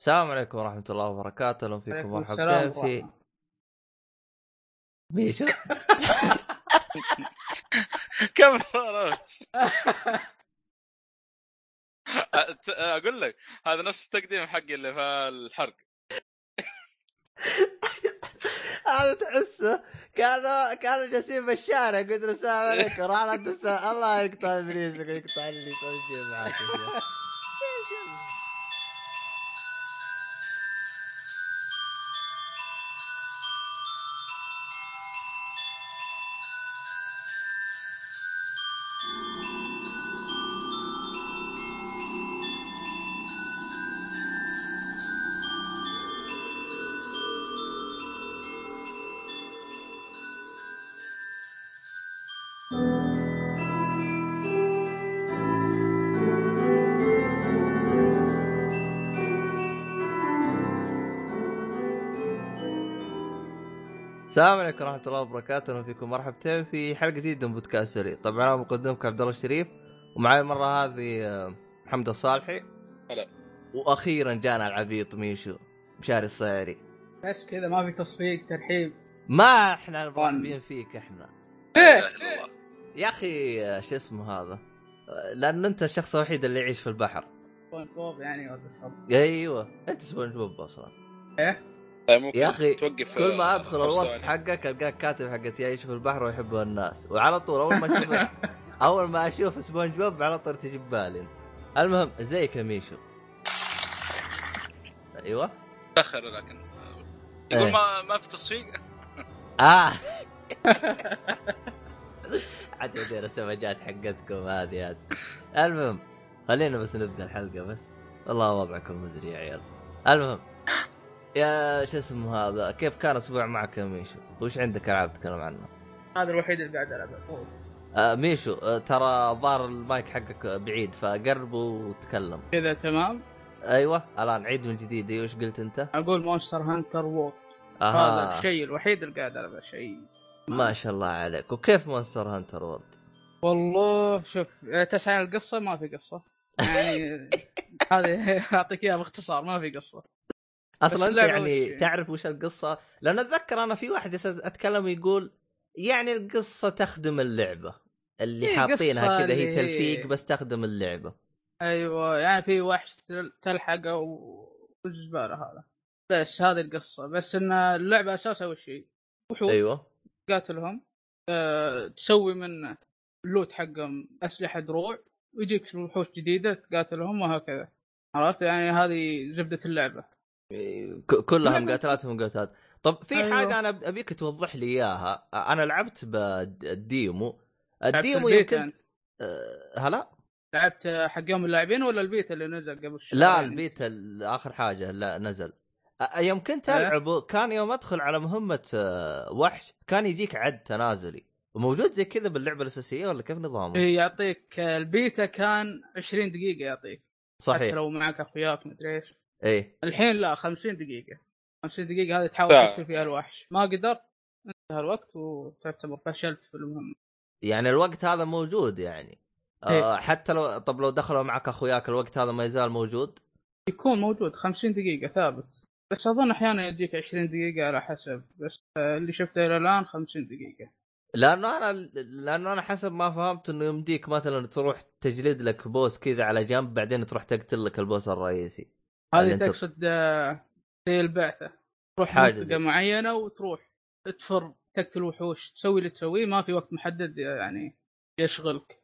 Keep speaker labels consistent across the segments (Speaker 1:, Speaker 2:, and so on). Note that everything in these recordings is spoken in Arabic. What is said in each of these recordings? Speaker 1: السلام عليكم ورحمة الله وبركاته، أهلا فيكم
Speaker 2: عليكم
Speaker 1: مرحبتين
Speaker 2: السلام
Speaker 1: في
Speaker 2: ورحمة.
Speaker 1: ميشو
Speaker 3: كم عرفت؟ أت- اقول لك هذا نفس التقديم حقي اللي في الحرق
Speaker 1: هذا تحسه كانوا كانوا جالسين بالشارع قلت له السلام عليكم راح رد السلام الله يقطع ابليسك ويقطع اللي يسوي شيء معك السلام عليكم ورحمة الله وبركاته، أهلا فيكم مرحبتين في حلقة جديدة من بودكاست سري، طبعا أنا مقدمكم عبد الله الشريف ومعي المرة هذه آه، محمد الصالحي
Speaker 3: هلا.
Speaker 1: وأخيرا جانا العبيط ميشو مشاري الصيعري
Speaker 2: بس كذا ما في تصفيق ترحيب
Speaker 1: ما احنا مرحبين فيك احنا
Speaker 2: ليه؟
Speaker 1: يا اخي آه، شو اسمه هذا آه، لان انت الشخص الوحيد اللي يعيش في البحر
Speaker 2: سبونج بوب يعني ولا الحب.
Speaker 1: ايوه انت سبونج بوب اصلا
Speaker 3: طيب ممكن
Speaker 1: يا أخي،
Speaker 3: توقف
Speaker 1: كل ما
Speaker 3: آه،
Speaker 1: ادخل
Speaker 3: خمس
Speaker 1: الوصف
Speaker 3: ثواني.
Speaker 1: حقك القاك كاتب حقت يعيش في البحر ويحبه الناس وعلى طول اول ما اشوف اول ما اشوف سبونج بوب على طول تجي ببالي المهم ازيك يا ميشو ايوه
Speaker 3: تاخر لكن آه،
Speaker 1: إيه.
Speaker 3: يقول ما ما في تصفيق
Speaker 1: اه حتى دي السمجات حقتكم هذه هذه المهم خلينا بس نبدا الحلقه بس والله وضعكم مزري يا عيال المهم يا شو اسمه هذا كيف كان اسبوع معك يا ميشو؟ وش عندك العاب تتكلم عنها؟
Speaker 2: هذا الوحيد اللي قاعد العبه
Speaker 1: آه ميشو آه ترى ظهر المايك حقك بعيد فقربه وتكلم
Speaker 2: كذا تمام
Speaker 1: ايوه الان عيد من جديد ايوه ايش قلت انت؟
Speaker 2: اقول مونستر هانتر وور هذا
Speaker 1: اها
Speaker 2: الشيء الوحيد اللي قاعد العبه شيء
Speaker 1: ما شاء الله عليك وكيف مونستر هانتر وورد؟
Speaker 2: والله شوف آه، تسعى عن القصه ما في قصه يعني هذه اعطيك اياها باختصار ما في قصه
Speaker 1: اصلا
Speaker 2: بس
Speaker 1: انت
Speaker 2: اللعبة
Speaker 1: يعني
Speaker 2: وش-
Speaker 1: تعرف وش القصه؟ لان اتذكر انا في واحد جالس اتكلم ويقول يعني القصه تخدم اللعبه اللي
Speaker 2: إيه،
Speaker 1: حاطينها
Speaker 2: قصة
Speaker 1: كذا هي
Speaker 2: اللي هي-
Speaker 1: تلفيق بس تخدم اللعبه
Speaker 2: ايوه يعني في وحش تل- تلحقه و- والزباله هذا بس هذه القصه بس ان اللعبه اساسها وش هي؟ وحوش
Speaker 1: ايوه
Speaker 2: تقاتلهم أه تسوي من اللوت حقهم اسلحه دروع ويجيك وحوش جديده تقاتلهم وهكذا عرفت يعني هذه زبده اللعبه
Speaker 1: ك- كلها
Speaker 2: لا، لا.
Speaker 1: مقاتلات ومقاتلات طب في
Speaker 2: أيوة.
Speaker 1: حاجه انا ابيك توضح لي اياها انا لعبت بالديمو
Speaker 2: لعبت يعني.
Speaker 1: الديمو يمكن
Speaker 2: البيتا أنت.
Speaker 1: أه، هلا
Speaker 2: لعبت حق يوم اللاعبين ولا البيتا اللي نزل قبل يعني شهرين؟
Speaker 1: لا البيت ال- اخر حاجه لا نزل أ- يوم كنت
Speaker 2: إيه.
Speaker 1: العبه كان يوم ادخل على مهمه آه، وحش كان يجيك عد تنازلي وموجود زي كذا باللعبه الاساسيه ولا كيف نظامه؟
Speaker 2: إيه، يعطيك البيتا كان 20 دقيقه يعطيك حتى
Speaker 1: صحيح
Speaker 2: لو معك اخوياك مدري ايش
Speaker 1: ايه
Speaker 2: الحين لا 50 دقيقة 50 دقيقة هذه تحاول
Speaker 3: ساعة.
Speaker 2: تقتل فيها الوحش ما قدرت انتهى الوقت وتعتبر فشلت في المهمة
Speaker 1: يعني الوقت هذا موجود يعني آه
Speaker 2: إيه.
Speaker 1: حتى لو طب لو دخلوا معك اخوياك الوقت هذا ما يزال موجود
Speaker 2: يكون موجود 50 دقيقة ثابت بس اظن احيانا يجيك 20 دقيقة على حسب بس آه، اللي شفته الى الان 50 دقيقة
Speaker 1: لانه انا لانه انا حسب ما فهمت انه يمديك مثلا تروح تجلد لك بوس كذا على جنب بعدين تروح تقتل لك البوس الرئيسي اللي
Speaker 2: هذه
Speaker 1: يعني أنت-
Speaker 2: تقصد آه، زي البعثة تروح
Speaker 1: حاجة
Speaker 2: منطقة
Speaker 1: زي-
Speaker 2: معينة وتروح تفر تقتل وحوش تسوي اللي تسويه ما في وقت محدد يعني يشغلك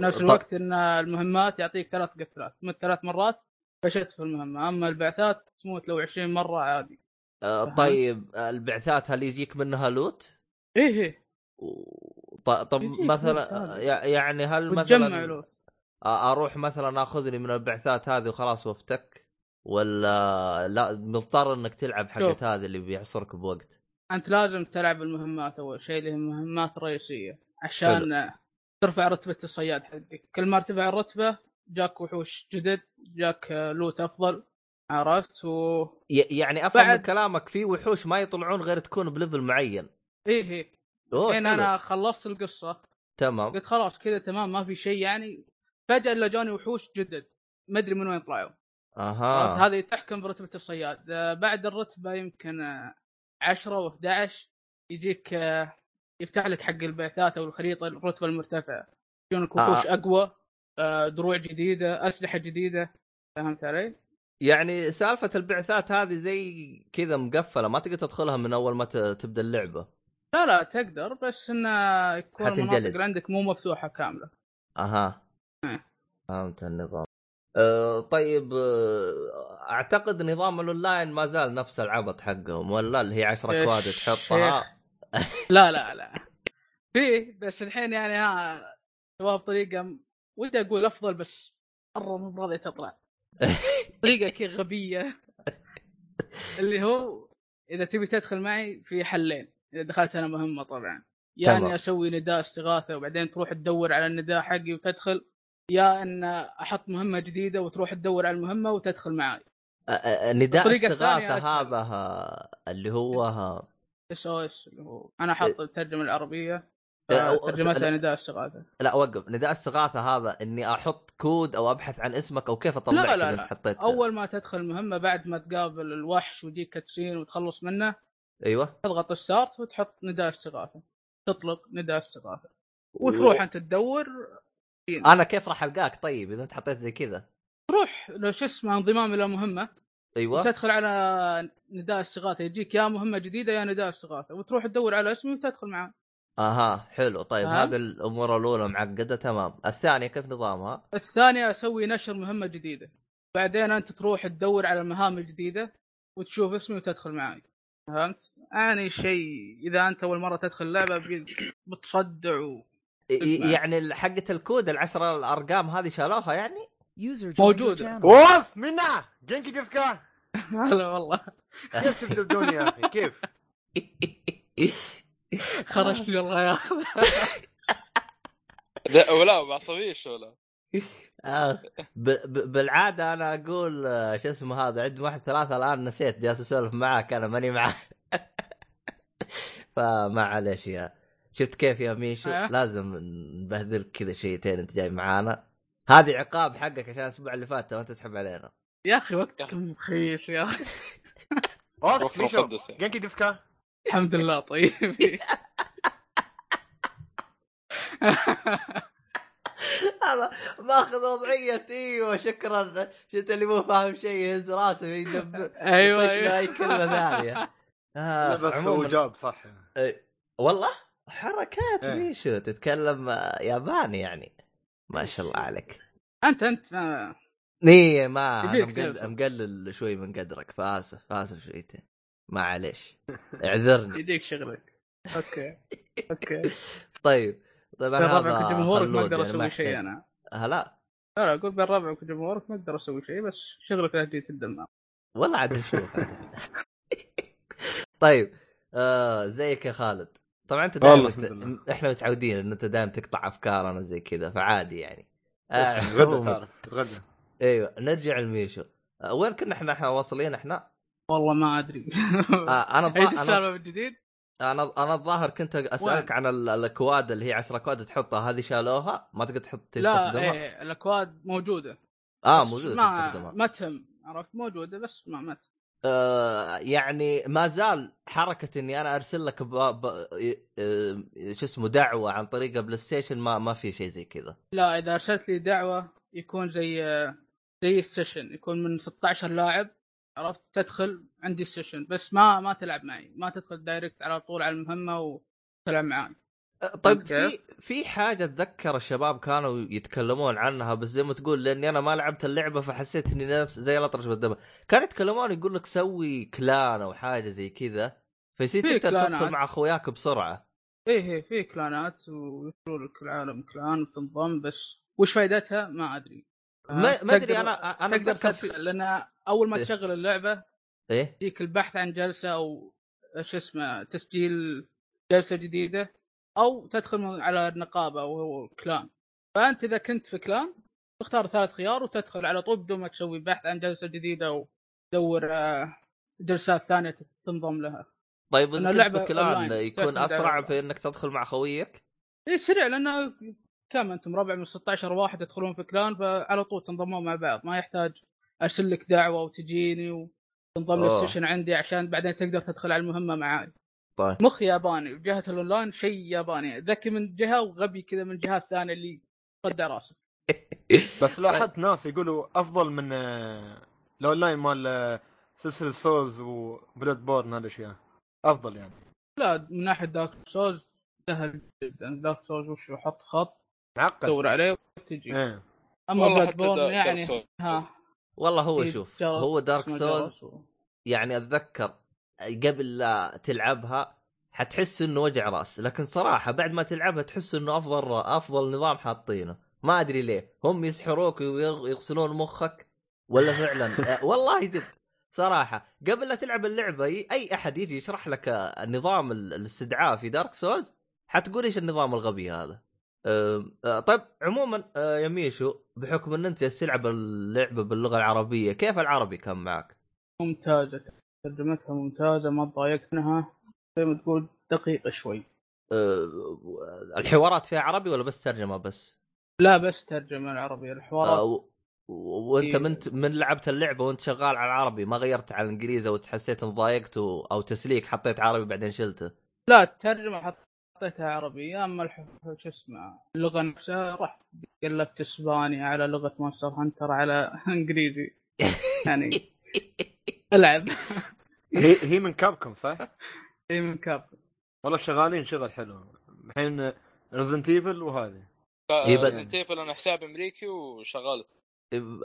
Speaker 2: نفس
Speaker 1: طب-
Speaker 2: الوقت ان المهمات يعطيك ثلاث قتلات من ثلاث مرات فشلت في المهمه اما البعثات تموت لو 20 مره عادي
Speaker 1: آه،
Speaker 2: أها.
Speaker 1: طيب آه، البعثات هل يجيك منها لوت؟
Speaker 2: ايه ايه
Speaker 1: و- ط- طب
Speaker 2: يجيك
Speaker 1: مثلا
Speaker 2: لوت
Speaker 1: يع- يعني هل
Speaker 2: وتجمع
Speaker 1: مثلا
Speaker 2: له
Speaker 1: آه، اروح مثلا اخذني من البعثات هذه وخلاص وافتك ولا لا مضطر انك تلعب حقت
Speaker 2: شوف.
Speaker 1: هذه اللي بيحصرك بوقت
Speaker 2: انت لازم تلعب المهمات اول شيء اللي هي المهمات الرئيسيه عشان ترفع رتبه الصياد حقك كل ما ارتفع الرتبه جاك وحوش جدد جاك آه، لوت افضل عرفت و
Speaker 1: ي- يعني افهم من
Speaker 2: بعد-
Speaker 1: كلامك في وحوش ما يطلعون غير تكون بليفل معين
Speaker 2: ايه ايه
Speaker 1: اوه
Speaker 2: الحين
Speaker 1: حلو.
Speaker 2: انا خلصت القصه
Speaker 1: تمام
Speaker 2: قلت خلاص كذا تمام ما في شيء يعني فجاه الا جاني وحوش جدد ما ادري من وين طلعوا عرفت؟
Speaker 1: اها
Speaker 2: هذه تحكم برتبه الصياد آه، بعد الرتبه يمكن آه، 10 و11 يجيك آه، يفتح لك حق البعثات او الخريطه الرتبه المرتفعه يجونك
Speaker 1: آه.
Speaker 2: وحوش اقوى آه، دروع جديده اسلحه جديده فهمت علي؟
Speaker 1: يعني سالفه البعثات هذه زي كذا مقفله ما تقدر تدخلها من اول ما ت- تبدا اللعبه
Speaker 2: لا لا تقدر بس انه يكون
Speaker 1: حتنجلد.
Speaker 2: المناطق اللي عندك مو مفتوحه كامله
Speaker 1: اها
Speaker 2: إيه.
Speaker 1: فهمت النظام أه طيب أه، اعتقد نظام الاونلاين ما زال نفس العبط حقهم ولا اللي هي 10
Speaker 2: يا
Speaker 1: كواد تحطها
Speaker 2: لا لا لا في بس الحين يعني ها سواها بطريقه م- ودي اقول افضل بس مره مو راضيه تطلع طريقه كي غبيه اللي هو اذا تبي تدخل معي في حلين اذا دخلت انا مهمه طبعا يا
Speaker 1: تمام.
Speaker 2: اني اسوي نداء استغاثه وبعدين تروح تدور على النداء حقي وتدخل يا ان احط مهمه جديده وتروح تدور على المهمه وتدخل معي
Speaker 1: أه، أه، نداء
Speaker 2: الطريقة
Speaker 1: استغاثه
Speaker 2: الثانية أسهل.
Speaker 1: هذا ها- اللي هو ها-
Speaker 2: اس او اس اللي هو انا حاط الترجمه العربيه
Speaker 1: أه، إيه. أو-
Speaker 2: ترجمتها نداء استغاثه
Speaker 1: لا وقف نداء استغاثه هذا اني احط كود او ابحث عن اسمك او كيف اطلعك
Speaker 2: لا، لا،
Speaker 1: إذا
Speaker 2: لا.
Speaker 1: انت حطيت
Speaker 2: اول ما تدخل المهمه بعد ما تقابل الوحش ويجيك كاتسين وتخلص منه
Speaker 1: ايوه
Speaker 2: تضغط ستارت وتحط نداء استغاثه تطلق نداء استغاثه وتروح انت تدور
Speaker 1: انا كيف راح القاك طيب اذا انت حطيت زي كذا
Speaker 2: لو شو اسمه انضمام الى مهمه
Speaker 1: ايوه
Speaker 2: وتدخل على نداء استغاثه يجيك يا مهمه جديده يا نداء استغاثه وتروح تدور على اسمي وتدخل معاه
Speaker 1: اها حلو طيب
Speaker 2: ها؟
Speaker 1: هذه الامور الاولى معقده تمام الثانيه كيف نظامها
Speaker 2: الثانيه اسوي نشر مهمه جديده بعدين انت تروح تدور على المهام الجديده وتشوف اسمي وتدخل معي فهمت؟ يعني شيء اذا انت اول مره تدخل اللعبه بي- بتصدع و...
Speaker 1: ي-
Speaker 2: اسمع.
Speaker 1: يعني حقه الكود العشرة الارقام هذه شالوها يعني
Speaker 4: User joined your
Speaker 2: موجودة.
Speaker 4: channel.
Speaker 5: وف منا جنكي جسكا
Speaker 2: هلا والله
Speaker 5: كيف تبدلون يا اخي كيف؟
Speaker 2: خرجت والله يا اخي
Speaker 3: لا ولا بعصبيش ولا
Speaker 1: آه ب ب بالعاده انا اقول آه، شو اسمه هذا عند واحد ثلاثه الان نسيت جالس اسولف معاك انا ماني معاه فما عليش يا شفت كيف يا ميشو
Speaker 2: آه.
Speaker 1: لازم نبهذلك كذا شيتين انت جاي معانا هذه عقاب حقك عشان الاسبوع اللي فات ما تسحب علينا
Speaker 2: يا اخي وقتك مخيس يا اخي
Speaker 5: وف
Speaker 3: وقت
Speaker 5: ميشو
Speaker 3: مقدس يعني.
Speaker 5: جنكي جسكا
Speaker 2: الحمد لله طيب
Speaker 1: هذا ماخذ وضعيه ايوه شكرا شفت اللي مو فاهم شيء يهز راسه يدبر
Speaker 2: ايوه
Speaker 1: طش له
Speaker 2: ايوه
Speaker 1: اي كلمه ثانيه آه،
Speaker 5: بس هو
Speaker 1: عموماً. إيه،
Speaker 5: جاب صح
Speaker 1: والله حركات
Speaker 5: إيه.
Speaker 1: ميشو تتكلم آه، ياباني يعني ما شاء الله عليك
Speaker 2: انت انت آه،
Speaker 1: نيه ما انا
Speaker 2: يبيك
Speaker 1: مقلل,
Speaker 2: تلبس.
Speaker 1: مقلل شوي من قدرك فاسف اسف شويتين معليش اعذرني
Speaker 2: يديك شغلك اوكي اوكي
Speaker 1: طيب طبعا
Speaker 2: بين ربعك
Speaker 1: هذا
Speaker 2: وجمهورك ما
Speaker 1: خلود
Speaker 2: اقدر
Speaker 1: يعني
Speaker 2: اسوي
Speaker 1: يحتاج-
Speaker 2: شيء انا
Speaker 1: هلا
Speaker 2: لا لا اقول بين ربعك وجمهورك ما اقدر اسوي شيء بس شغلك لا تجي تدمر
Speaker 1: والله عاد نشوف طيب آه زيك يا خالد طبعا انت دائما
Speaker 5: والله
Speaker 1: ت-
Speaker 5: الحمد لله.
Speaker 1: احنا متعودين ان انت دائما تقطع افكارنا زي كذا فعادي يعني آه،
Speaker 5: غدا
Speaker 1: عموماً.
Speaker 5: تعرف غدا
Speaker 1: ايوه نرجع لميشو آه، وين كنا احنا احنا واصلين احنا؟
Speaker 2: والله ما ادري
Speaker 1: آه انا الظا-
Speaker 2: ايش
Speaker 1: انا
Speaker 2: السالفه من جديد؟
Speaker 1: انا انا الظاهر كنت اسالك عن ال- الاكواد اللي هي 10 اكواد تحطها هذه شالوها ما تقدر تحط
Speaker 2: لا
Speaker 5: إيه.
Speaker 1: تستخدمها؟
Speaker 2: ايه الاكواد موجوده
Speaker 1: اه
Speaker 2: بس
Speaker 1: موجوده
Speaker 2: ما
Speaker 1: تستخدمها
Speaker 2: ما تهم عرفت موجوده بس ما ما تهم
Speaker 1: آه يعني ما زال حركه اني انا ارسل لك ب... ب... ي- آه، شو اسمه دعوه عن طريق بلاي ستيشن ما ما في شيء زي كذا
Speaker 2: لا اذا ارسلت لي دعوه يكون زي زي السيشن يكون من 16 لاعب عرفت تدخل عندي السيشن بس ما ما تلعب معي ما تدخل دايركت على طول على المهمه وتلعب معي
Speaker 1: طيب
Speaker 2: فهمت
Speaker 1: في
Speaker 2: كيف؟
Speaker 1: في حاجه اتذكر الشباب كانوا يتكلمون عنها بس زي ما تقول لاني انا ما لعبت اللعبه فحسيت اني نفس زي الاطرش بالدم كانوا يتكلمون يقول لك سوي كلان او حاجه زي كذا فيصير
Speaker 2: في آه.
Speaker 1: تقدر
Speaker 2: كلانات.
Speaker 1: تدخل مع اخوياك بسرعه
Speaker 2: ايه ايه في كلانات ويصيروا لك العالم كلان وتنضم بس وش فائدتها ما ادري
Speaker 1: ما ما ادري انا انا
Speaker 2: انا آه، تقدر
Speaker 1: أتذكر في-
Speaker 2: تدخل لان اول ما
Speaker 1: إيه.
Speaker 2: تشغل اللعبه
Speaker 1: ايه
Speaker 2: يجيك البحث عن جلسه او شو اسمه تسجيل جلسه جديده او تدخل من- على النقابه وهو كلان فانت اذا كنت في كلان تختار ثلاث خيار وتدخل على طول بدون ما تسوي بحث عن جلسه جديده او تدور آه، جلسات ثانيه تنضم لها
Speaker 1: طيب إن
Speaker 2: أنا
Speaker 1: كنت
Speaker 2: اللعبة
Speaker 1: بكلان
Speaker 2: أونلاين،
Speaker 1: يكون
Speaker 2: تعتمد على
Speaker 1: اسرع
Speaker 2: الأونلاين.
Speaker 1: في انك تدخل مع خويك
Speaker 2: اي إيه، سريع لانه كم انتم ربع من 16 واحد يدخلون في كلان فعلى طول تنضمون مع بعض ما يحتاج ارسل لك دعوه وتجيني وتنضم
Speaker 1: أوه.
Speaker 2: للسيشن عندي عشان بعدين تقدر تدخل على المهمه معاي
Speaker 1: طيب.
Speaker 2: مخ ياباني وجهه الاونلاين شيء ياباني ذكي من جهه وغبي كذا من جهه ثانيه اللي صدى راسك
Speaker 1: طيب.
Speaker 5: بس لاحظت ناس يقولوا افضل من آه، الاونلاين مال آه، سلسله سولز وبلاد بورن هالاشياء افضل يعني
Speaker 2: لا من ناحيه دارك سولز سهل جدا دارك سولز وش حط خط
Speaker 5: معقد
Speaker 2: دور عليه وتجي
Speaker 5: ايه
Speaker 2: اما
Speaker 3: والله
Speaker 2: بلاد
Speaker 3: حتى دا-
Speaker 2: بورن يعني
Speaker 3: درسوا.
Speaker 2: ها
Speaker 1: والله هو
Speaker 2: في
Speaker 1: شوف
Speaker 2: جرس،
Speaker 1: هو دارك
Speaker 2: ما
Speaker 1: سولز
Speaker 2: جرس.
Speaker 1: يعني اتذكر قبل لا تلعبها حتحس انه وجع راس لكن صراحه بعد ما تلعبها تحس انه افضل افضل نظام حاطينه ما ادري ليه هم يسحروك ويغسلون مخك ولا فعلا آه، والله جد صراحه قبل لا تلعب اللعبه ي- اي احد يجي يشرح لك آه، نظام ال- الاستدعاء في دارك سولز حتقول ايش النظام الغبي هذا آم، آه، طيب عموما آه، يا ميشو بحكم ان انت جالس تلعب اللعبه باللغه العربيه كيف العربي كان معك
Speaker 2: ممتازه ترجمتها ممتازه ما تضايقت منها زي ما تقول دقيقه شوي
Speaker 1: آه، الحوارات فيها عربي ولا بس ترجمه بس؟
Speaker 2: لا بس ترجمه العربيه
Speaker 1: آه،
Speaker 2: الحوارات
Speaker 1: و- و- وانت
Speaker 2: إيه.
Speaker 1: من من لعبت اللعبه وانت شغال على العربي ما غيرت على الانجليزي وتحسيت ان ضايقت و- او تسليك حطيت عربي بعدين شلته.
Speaker 2: لا الترجمه حطيتها عربيه اما الح... شو اسمه اللغه نفسها رحت قلبت اسباني على لغه مونستر هانتر على انجليزي يعني العب
Speaker 5: هي هي من كابكم صح؟
Speaker 2: اي من كاب
Speaker 5: والله شغالين شغل حلو الحين ريزنت ايفل وهذه
Speaker 1: إيه بس. إيه،
Speaker 3: تيفل انا حساب امريكي وشغال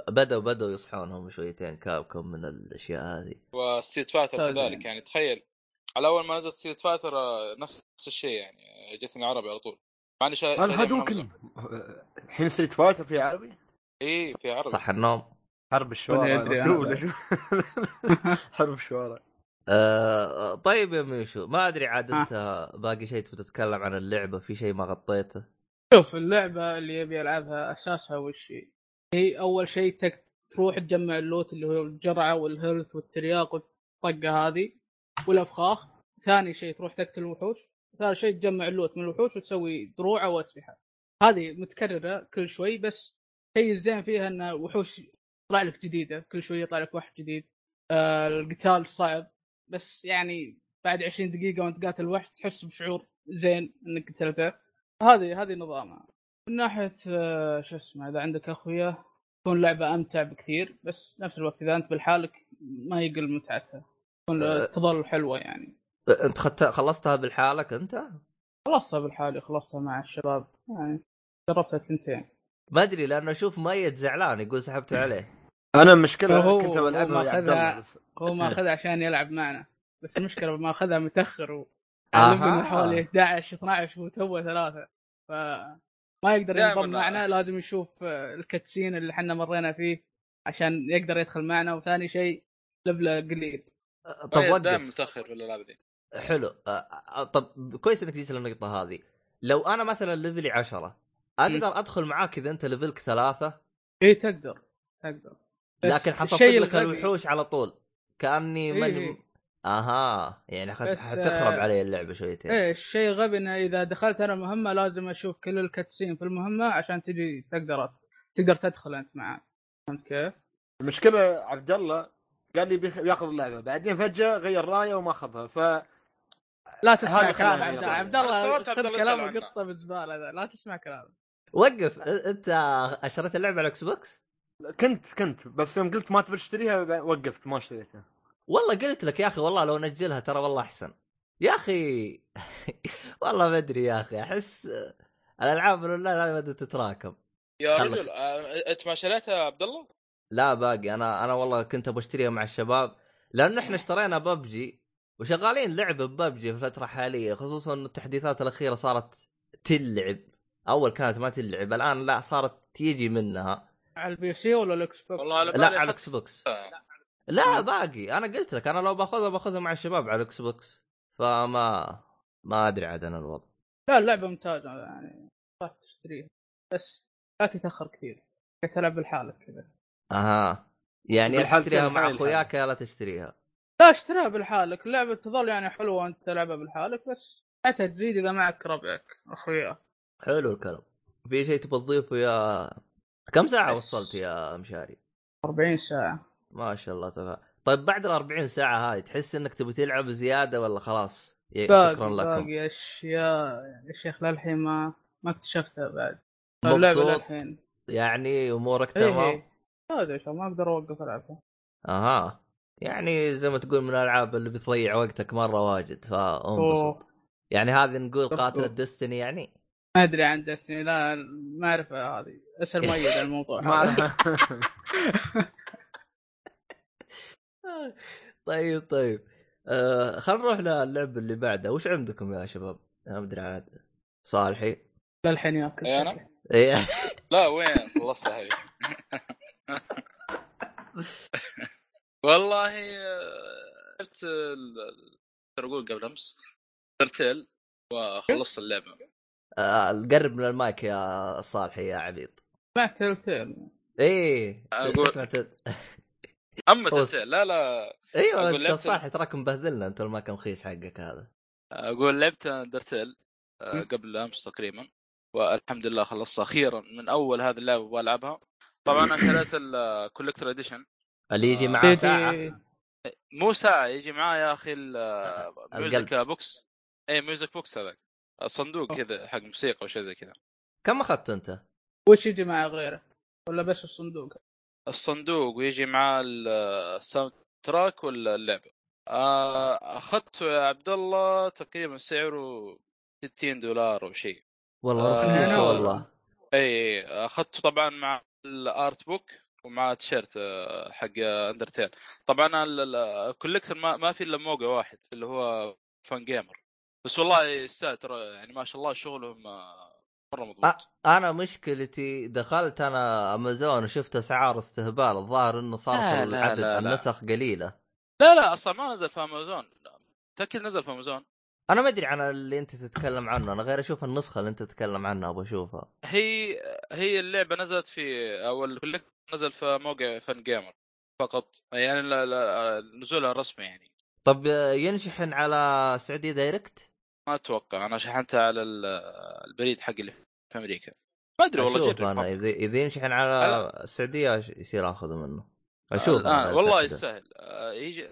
Speaker 1: بدأوا بدأوا يصحونهم شويتين كابكم من الاشياء هذه.
Speaker 3: وستيت فاتر
Speaker 2: طيب.
Speaker 3: كذلك يعني تخيل على اول ما نزلت ستيت فاتر آه، نفس الشيء يعني آه، جتني عربي على طول مع اني شا- شاريها من
Speaker 5: الهدوكن
Speaker 3: أمازون.
Speaker 5: الحين ستريت فايتر في عربي؟
Speaker 3: اي في عربي
Speaker 1: صح النوم.
Speaker 5: حرب
Speaker 2: ولا
Speaker 5: الشوارع
Speaker 2: يدري
Speaker 5: مكتوب
Speaker 2: هذا.
Speaker 5: ولا شو؟ حرب الشوارع
Speaker 1: آه طيب يا ميشو ما ادري عاد انت باقي شيء تبي تتكلم عن اللعبه في شيء ما غطيته.
Speaker 2: شوف اللعبه اللي يبي يلعبها اساسها وش هي؟ هي اول شيء تك تروح تجمع اللوت اللي هو الجرعه والهيلث والترياق والطقه هذه والافخاخ ثاني شيء تروح تقتل الوحوش ثالث شيء تجمع اللوت من الوحوش وتسوي دروع واسلحه هذه متكرره كل شوي بس شيء الزين فيها ان الوحوش يطلع لك جديده كل شويه يطلع لك وحش جديد آه القتال صعب بس يعني بعد 20 دقيقه وانت قاتل وحش تحس بشعور زين انك قتلته هذه هذه نظامها من ناحيه آه، شو اسمه اذا عندك اخويا تكون لعبه امتع بكثير بس نفس الوقت اذا انت بالحالك ما يقل متعتها تكون
Speaker 1: أه.
Speaker 2: تظل حلوه يعني
Speaker 1: آه، انت خدت خلصتها بالحالك انت؟
Speaker 2: خلصتها بالحالي خلصتها مع الشباب يعني جربتها ثنتين
Speaker 1: ما ادري لانه اشوف ميت زعلان يقول سحبت عليه.
Speaker 5: انا المشكله
Speaker 2: هو-
Speaker 5: كنت
Speaker 2: هو
Speaker 5: بلعبها ويا عبد
Speaker 2: ماخذها-
Speaker 5: الله بس
Speaker 2: هو ماخذها عشان يلعب معنا بس المشكله ما اخذها متاخر و
Speaker 1: آها.
Speaker 2: علمنا حوالي 11 12 وتو ثلاثه فما يقدر
Speaker 3: دائماً
Speaker 2: ينضم
Speaker 3: آه.
Speaker 2: معنا لازم يشوف آه، الكتسين اللي احنا مرينا فيه عشان يقدر يدخل معنا وثاني شيء لبله قليل
Speaker 1: آه، طب
Speaker 3: طيب دائما
Speaker 1: وقف
Speaker 3: متاخر في الالعاب ذي
Speaker 1: حلو آه، آه، طب كويس انك جيت للنقطه هذه لو انا مثلا ليفلي عشرة اقدر ادخل معاك اذا انت ليفلك ثلاثه
Speaker 2: اي إيه، تقدر تقدر بس
Speaker 1: لكن حصلت
Speaker 2: الشيء
Speaker 1: لك
Speaker 2: الغبي-
Speaker 1: الوحوش على طول كاني
Speaker 2: إيه
Speaker 1: من
Speaker 2: إيه.
Speaker 1: اها يعني
Speaker 2: بس،
Speaker 1: حت-
Speaker 2: آه،
Speaker 1: حتخرب علي اللعبه شويتين
Speaker 2: ايه الشيء غبي انه اذا دخلت انا مهمه لازم اشوف كل الكتسين في المهمه عشان تجي تقدر أت- تقدر تدخل انت معاه فهمت كيف؟
Speaker 5: المشكله عبد الله قال لي بيخ- بياخذ اللعبه بعدين فجاه غير رايه وما اخذها ف
Speaker 2: لا تسمع
Speaker 5: هذا
Speaker 2: كلام
Speaker 5: خلاص
Speaker 2: عبد الله
Speaker 5: يعني.
Speaker 2: عبد الله
Speaker 3: أنا سألت عبد
Speaker 2: خذ
Speaker 3: الله
Speaker 2: كلامه
Speaker 3: يسأل عنه.
Speaker 2: قطه بالزباله ذا لا تسمع كلامه
Speaker 1: وقف أ- انت اشتريت اللعبه على الاكس بوكس
Speaker 5: كنت كنت بس يوم قلت ما تبي تشتريها ب- وقفت ما اشتريتها
Speaker 1: والله قلت لك يا اخي والله لو نجلها ترى والله احسن يا اخي والله ما ادري يا اخي احس آه، الالعاب الاونلاين هذه بدها تتراكم
Speaker 3: يا
Speaker 1: خلك.
Speaker 3: رجل آه، انت ما شريتها يا عبد الله؟
Speaker 1: لا باقي انا انا والله كنت ابغى اشتريها مع الشباب لانه احنا اشترينا ببجي وشغالين لعب ببجي في الفتره الحاليه خصوصا انه التحديثات الاخيره صارت تلعب اول كانت ما تلعب الان لا صارت تيجي منها
Speaker 2: على البي سي ولا الاكس بوكس؟
Speaker 3: والله على
Speaker 1: لا
Speaker 3: بالي
Speaker 1: على
Speaker 3: أخذت-
Speaker 1: الاكس بوكس لا باقي انا قلت لك انا لو باخذها باخذها مع الشباب على الاكس بوكس فما ما ادري عاد انا الوضع
Speaker 2: لا اللعبه ممتازه يعني راح تشتريها بس لا تتاخر كثير تلعب بالحالة كذا
Speaker 1: اها يعني يا
Speaker 5: بالحال
Speaker 1: تشتريها
Speaker 5: كان
Speaker 1: مع
Speaker 5: حالي
Speaker 1: اخوياك يا لا تشتريها
Speaker 2: لا اشتريها بالحالك اللعبه تظل يعني حلوه انت تلعبها بالحالك بس حتى تزيد اذا معك ربعك اخويا
Speaker 1: حلو الكلام في شيء تبغى تضيفه يا كم ساعه
Speaker 2: بس.
Speaker 1: وصلت يا مشاري
Speaker 2: 40 ساعه
Speaker 1: ما شاء الله تبارك طيب بعد ال 40 ساعه هاي تحس انك تبي تلعب زياده ولا خلاص ي- شكرا
Speaker 2: باقي
Speaker 1: لكم
Speaker 2: باقي يعني اشياء يا شيخ للحين ما ما اكتشفتها بعد اللعبه
Speaker 1: مبسوط
Speaker 2: للحين
Speaker 1: يعني امورك
Speaker 2: ايه
Speaker 1: تمام
Speaker 2: إيه. هذا يا شيخ ما اقدر اوقف العبها
Speaker 1: اها يعني زي ما تقول من الالعاب اللي بتضيع وقتك مره واجد فانبسط
Speaker 2: أوه،
Speaker 1: يعني هذه نقول قاتل
Speaker 2: أوه.
Speaker 1: ديستني يعني
Speaker 2: ما ادري عن دستني لا ما اعرفها هذه اسال مؤيد عن الموضوع
Speaker 5: ما
Speaker 2: هذا.
Speaker 5: اعرف
Speaker 1: طيب طيب آه خلينا نروح للعب اللي بعده وش عندكم يا شباب؟ أنا ما ادري عاد صالحي
Speaker 2: للحين ياكل
Speaker 3: إيه أنا؟
Speaker 1: إيه.
Speaker 3: لا وين خلصتها هي والله آه، لعبت ال- ال- ترى اقول قبل امس ترتيل وخلصت اللعبه
Speaker 1: آه، قرب من المايك يا صالحي يا عبيط
Speaker 2: ما تلتين
Speaker 1: ايه
Speaker 3: أقول-
Speaker 1: تسمع تد-
Speaker 3: اما
Speaker 1: فوز.
Speaker 3: ترتيل لا لا
Speaker 1: ايوه
Speaker 3: أقول
Speaker 1: انت
Speaker 3: لعبت-
Speaker 1: صالحي تراك مبهذلنا انت المايك مخيس حقك هذا
Speaker 3: اقول لعبت درتيل آه،
Speaker 2: مم.
Speaker 3: قبل امس تقريبا والحمد لله خلصت اخيرا من اول هذه اللعبه والعبها طبعا انا شريت الكولكتر اديشن
Speaker 1: اللي يجي
Speaker 3: آه.
Speaker 1: معاه ساعه
Speaker 2: تيجي
Speaker 3: مو ساعه يجي معاه يا اخي ال- آه، ميوزك بوكس اي ميوزك بوكس إيه، هذاك صندوق كذا حق موسيقى وشيء زي كذا
Speaker 1: كم اخذت انت؟
Speaker 2: وش يجي معه غيره ولا بس الصندوق
Speaker 3: الصندوق ويجي معاه ال- الساوند تراك ولا اللعبه آه، اخذته يا عبد الله تقريبا سعره 60 دولار او شيء
Speaker 1: والله
Speaker 3: آه،
Speaker 1: رخيص
Speaker 2: أنا-
Speaker 1: والله
Speaker 3: اي اخذته طبعا إيه. مع الارت بوك ومع تيشيرت آه، حق اندرتيل طبعا ال- ال- الكوليكتر ما, ما في الا موقع واحد اللي هو فان جيمر بس والله يستاهل ترى يعني ما شاء الله شغلهم آه، مره مضبوط
Speaker 1: آه. انا مشكلتي دخلت انا امازون وشفت اسعار استهبال الظاهر انه صارت
Speaker 3: لا، لا،
Speaker 1: العدد
Speaker 3: لا، لا.
Speaker 1: النسخ قليله
Speaker 3: لا لا اصلا ما نزل في امازون متاكد نزل في امازون
Speaker 1: انا ما ادري عن اللي انت تتكلم عنه انا غير اشوف النسخه اللي انت تتكلم عنها ابغى اشوفها
Speaker 3: هي هي اللعبه نزلت في او الكوليكتر نزل في موقع فان جيمر فقط يعني لا- لا- نزولها رسمي يعني
Speaker 1: طب آه، ينشحن على سعوديه دايركت؟
Speaker 3: ما اتوقع انا شحنتها على ال- البريد حقي اللي في امريكا ما ادري والله
Speaker 1: اشوف
Speaker 3: جرب
Speaker 1: انا
Speaker 3: مرة.
Speaker 1: اذا اذا ينشحن على السعوديه أش- يصير اخذه منه اشوف
Speaker 3: الان
Speaker 1: أنا
Speaker 3: آه، والله
Speaker 1: أتأكد.
Speaker 3: يستاهل آه، يجي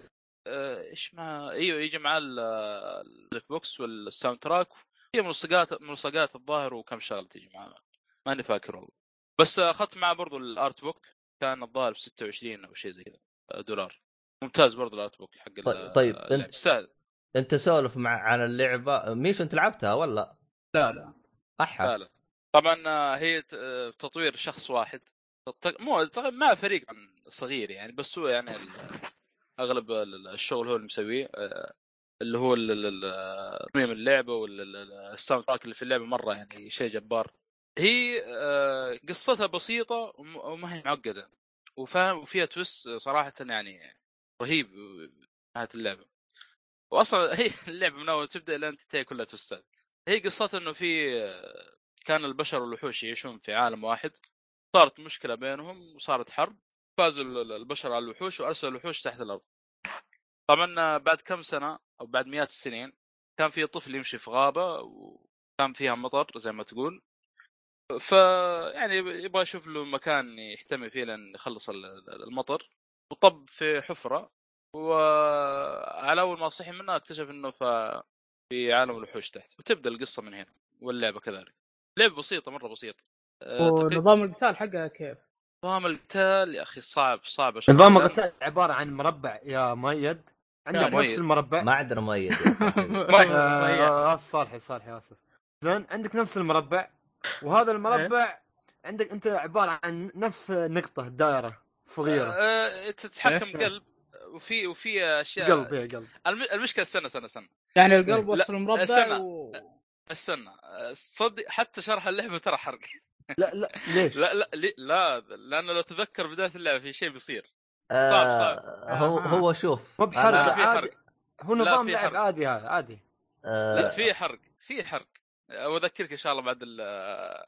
Speaker 3: آه، ايش ما ايوه يجي معاه ال- البلاك بوكس والساوند تراك هي ملصقات ملصقات الظاهر وكم شغله تجي معاه ماني فاكر والله بس آه، اخذت معاه برضو الارت بوك كان الظاهر ب 26 او شيء زي كذا آه، دولار ممتاز برضو الارت بوك حق ال- يعني
Speaker 1: طيب- طيب،
Speaker 3: اللعبة.
Speaker 1: أنت-
Speaker 3: يستاهل
Speaker 1: انت سولف مع عن اللعبه ميشو انت لعبتها ولا؟
Speaker 2: لا لا
Speaker 1: احا
Speaker 3: فعلا طبعا آه، هي ت- آه، تطوير شخص واحد تق- مو تق- مع فريق طبعاً صغير يعني بس هو يعني ال- اغلب ال- ال- الشغل هو اللي مسويه آه، اللي هو ال- ال- ال- آه، تصميم اللعبه والساوند تراك اللي في اللعبه مره يعني شيء جبار هي آه، قصتها بسيطه وم- وما هي معقده وفاهم وفيها تويست صراحه يعني رهيب نهايه اللعبه واصلا هي اللعبه من اول تبدا الى انت تنتهي كلها تويستات هي قصتها انه في آه، كان البشر والوحوش يعيشون في عالم واحد صارت مشكله بينهم وصارت حرب فازوا ال- ال- البشر على الوحوش وارسلوا الوحوش تحت الارض طبعا بعد كم سنه او بعد مئات السنين كان في طفل يمشي في غابه وكان فيها مطر زي ما تقول ف يعني يبغى يشوف له مكان يحتمي فيه لان يخلص ال- ال- المطر وطب في حفره وعلى اول ما صحي منها اكتشف انه ف- في عالم الوحوش تحت وتبدا القصه من هنا واللعبه كذلك لعبه بسيطه مره بسيطه أه، تقريبا
Speaker 2: ونظام القتال حقها كيف؟
Speaker 3: نظام القتال يا اخي صعب صعب أشوف.
Speaker 5: نظام
Speaker 3: لأن-
Speaker 5: القتال عباره عن مربع يا مؤيد
Speaker 2: يا
Speaker 5: عندك
Speaker 3: مؤيد.
Speaker 5: نفس المربع
Speaker 1: ما عندنا مؤيد يا صاحبي.
Speaker 3: طيب.
Speaker 2: ضيع.
Speaker 5: آه، اسف صالحي صالحي اسف زين عندك نفس المربع وهذا المربع عندك انت عباره عن نفس نقطه دائره صغيره
Speaker 3: أه، تتحكم
Speaker 2: إيه.
Speaker 3: قلب وفي وفي اشياء
Speaker 5: قلب يا قلب
Speaker 3: الم- المشكله استنى استنى استنى
Speaker 2: يعني القلب
Speaker 5: لا،
Speaker 2: وصل مربع
Speaker 3: استنى.
Speaker 2: و...
Speaker 3: استنى أه، تصدق حتى شرح اللعبه ترى حرق
Speaker 5: لا لا ليش؟
Speaker 3: لا لا لي- لا لانه لو تذكر بدايه اللعبه في شيء بيصير
Speaker 1: آه،
Speaker 3: صعب.
Speaker 1: هو
Speaker 2: آه.
Speaker 1: هو شوف
Speaker 5: مو بحرق
Speaker 3: لا، في
Speaker 1: أنا-
Speaker 5: عادي هو نظام
Speaker 3: في
Speaker 5: لعب
Speaker 3: حرق.
Speaker 5: عادي هذا عادي
Speaker 1: آه،
Speaker 3: لا في حرق في حرق واذكرك ان شاء الله بعد ال-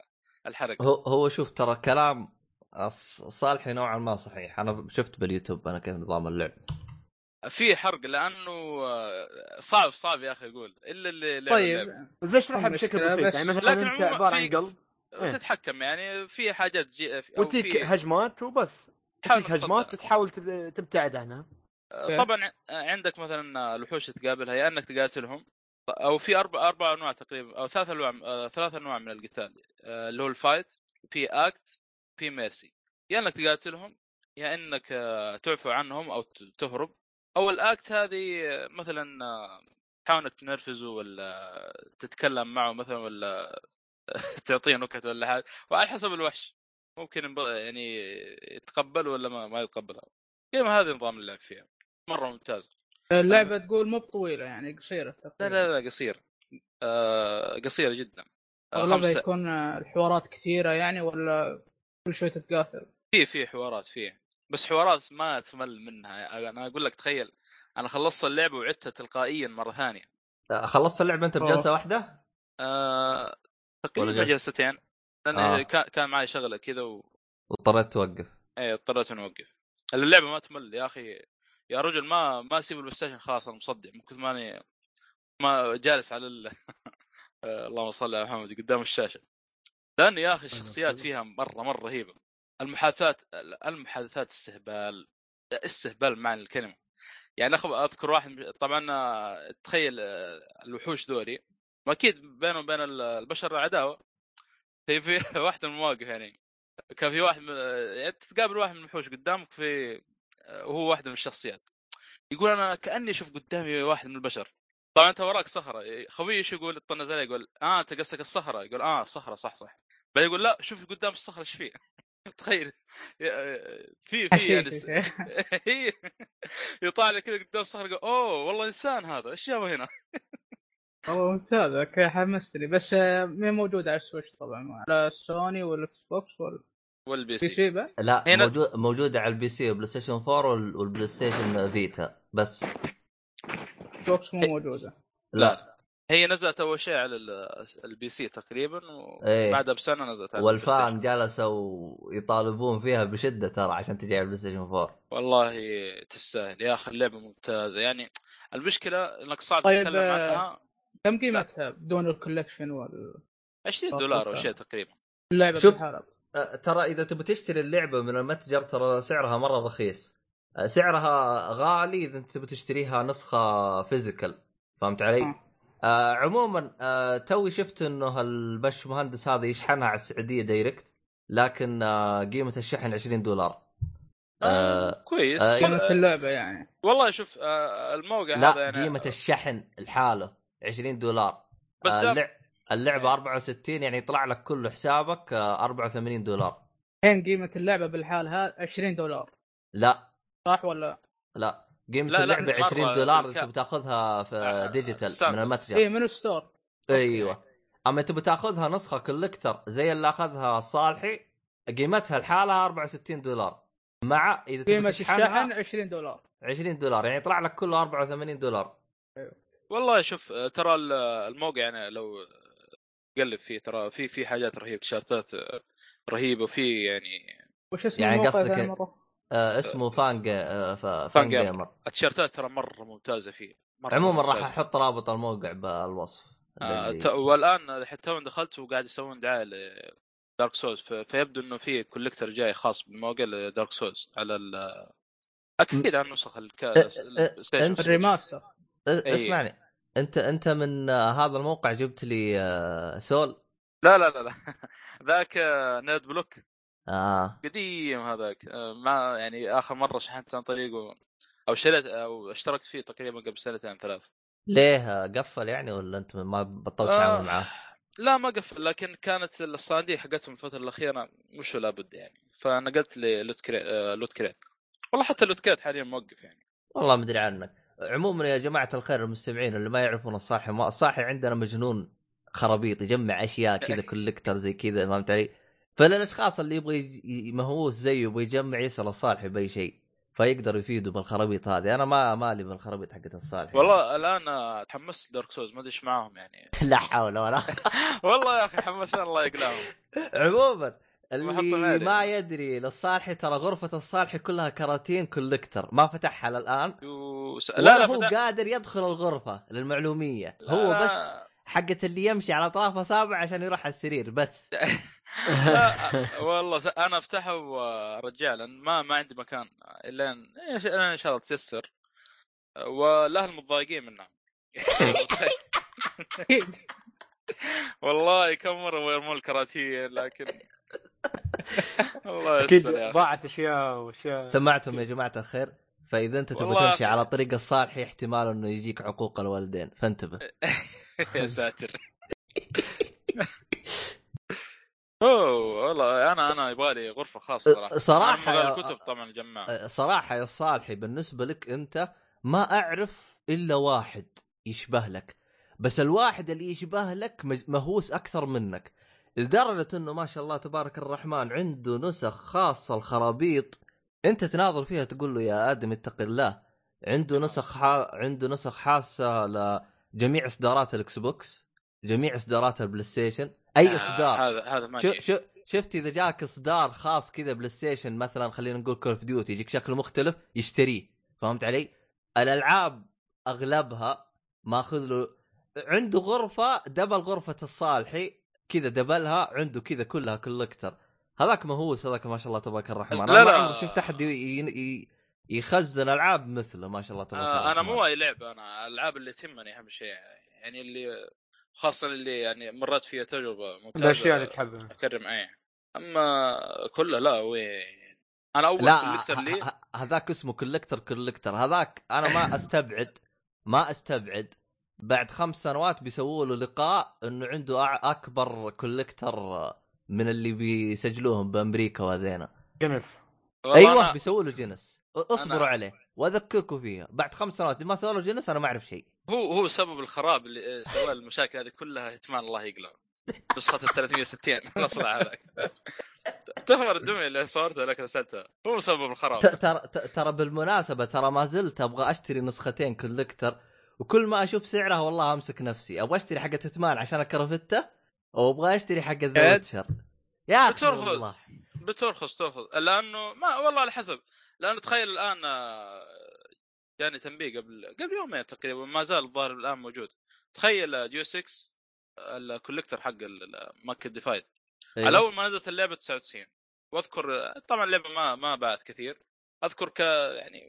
Speaker 3: الحرق
Speaker 1: هو هو شوف ترى كلام الص- صالحي نوعا ما صحيح انا شفت باليوتيوب انا كيف نظام اللعب
Speaker 3: في حرق لانه آه، صعب صعب يا اخي اقول الا اللي لعب اللعبة.
Speaker 2: طيب
Speaker 5: بس اشرحها بشكل
Speaker 2: المشكلة
Speaker 5: بسيط
Speaker 2: بس-
Speaker 5: يعني مثلا
Speaker 3: لكن
Speaker 5: انت
Speaker 3: عموما
Speaker 5: عباره
Speaker 3: في-
Speaker 5: عن قلب إيه.
Speaker 3: وتتحكم يعني في حاجات جي... أو
Speaker 5: وتجيك
Speaker 3: في
Speaker 5: هجمات وبس
Speaker 3: تحاول
Speaker 5: تجيك
Speaker 3: تصدق.
Speaker 5: هجمات تحاول تب- تبتعد عنها
Speaker 3: آه، طبعا ع- عندك مثلا الوحوش تقابلها يا انك تقاتلهم او في اربع اربع انواع تقريبا او ثلاث انواع آه، ثلاث انواع من القتال آه، اللي هو الفايت في اكت في ميرسي يا انك تقاتلهم يا انك آه، تعفو عنهم او ت- تهرب او الاكت هذه آه، مثلا آه، تحاول انك تنرفزه ولا تتكلم معه مثلا ولا تعطيه نكت ولا حاجه وعلى حسب الوحش ممكن ينب- يعني يتقبل ولا ما, ما يتقبلها كلمة هذه نظام اللعب فيها مره ممتاز
Speaker 2: اللعبه تقول مو بطويله يعني قصيره
Speaker 3: لا
Speaker 1: إيه.
Speaker 3: لا لا قصير آه قصيره جدا آه،
Speaker 2: اغلبها
Speaker 3: خمسة
Speaker 2: يكون آه، الحوارات كثيره يعني ولا كل شوي تتقاتل
Speaker 3: في في حوارات في بس حوارات ما تمل منها انا اقول لك تخيل انا خلصت اللعبه وعدتها تلقائيا مره ثانيه
Speaker 1: آه، خلصت اللعبه انت بجلسه واحده؟
Speaker 3: آه تقريبا
Speaker 1: ولا جلسة؟
Speaker 3: جلستين لان
Speaker 1: آه.
Speaker 3: آه. كان معي شغله كذا و...
Speaker 1: واضطريت توقف
Speaker 3: اي إيه، اضطريت اني اوقف اللعبه ما تمل يا اخي يا رجل ما ما اسيب البلاي ستيشن خلاص انا مصدع من كثر ماني ما جالس على ال... آه، اللهم صل على محمد قدام الشاشه لان يا اخي الشخصيات فيها مره مره رهيبه المحادثات المحادثات استهبال استهبال معنى الكلمه يعني أخب- اذكر واحد طبعا آه، تخيل آه، الوحوش ذولي ما اكيد بينهم وبين ال- البشر عداوه في في واحد من المواقف يعني كان في واحد من يعني تتقابل واحد من الوحوش قدامك في آه، وهو واحد من الشخصيات يقول انا كاني اشوف قدامي واحد من البشر طبعا انت وراك صخره خوي ايش يقول يطنز عليه يقول اه انت قصدك الصخره يقول اه الصخره صح صح بعدين يقول لا شوف قدام الصخره ايش فيه تخيل في في
Speaker 1: إيه،
Speaker 3: يعني س- هي يطالع كذا قدام الصخره يقول اوه والله انسان هذا ايش جابه هنا؟
Speaker 2: والله ممتاز اوكي حمستني بس آه، ما موجود على السويتش طبعا على السوني والاكس بوكس والبي
Speaker 3: والبي سي
Speaker 2: سي بقى
Speaker 1: لا
Speaker 3: هنا-
Speaker 1: موجود موجوده على البي سي والبلاي ستيشن 4 وال- والبلاي ستيشن فيتا بس
Speaker 2: اكس بوكس
Speaker 1: إيه.
Speaker 2: مو موجوده
Speaker 1: لا
Speaker 3: هي نزلت اول شيء على ال- البي سي تقريبا
Speaker 1: إيه.
Speaker 3: وبعدها بسنه نزلت على البلاي ستيشن.
Speaker 1: والفان جلسوا يطالبون فيها بشده ترى عشان تجي على البلاي ستيشن 4
Speaker 3: والله تستاهل يا اخي اللعبه ممتازه يعني المشكله انك صعب
Speaker 2: طيب،
Speaker 3: تتكلم
Speaker 2: آه،
Speaker 3: عنها
Speaker 2: كم قيمتها بدون الكولكشن واللعبه
Speaker 3: 20 دولار او
Speaker 2: أتوقع.
Speaker 3: شيء تقريبا
Speaker 1: شوف.
Speaker 2: بالحالة؟
Speaker 1: أه، ترى اذا تبي تشتري اللعبه من المتجر ترى سعرها مره رخيص أه، سعرها غالي اذا انت تبي تشتريها نسخه فيزيكال فهمت علي؟
Speaker 2: آه.
Speaker 1: آه عموما آه توي شفت انه البش مهندس هذا يشحنها على السعوديه دايركت لكن آه قيمه الشحن 20 دولار آه،
Speaker 3: آه كويس
Speaker 1: آه،
Speaker 3: خل-
Speaker 2: قيمه اللعبه يعني
Speaker 3: والله شوف آه الموقع هذا
Speaker 1: لا
Speaker 3: يعني
Speaker 1: قيمه الشحن لحاله 20 دولار
Speaker 3: بس
Speaker 1: آه
Speaker 3: لا-
Speaker 1: اللع- اللعبه
Speaker 3: إيه.
Speaker 1: 64 يعني يطلع لك كله حسابك آه 84 دولار
Speaker 2: الحين قيمه اللعبه بالحالها 20 دولار
Speaker 1: لا
Speaker 2: صح ولا
Speaker 1: لا قيمه
Speaker 3: لا، لا،
Speaker 1: اللعبه
Speaker 3: مرة
Speaker 1: 20 دولار
Speaker 3: الك-
Speaker 1: انت بتاخذها في
Speaker 3: آه،
Speaker 1: ديجيتال من
Speaker 3: ستاندرد.
Speaker 1: المتجر
Speaker 2: اي إيه، من الستور
Speaker 1: ايوه اما تبي تاخذها نسخه كولكتر زي اللي اخذها صالحي قيمتها لحالها 64 دولار مع اذا
Speaker 2: قيمه
Speaker 1: تبي
Speaker 2: الشحن
Speaker 1: تشحنها
Speaker 2: 20 دولار
Speaker 1: 20 دولار يعني يطلع لك كله 84 دولار
Speaker 3: والله شوف آه، ترى ال- الموقع يعني لو تقلب فيه ترى في في حاجات رهيبه تيشيرتات آه، رهيبه وفي يعني
Speaker 2: وش اسم
Speaker 1: يعني
Speaker 2: الموقع
Speaker 1: قصدك-
Speaker 2: ثاني مرة؟
Speaker 1: آه اسمه فان جا- آه فا-
Speaker 3: فان
Speaker 1: فان
Speaker 3: جيمر.
Speaker 1: جيمر
Speaker 3: التيشيرتات ترى مره ممتازه فيه مرة
Speaker 1: عموما راح
Speaker 3: ممتازة.
Speaker 1: احط رابط الموقع بالوصف
Speaker 3: آه،
Speaker 1: الذي-
Speaker 3: ت- والان حتى تو دخلت وقاعد يسوون دعايه لدارك سولز فيبدو انه في كوليكتر جاي خاص بمواقع دارك سولز على ال اكيد على النسخ الك...
Speaker 1: أه،
Speaker 3: الستيشن
Speaker 1: أنت-
Speaker 3: سويتش.
Speaker 2: الريماستر
Speaker 1: آه،
Speaker 3: أي.
Speaker 1: اسمعني انت انت من آه هذا الموقع جبت لي آه سول
Speaker 3: لا لا لا لا ذاك آه، نيرد بلوك
Speaker 1: اه
Speaker 3: قديم هذاك آه، ما يعني اخر مره شحنت عن طريقه او شريت او اشتركت فيه تقريبا قبل سنتين ثلاث
Speaker 1: ليه آه، قفل يعني ولا انت ما بطلت
Speaker 3: آه.
Speaker 1: تعامل معاه؟
Speaker 3: لا ما قفل لكن كانت الصناديق حقتهم الفتره الاخيره مش لابد يعني فنقلت للوت كريت آه، لوت كريت والله حتى لوت كريت حاليا موقف يعني
Speaker 1: والله ما ادري عنك عموما يا جماعه الخير المستمعين اللي ما يعرفون الصاحي ما الصاحي عندنا مجنون خرابيط يجمع اشياء كذا كولكتر زي كذا فهمت علي؟ فللاشخاص اللي يبغى يج- ي- مهووس زيه يبغى يجمع يسال الصالحي باي شيء فيقدر يفيده بالخرابيط هذه انا ما مالي بالخرابيط حقت الصالحي
Speaker 3: والله الان آه، تحمست دارك سوز ما ادري ايش معاهم يعني
Speaker 1: لا حول ولا قوة.
Speaker 3: والله يا اخي حمسان الله يقلاهم
Speaker 1: عموما
Speaker 3: بحطهم
Speaker 1: اللي
Speaker 3: هذه.
Speaker 1: ما يدري للصالحي ترى غرفه الصالحي كلها كراتين كولكتر ما فتحها للان
Speaker 3: يوس...
Speaker 1: ولا هو
Speaker 3: فتح-
Speaker 1: قادر يدخل الغرفه للمعلوميه
Speaker 3: لا،
Speaker 1: هو
Speaker 3: لا.
Speaker 1: بس حقت اللي يمشي على اطراف اصابعه عشان يروح على السرير بس
Speaker 3: لا، آه، والله س- انا افتحه وارجع لان ما ما عندي مكان الا ان إيش- إلا ان شاء الله تسسر والاهل متضايقين منها
Speaker 2: اكيد
Speaker 3: والله كم مره ويرمون الكراتين لكن الله
Speaker 5: اكيد
Speaker 3: يستر يا اخي
Speaker 5: ضاعت اشياء واشياء
Speaker 1: سمعتم يا جماعه الخير فاذا انت
Speaker 3: والله
Speaker 1: تبغى
Speaker 3: يا
Speaker 1: تمشي
Speaker 3: أخي.
Speaker 1: على الطريق الصالح احتمال انه يجيك عقوق الوالدين فانتبه
Speaker 3: إيه، يا ساتر اوه والله انا انا يبغالي غرفه خاصه صراحه
Speaker 1: أه، صراحة
Speaker 3: أنا
Speaker 1: يا-
Speaker 3: من غير الكتب طبعا الجماعه
Speaker 1: أه، صراحه يا صالحي بالنسبه لك انت ما اعرف الا واحد يشبه لك بس الواحد اللي يشبه لك مج- مهووس اكثر منك لدرجه انه ما شاء الله تبارك الرحمن عنده نسخ خاصه الخرابيط انت تناظر فيها تقول له يا ادم اتق الله عنده
Speaker 3: نعم.
Speaker 1: نسخ حا... عنده نسخ خاصه لجميع اصدارات الاكس بوكس جميع اصدارات البلاي ستيشن اي
Speaker 3: آه،
Speaker 1: اصدار
Speaker 3: هذا هذا ما
Speaker 1: شو
Speaker 3: يجي.
Speaker 1: شو شفت اذا جاك اصدار خاص كذا بلاي ستيشن مثلا خلينا نقول كول اوف ديوتي يجيك شكله مختلف يشتريه فهمت علي؟ الالعاب اغلبها ماخذ له عنده غرفه دبل غرفه الصالحي كذا دبلها عنده كذا كلها كولكتر هذاك مهووس هذاك ما شاء الله تبارك الرحمن
Speaker 3: لا،
Speaker 1: انا ما
Speaker 3: لا.
Speaker 1: عمري شفت احد ي- ي- ي- يخزن العاب مثله ما شاء الله تبارك
Speaker 3: آه،
Speaker 1: الرحمن
Speaker 3: انا مو اي لعبه انا الالعاب اللي تهمني اهم شيء يعني اللي خاصه اللي يعني مرت فيها تجربه ممتازه
Speaker 5: الاشياء اللي تحبها
Speaker 3: اكرم اي اما كله لا وين انا اول
Speaker 1: لا
Speaker 3: كوليكتر لي
Speaker 1: ه- ه- هذاك اسمه كولكتر كولكتر هذاك انا ما استبعد ما استبعد بعد خمس سنوات بيسووا له لقاء انه عنده أع- اكبر كولكتر من اللي بيسجلوهم بامريكا وهذينا
Speaker 5: جنس
Speaker 3: والله
Speaker 1: ايوه
Speaker 3: أنا...
Speaker 1: بيسووا له جنس أ- اصبروا
Speaker 3: أنا-
Speaker 1: عليه واذكركم فيها بعد خمس سنوات ما سووا له جنس انا ما اعرف شيء
Speaker 3: هو هو سبب الخراب اللي سوى المشاكل هذه كلها هتمان الله يقلعه نسخة ال 360 الاصلع هذاك تفر الدمية اللي صورتها لك رسلتها هو سبب
Speaker 1: ت-
Speaker 3: الخراب
Speaker 1: ترى ت- ترى بالمناسبه ترى ما زلت ابغى اشتري نسختين كولكتر وكل ما اشوف سعرها والله امسك نفسي ابغى اشتري حقه تتمان عشان الكرفته وابغى اشتري حقه ذا
Speaker 2: عاد.
Speaker 1: ويتشر يا اخي
Speaker 3: بترفض.
Speaker 1: والله
Speaker 3: بترخص ترخص لانه ما والله على حسب لانه تخيل الان آه، جاني تنبيه قبل قبل يومين تقريبا ما زال الظاهر الان موجود تخيل آه، جيو 6 الكوليكتر حق آه، ال- ال- ماركت ديفايد
Speaker 1: إيه.
Speaker 3: على اول ما نزلت اللعبه 99 واذكر طبعا اللعبه ما ما باعت كثير اذكر ك يعني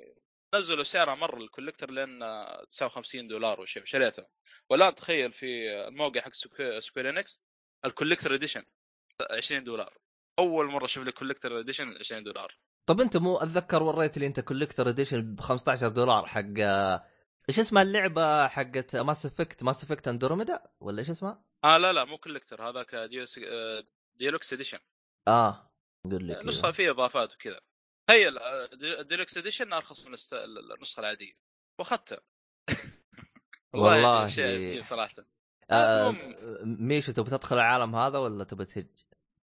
Speaker 3: نزلوا سعرها مره الكوليكتر لان 59 دولار وشيء شريتها والان تخيل في الموقع حق سكوير انكس الكوليكتر اديشن 20 دولار اول مره اشوف لك كوليكتر اديشن 20 دولار
Speaker 1: طب انت مو اتذكر وريت لي انت كولكتر اديشن ب 15 دولار حق ايش اسمها اللعبه حقت ماس افكت ماس افكت اندروميدا ولا ايش اسمها؟
Speaker 3: اه لا لا مو كوليكتر هذاك ديوس آه، ديلوكس اديشن
Speaker 1: اه قول لي
Speaker 3: نسخه
Speaker 1: كذا.
Speaker 3: فيها اضافات وكذا تخيل آه، دي- ديلوكس اديشن ارخص من الس- النسخه العاديه واخذتها
Speaker 1: والله.
Speaker 3: يعني
Speaker 1: إيه.
Speaker 3: شيء عجيب صراحه
Speaker 1: آه
Speaker 3: المهم.
Speaker 1: ميشو تبي تدخل العالم هذا ولا تبي تهج؟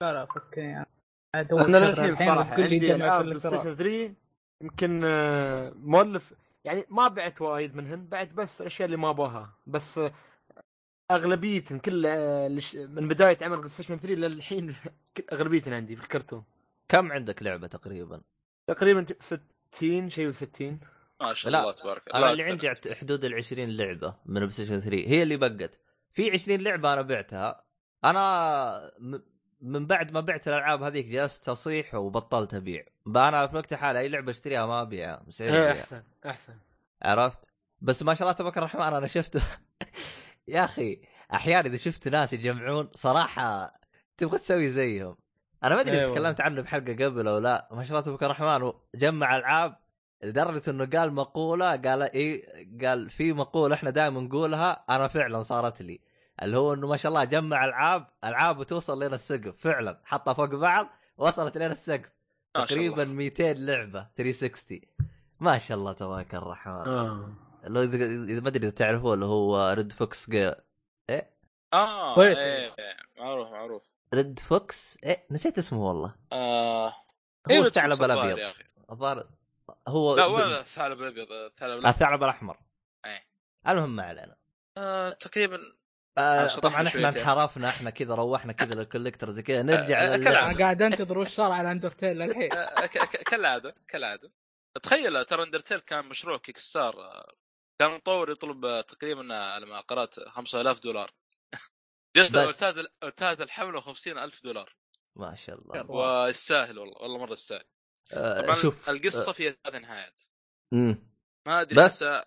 Speaker 2: لا لا فكني يعني.
Speaker 5: انا للحين صراحه عندي العاب بلاي ستيشن 3 يمكن آه، مؤلف يعني ما بعت وايد منهم بعت بس الاشياء اللي ما ابغاها بس آه، اغلبيتهم كل آه، الش- من بدايه عمل بلاي ستيشن 3 للحين كل- اغلبيتهم عندي في الكرتون
Speaker 1: كم عندك لعبه تقريبا؟
Speaker 5: تقريبا 60 شيء و60
Speaker 3: ما شاء
Speaker 1: لا،
Speaker 3: الله تبارك الله
Speaker 1: انا اللي
Speaker 3: أكثر.
Speaker 1: عندي عت- حدود ال 20 لعبه من بلاي ستيشن 3 هي اللي بقت في 20 لعبه انا بعتها انا م- من بعد ما بعت الالعاب هذيك جلست اصيح وبطلت ابيع انا في وقت حالي اي لعبه اشتريها ما ابيعها مستحيل ابيعها
Speaker 5: احسن احسن
Speaker 1: عرفت بس ما شاء الله تبارك الرحمن انا شفت يا اخي احيانا اذا شفت ناس يجمعون صراحه تبغى تسوي زيهم انا ما ادري
Speaker 5: أيوة.
Speaker 1: أيوة. تكلمت عنه بحلقه قبل او لا ما شاء الله تبارك الرحمن جمع العاب لدرجه انه قال مقوله قال اي قال في مقوله احنا دائما نقولها انا فعلا صارت لي اللي هو انه ما شاء الله جمع العاب العاب وتوصل لين السقف فعلا حطها فوق بعض وصلت لين السقف
Speaker 3: ما شاء الله.
Speaker 1: تقريبا 200 لعبه 360 ما شاء الله تبارك الرحمن
Speaker 5: آه.
Speaker 1: لو اذا إذا- ما ادري اذا تعرفوه اللي هو ريد فوكس جي...
Speaker 3: اه
Speaker 2: كويس.
Speaker 3: إيه، إيه، معروف معروف
Speaker 1: ريد فوكس إيه نسيت اسمه والله
Speaker 3: آه إيه،
Speaker 1: هو
Speaker 3: بس
Speaker 1: الثعلب
Speaker 3: الظاهر
Speaker 1: الابيض
Speaker 3: يا اخي
Speaker 1: الظاهر هو
Speaker 3: لا وين الثعلب الابيض الثعلب الابيض
Speaker 1: الثعلب الاحمر
Speaker 3: إيه.
Speaker 1: المهم ما علينا
Speaker 3: آه، تقريبا
Speaker 1: آه
Speaker 3: شرحنا
Speaker 1: طبعا احنا
Speaker 3: شويتين.
Speaker 1: انحرفنا احنا كذا روحنا كذا للكوليكتر زي كذا نرجع
Speaker 3: آه،
Speaker 1: لل-
Speaker 3: كلام.
Speaker 2: انا قاعد انتظر وش صار على اندرتيل للحين
Speaker 3: آه، ك- ك- كالعاده كالعاده تخيل ترى اندرتيل كان مشروع كيك ستار آه، كان المطور يطلب آه، تقريبا آه، على ما قرات 5000 دولار جت
Speaker 1: بس.
Speaker 3: انتهت انتهت الحمله 50000 دولار
Speaker 1: ما شاء الله
Speaker 3: آه. والساهل والله والله مره الساهل
Speaker 1: آه
Speaker 3: طبعا
Speaker 1: شوف
Speaker 3: القصه فيها ثلاث نهايات
Speaker 1: مم.
Speaker 3: ما ادري
Speaker 1: بس.
Speaker 3: حتى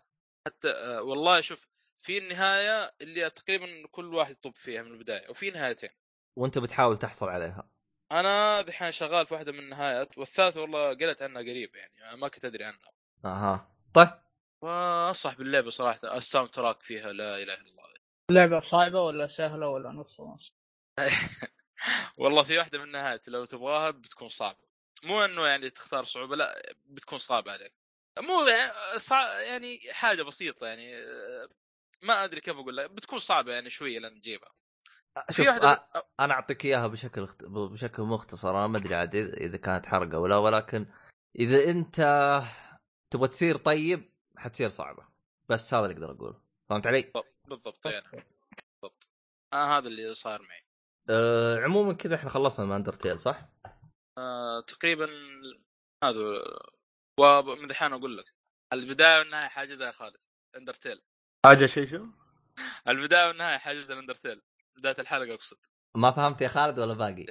Speaker 3: حتى آه، والله شوف في النهايه اللي تقريبا كل واحد يطب فيها من البدايه وفي نهايتين
Speaker 1: وانت بتحاول تحصل عليها
Speaker 3: انا دحين شغال في واحده من النهايات والثالثه والله قريت عنها قريب يعني ما كنت ادري عنها
Speaker 1: اها طيب
Speaker 3: فانصح باللعبه صراحه الساوند تراك فيها لا اله الا الله
Speaker 2: اللعبه صعبه ولا سهله ولا نص ونص
Speaker 3: والله في واحده من النهايات لو تبغاها بتكون صعبه مو انه يعني تختار صعوبه لا بتكون صعبه عليك مو يعني صع... يعني حاجه بسيطه يعني آه، ما ادري كيف اقول لك بتكون صعبه يعني شويه لان تجيبها
Speaker 1: شوف
Speaker 3: في واحده
Speaker 1: آه،
Speaker 3: من...
Speaker 1: انا اعطيك اياها بشكل اخت... بشكل مختصر انا ما ادري عاد اذا إذا كانت حرقه ولا ولكن اذا انت تبغى تصير طيب حتصير صعبه بس هذا اللي اقدر اقوله فهمت علي؟
Speaker 3: بالضبط يعني بالضبط آه هذا اللي صار معي
Speaker 1: أه عموما كذا احنا خلصنا من اندرتيل صح؟
Speaker 3: آه تقريبا هذا ومن دحين اقول لك البدايه والنهايه حاجزها يا خالد اندرتيل
Speaker 5: حاجه شيء شو؟
Speaker 3: البدايه والنهايه حاجزها الاندرتيل بدايه الحلقه اقصد
Speaker 1: ما فهمت يا خالد ولا باقي؟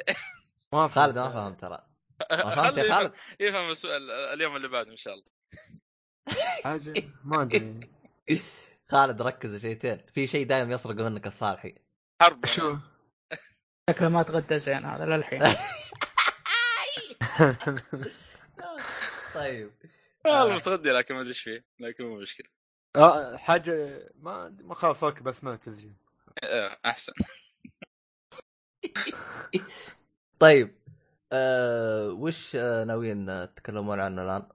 Speaker 5: ما
Speaker 1: خالد ما فهم ترى ما فهمت
Speaker 3: خلي-
Speaker 1: يا خالد؟
Speaker 3: يفهم السؤال اليوم اللي بعده ان شاء الله
Speaker 5: حاجه ما ادري
Speaker 1: خالد ركز شيتين في شيء دائم يسرق منك الصالحي
Speaker 3: حرب يعني.
Speaker 5: شو؟
Speaker 2: شكله ما تغدى زين هذا للحين
Speaker 1: طيب
Speaker 3: والله متغدي لكن ما ادري ايش فيه لكن مو مشكله
Speaker 5: آه، حاجه ما ما خلاص اوكي بس ما تسجيل
Speaker 3: آه، احسن
Speaker 1: طيب أه وش آه، ناويين تتكلمون عنه الان؟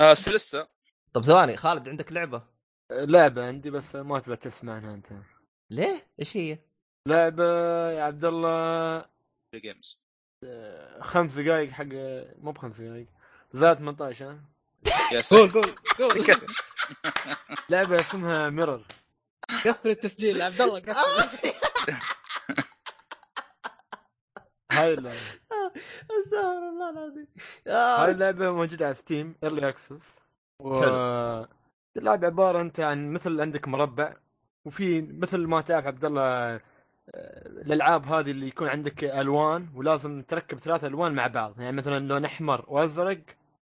Speaker 3: آه، بس لسه
Speaker 1: طب ثواني خالد عندك لعبه
Speaker 5: لعبه عندي بس ما تبى تسمع عنها انت
Speaker 1: ليه؟ ايش هي؟
Speaker 5: لعبه يا عبد الله
Speaker 3: جيمز
Speaker 5: آه، خمس دقائق حق مو بخمس دقائق زائد 18 ها
Speaker 3: يا
Speaker 2: قول
Speaker 3: ساتر
Speaker 2: قول قول
Speaker 5: لعبه اسمها ميرور
Speaker 2: قفل التسجيل عبد الله
Speaker 5: آه.
Speaker 2: قفل
Speaker 5: هاي اللعبه
Speaker 1: استغفر الله العظيم
Speaker 5: هاي اللعبه موجوده على ستيم ايرلي اكسس و اللعبه عباره انت عن مثل عندك مربع وفي مثل ما تعرف عبد الله آه، الالعاب هذه اللي يكون عندك الوان ولازم تركب ثلاث الوان مع بعض يعني مثلا لون احمر وازرق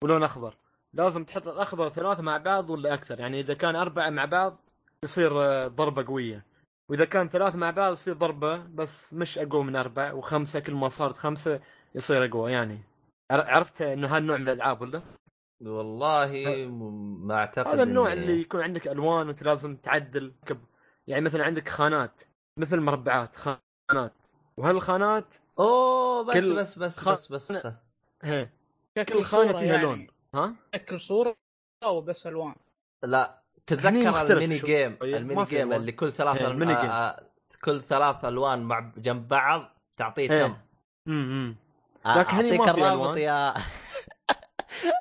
Speaker 5: ولون اخضر لازم تحط الاخضر ثلاثه مع بعض ولا اكثر يعني اذا كان اربعه مع بعض يصير آه، ضربه قويه واذا كان ثلاث مع بعض يصير ضربه بس مش اقوى من اربع وخمسه كل ما صارت خمسه يصير اقوى يعني عر- عرفت انه هالنوع من الالعاب ولا؟
Speaker 1: والله م- ما اعتقد
Speaker 5: هذا النوع
Speaker 1: إني-
Speaker 5: اللي يكون عندك الوان وانت لازم تعدل كب يعني مثلا عندك خانات مثل مربعات خانات وهالخانات
Speaker 1: اوه بس
Speaker 5: كل-
Speaker 1: بس بس
Speaker 5: خ-
Speaker 1: بس بس
Speaker 5: هي
Speaker 2: شكل
Speaker 5: كل خانه
Speaker 2: صورة
Speaker 5: فيها
Speaker 2: يعني.
Speaker 5: لون ها
Speaker 2: شكل صورة أو بس ألوان
Speaker 1: لا
Speaker 5: هني
Speaker 1: تتذكر
Speaker 5: مختلف
Speaker 1: الميني
Speaker 5: شوي. إيه،
Speaker 1: جيم
Speaker 5: ما
Speaker 1: الميني
Speaker 5: في
Speaker 1: جيم
Speaker 5: ألوان.
Speaker 1: اللي كل ثلاث
Speaker 5: إيه،
Speaker 1: أل-
Speaker 5: الميني جيم.
Speaker 1: آ- آ- كل ثلاث الوان مع جنب بعض تعطيه
Speaker 5: إيه.
Speaker 1: تم
Speaker 5: امم
Speaker 1: آ-
Speaker 5: لكن هني ما
Speaker 1: اعطيك
Speaker 5: في
Speaker 1: الرابط
Speaker 5: ألوان.
Speaker 1: يا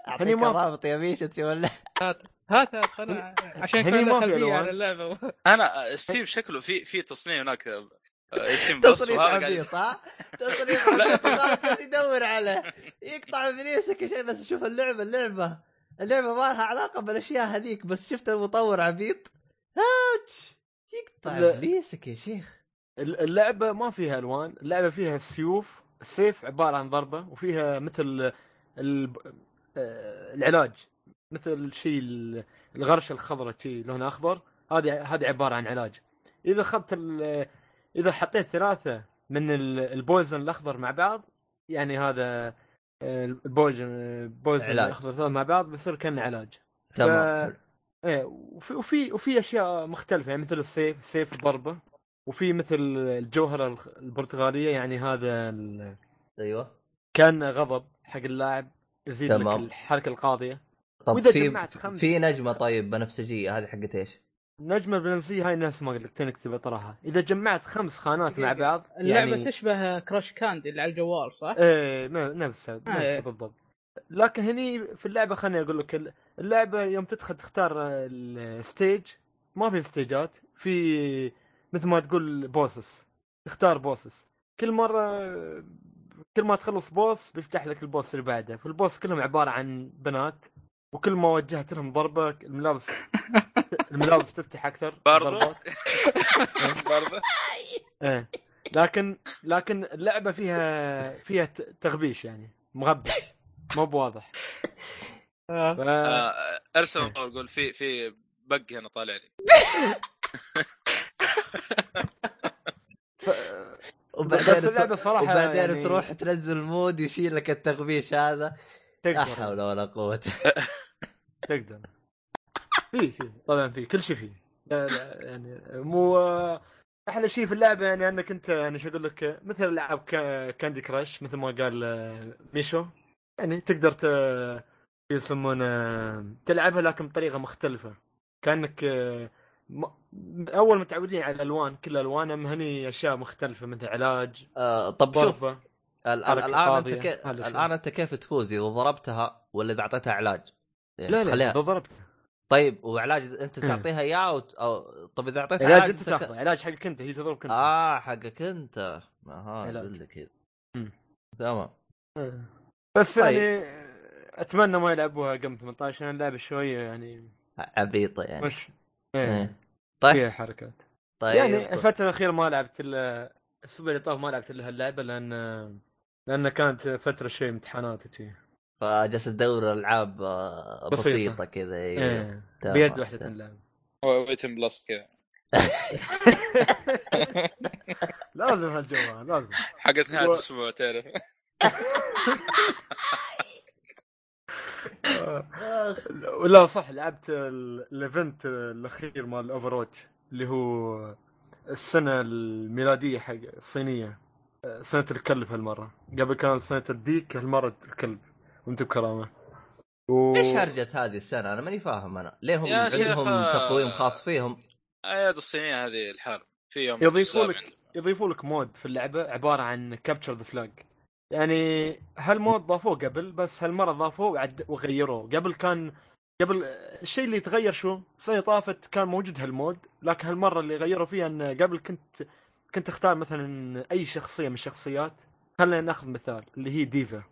Speaker 1: اعطيك
Speaker 5: ما-
Speaker 1: الرابط يا ميشة تشوف له.
Speaker 2: هات هات هات أنا عشان
Speaker 5: هني
Speaker 2: كان
Speaker 5: ما في
Speaker 2: لها خلفية
Speaker 5: ألوان. يعني
Speaker 2: على اللعبة
Speaker 3: انا آه، ستيف شكله في في تصنيع هناك آه، يتم بس
Speaker 1: تصريف
Speaker 3: وهذا
Speaker 1: عبيط
Speaker 3: قاعد-
Speaker 1: ها؟ تصريف عبيط خلاص بس يدور عليه يقطع ابليسك شيء بس شوف اللعبه اللعبه اللعبه ما لها علاقه بالاشياء هذيك بس شفت المطور عبيط هاتش يقطع
Speaker 5: لا.
Speaker 1: ابليسك يا شيخ
Speaker 5: اللعبه ما فيها الوان اللعبه فيها سيوف السيف عباره عن ضربه وفيها مثل ال... آه، العلاج مثل شيء ال- الغرشه الخضراء شيء لونها اخضر هذه هذه عباره عن علاج اذا اخذت ال... اذا حطيت ثلاثه من ال- البويزن الاخضر مع بعض يعني هذا آه، البويزن البويزن
Speaker 1: علاج.
Speaker 5: الاخضر ثلاثه مع بعض بيصير كان علاج
Speaker 1: تمام
Speaker 5: ايه وفي وفي وفي اشياء مختلفه يعني مثل السيف سيف ضربه وفي مثل الجوهره الخ- البرتغاليه يعني هذا ال-
Speaker 1: ايوه
Speaker 5: كان غضب حق اللاعب يزيد لك
Speaker 1: تمام.
Speaker 5: الحركه القاضيه
Speaker 1: طب
Speaker 5: وإذا
Speaker 1: في
Speaker 5: جمعت خمس-
Speaker 1: في نجمه طيب بنفسجيه هذه حقت ايش؟
Speaker 5: نجمه بنفسجيه هاي الناس ما قلت تكتب طرحها اذا جمعت خمس خانات مع بعض
Speaker 2: اللعبة
Speaker 5: يعني
Speaker 2: تشبه كراش كاندي اللي على الجوال صح؟
Speaker 5: ايه ن- نفسها نفسها
Speaker 2: إيه.
Speaker 5: بالضبط لكن هني في اللعبه خليني اقول لك ال- اللعبه يوم تدخل تختار الستيج ما في ستيجات في مثل ما تقول بوسس تختار بوسس كل مره كل ما تخلص بوس بيفتح لك البوس اللي بعده فالبوس كلهم عباره عن بنات وكل ما وجهت لهم ضربه الملابس الملابس تفتح اكثر
Speaker 3: برضو؟
Speaker 5: ضربات.
Speaker 3: برضه
Speaker 5: ايه لكن لكن اللعبه فيها فيها ت- تغبيش يعني مغبش مو بواضح
Speaker 2: آه.
Speaker 5: ف...
Speaker 3: آه، ارسل المطور قول في في بق هنا طالع لي
Speaker 5: بس
Speaker 1: وبعدين
Speaker 5: اللعبه
Speaker 1: تروح-
Speaker 5: صراحه
Speaker 1: وبعدين
Speaker 5: يعني
Speaker 1: تروح تنزل المود يشيل لك التغبيش هذا لا
Speaker 5: تقدر
Speaker 1: حول ولا قوه
Speaker 5: تقدر في في طبعا في كل شيء في لا لا يعني مو احلى شيء في اللعبه يعني انك انت يعني شو اقول لك مثل العاب كا- كاندي كراش مثل ما قال آه، ميشو يعني تقدر ت شو يسمونه تلعبها لكن بطريقه مختلفه كانك آه، م- اول متعودين على الالوان كل الوان اما هني اشياء مختلفه مثل علاج
Speaker 1: آه، طب شوف
Speaker 5: ضربه
Speaker 1: ال- ال-
Speaker 5: حركة
Speaker 1: الان انت
Speaker 5: فاضية.
Speaker 1: كيف
Speaker 5: هذا شيء.
Speaker 1: الان انت كيف تفوز اذا ضربتها ولا اذا اعطيتها علاج؟ يعني
Speaker 5: لا لا
Speaker 1: تخليها
Speaker 5: إذا ضربت
Speaker 1: طيب وعلاج انت
Speaker 5: مم.
Speaker 1: تعطيها اياه وت... أو... طب اذا اعطيتها
Speaker 5: علاج
Speaker 1: علاج
Speaker 5: انت
Speaker 1: تك-
Speaker 5: تاخذه علاج حقك انت هي تضربك انت
Speaker 1: اه حقك انت اها
Speaker 5: علاج.
Speaker 1: اقول لك كذا
Speaker 5: مم.
Speaker 1: تمام
Speaker 5: آه. بس
Speaker 1: طيب.
Speaker 5: يعني اتمنى ما يلعبوها قم 18 لان اللعبه شويه يعني
Speaker 1: عبيطه يعني
Speaker 5: مش ايه
Speaker 1: إيه. طيب
Speaker 5: فيها حركات
Speaker 1: طيب
Speaker 5: يعني الفتره الاخيره ما لعبت الا الاسبوع اللي طاف ما لعبت الا هاللعبه لان لان كانت فتره شوي امتحانات وشي
Speaker 1: أيوه. فجالس تدور العاب آه،
Speaker 5: بسيطة.
Speaker 1: بسيطه كذا ايوه
Speaker 5: ايه
Speaker 1: تمام.
Speaker 5: بيد واحده
Speaker 1: تمام.
Speaker 5: اللعبه
Speaker 3: ويتم بلس كذا
Speaker 5: لازم هالجو لازم
Speaker 3: حقت نهايه
Speaker 5: و-
Speaker 3: الاسبوع تعرف
Speaker 1: آخ.
Speaker 5: ولا صح لعبت ال- الايفنت الاخير مال الاوفر واتش اللي هو السنه الميلاديه حق الصينيه سنه الكلب هالمره قبل كان سنه الديك هالمره الكلب وانت بكرامه و...
Speaker 1: ايش هرجة هذه السنه انا ماني فاهم انا ليه هم
Speaker 3: يا شيخ،
Speaker 1: عندهم
Speaker 3: آه،
Speaker 1: تقويم خاص فيهم
Speaker 3: اياد الصينيه هذه الحال في يوم
Speaker 5: يضيفوا
Speaker 3: سابع
Speaker 5: لك-
Speaker 3: عنده.
Speaker 5: يضيفوا لك مود في اللعبه عباره عن كابتشر ذا فلاج يعني هالمود ضافوه قبل بس هالمره ضافوه وعد- وغيروه قبل كان قبل الشيء اللي تغير شو السنه طافت كان موجود هالمود لكن هالمره اللي غيروا فيها ان قبل كنت كنت تختار مثلا اي شخصيه من الشخصيات خلينا ناخذ مثال اللي هي ديفا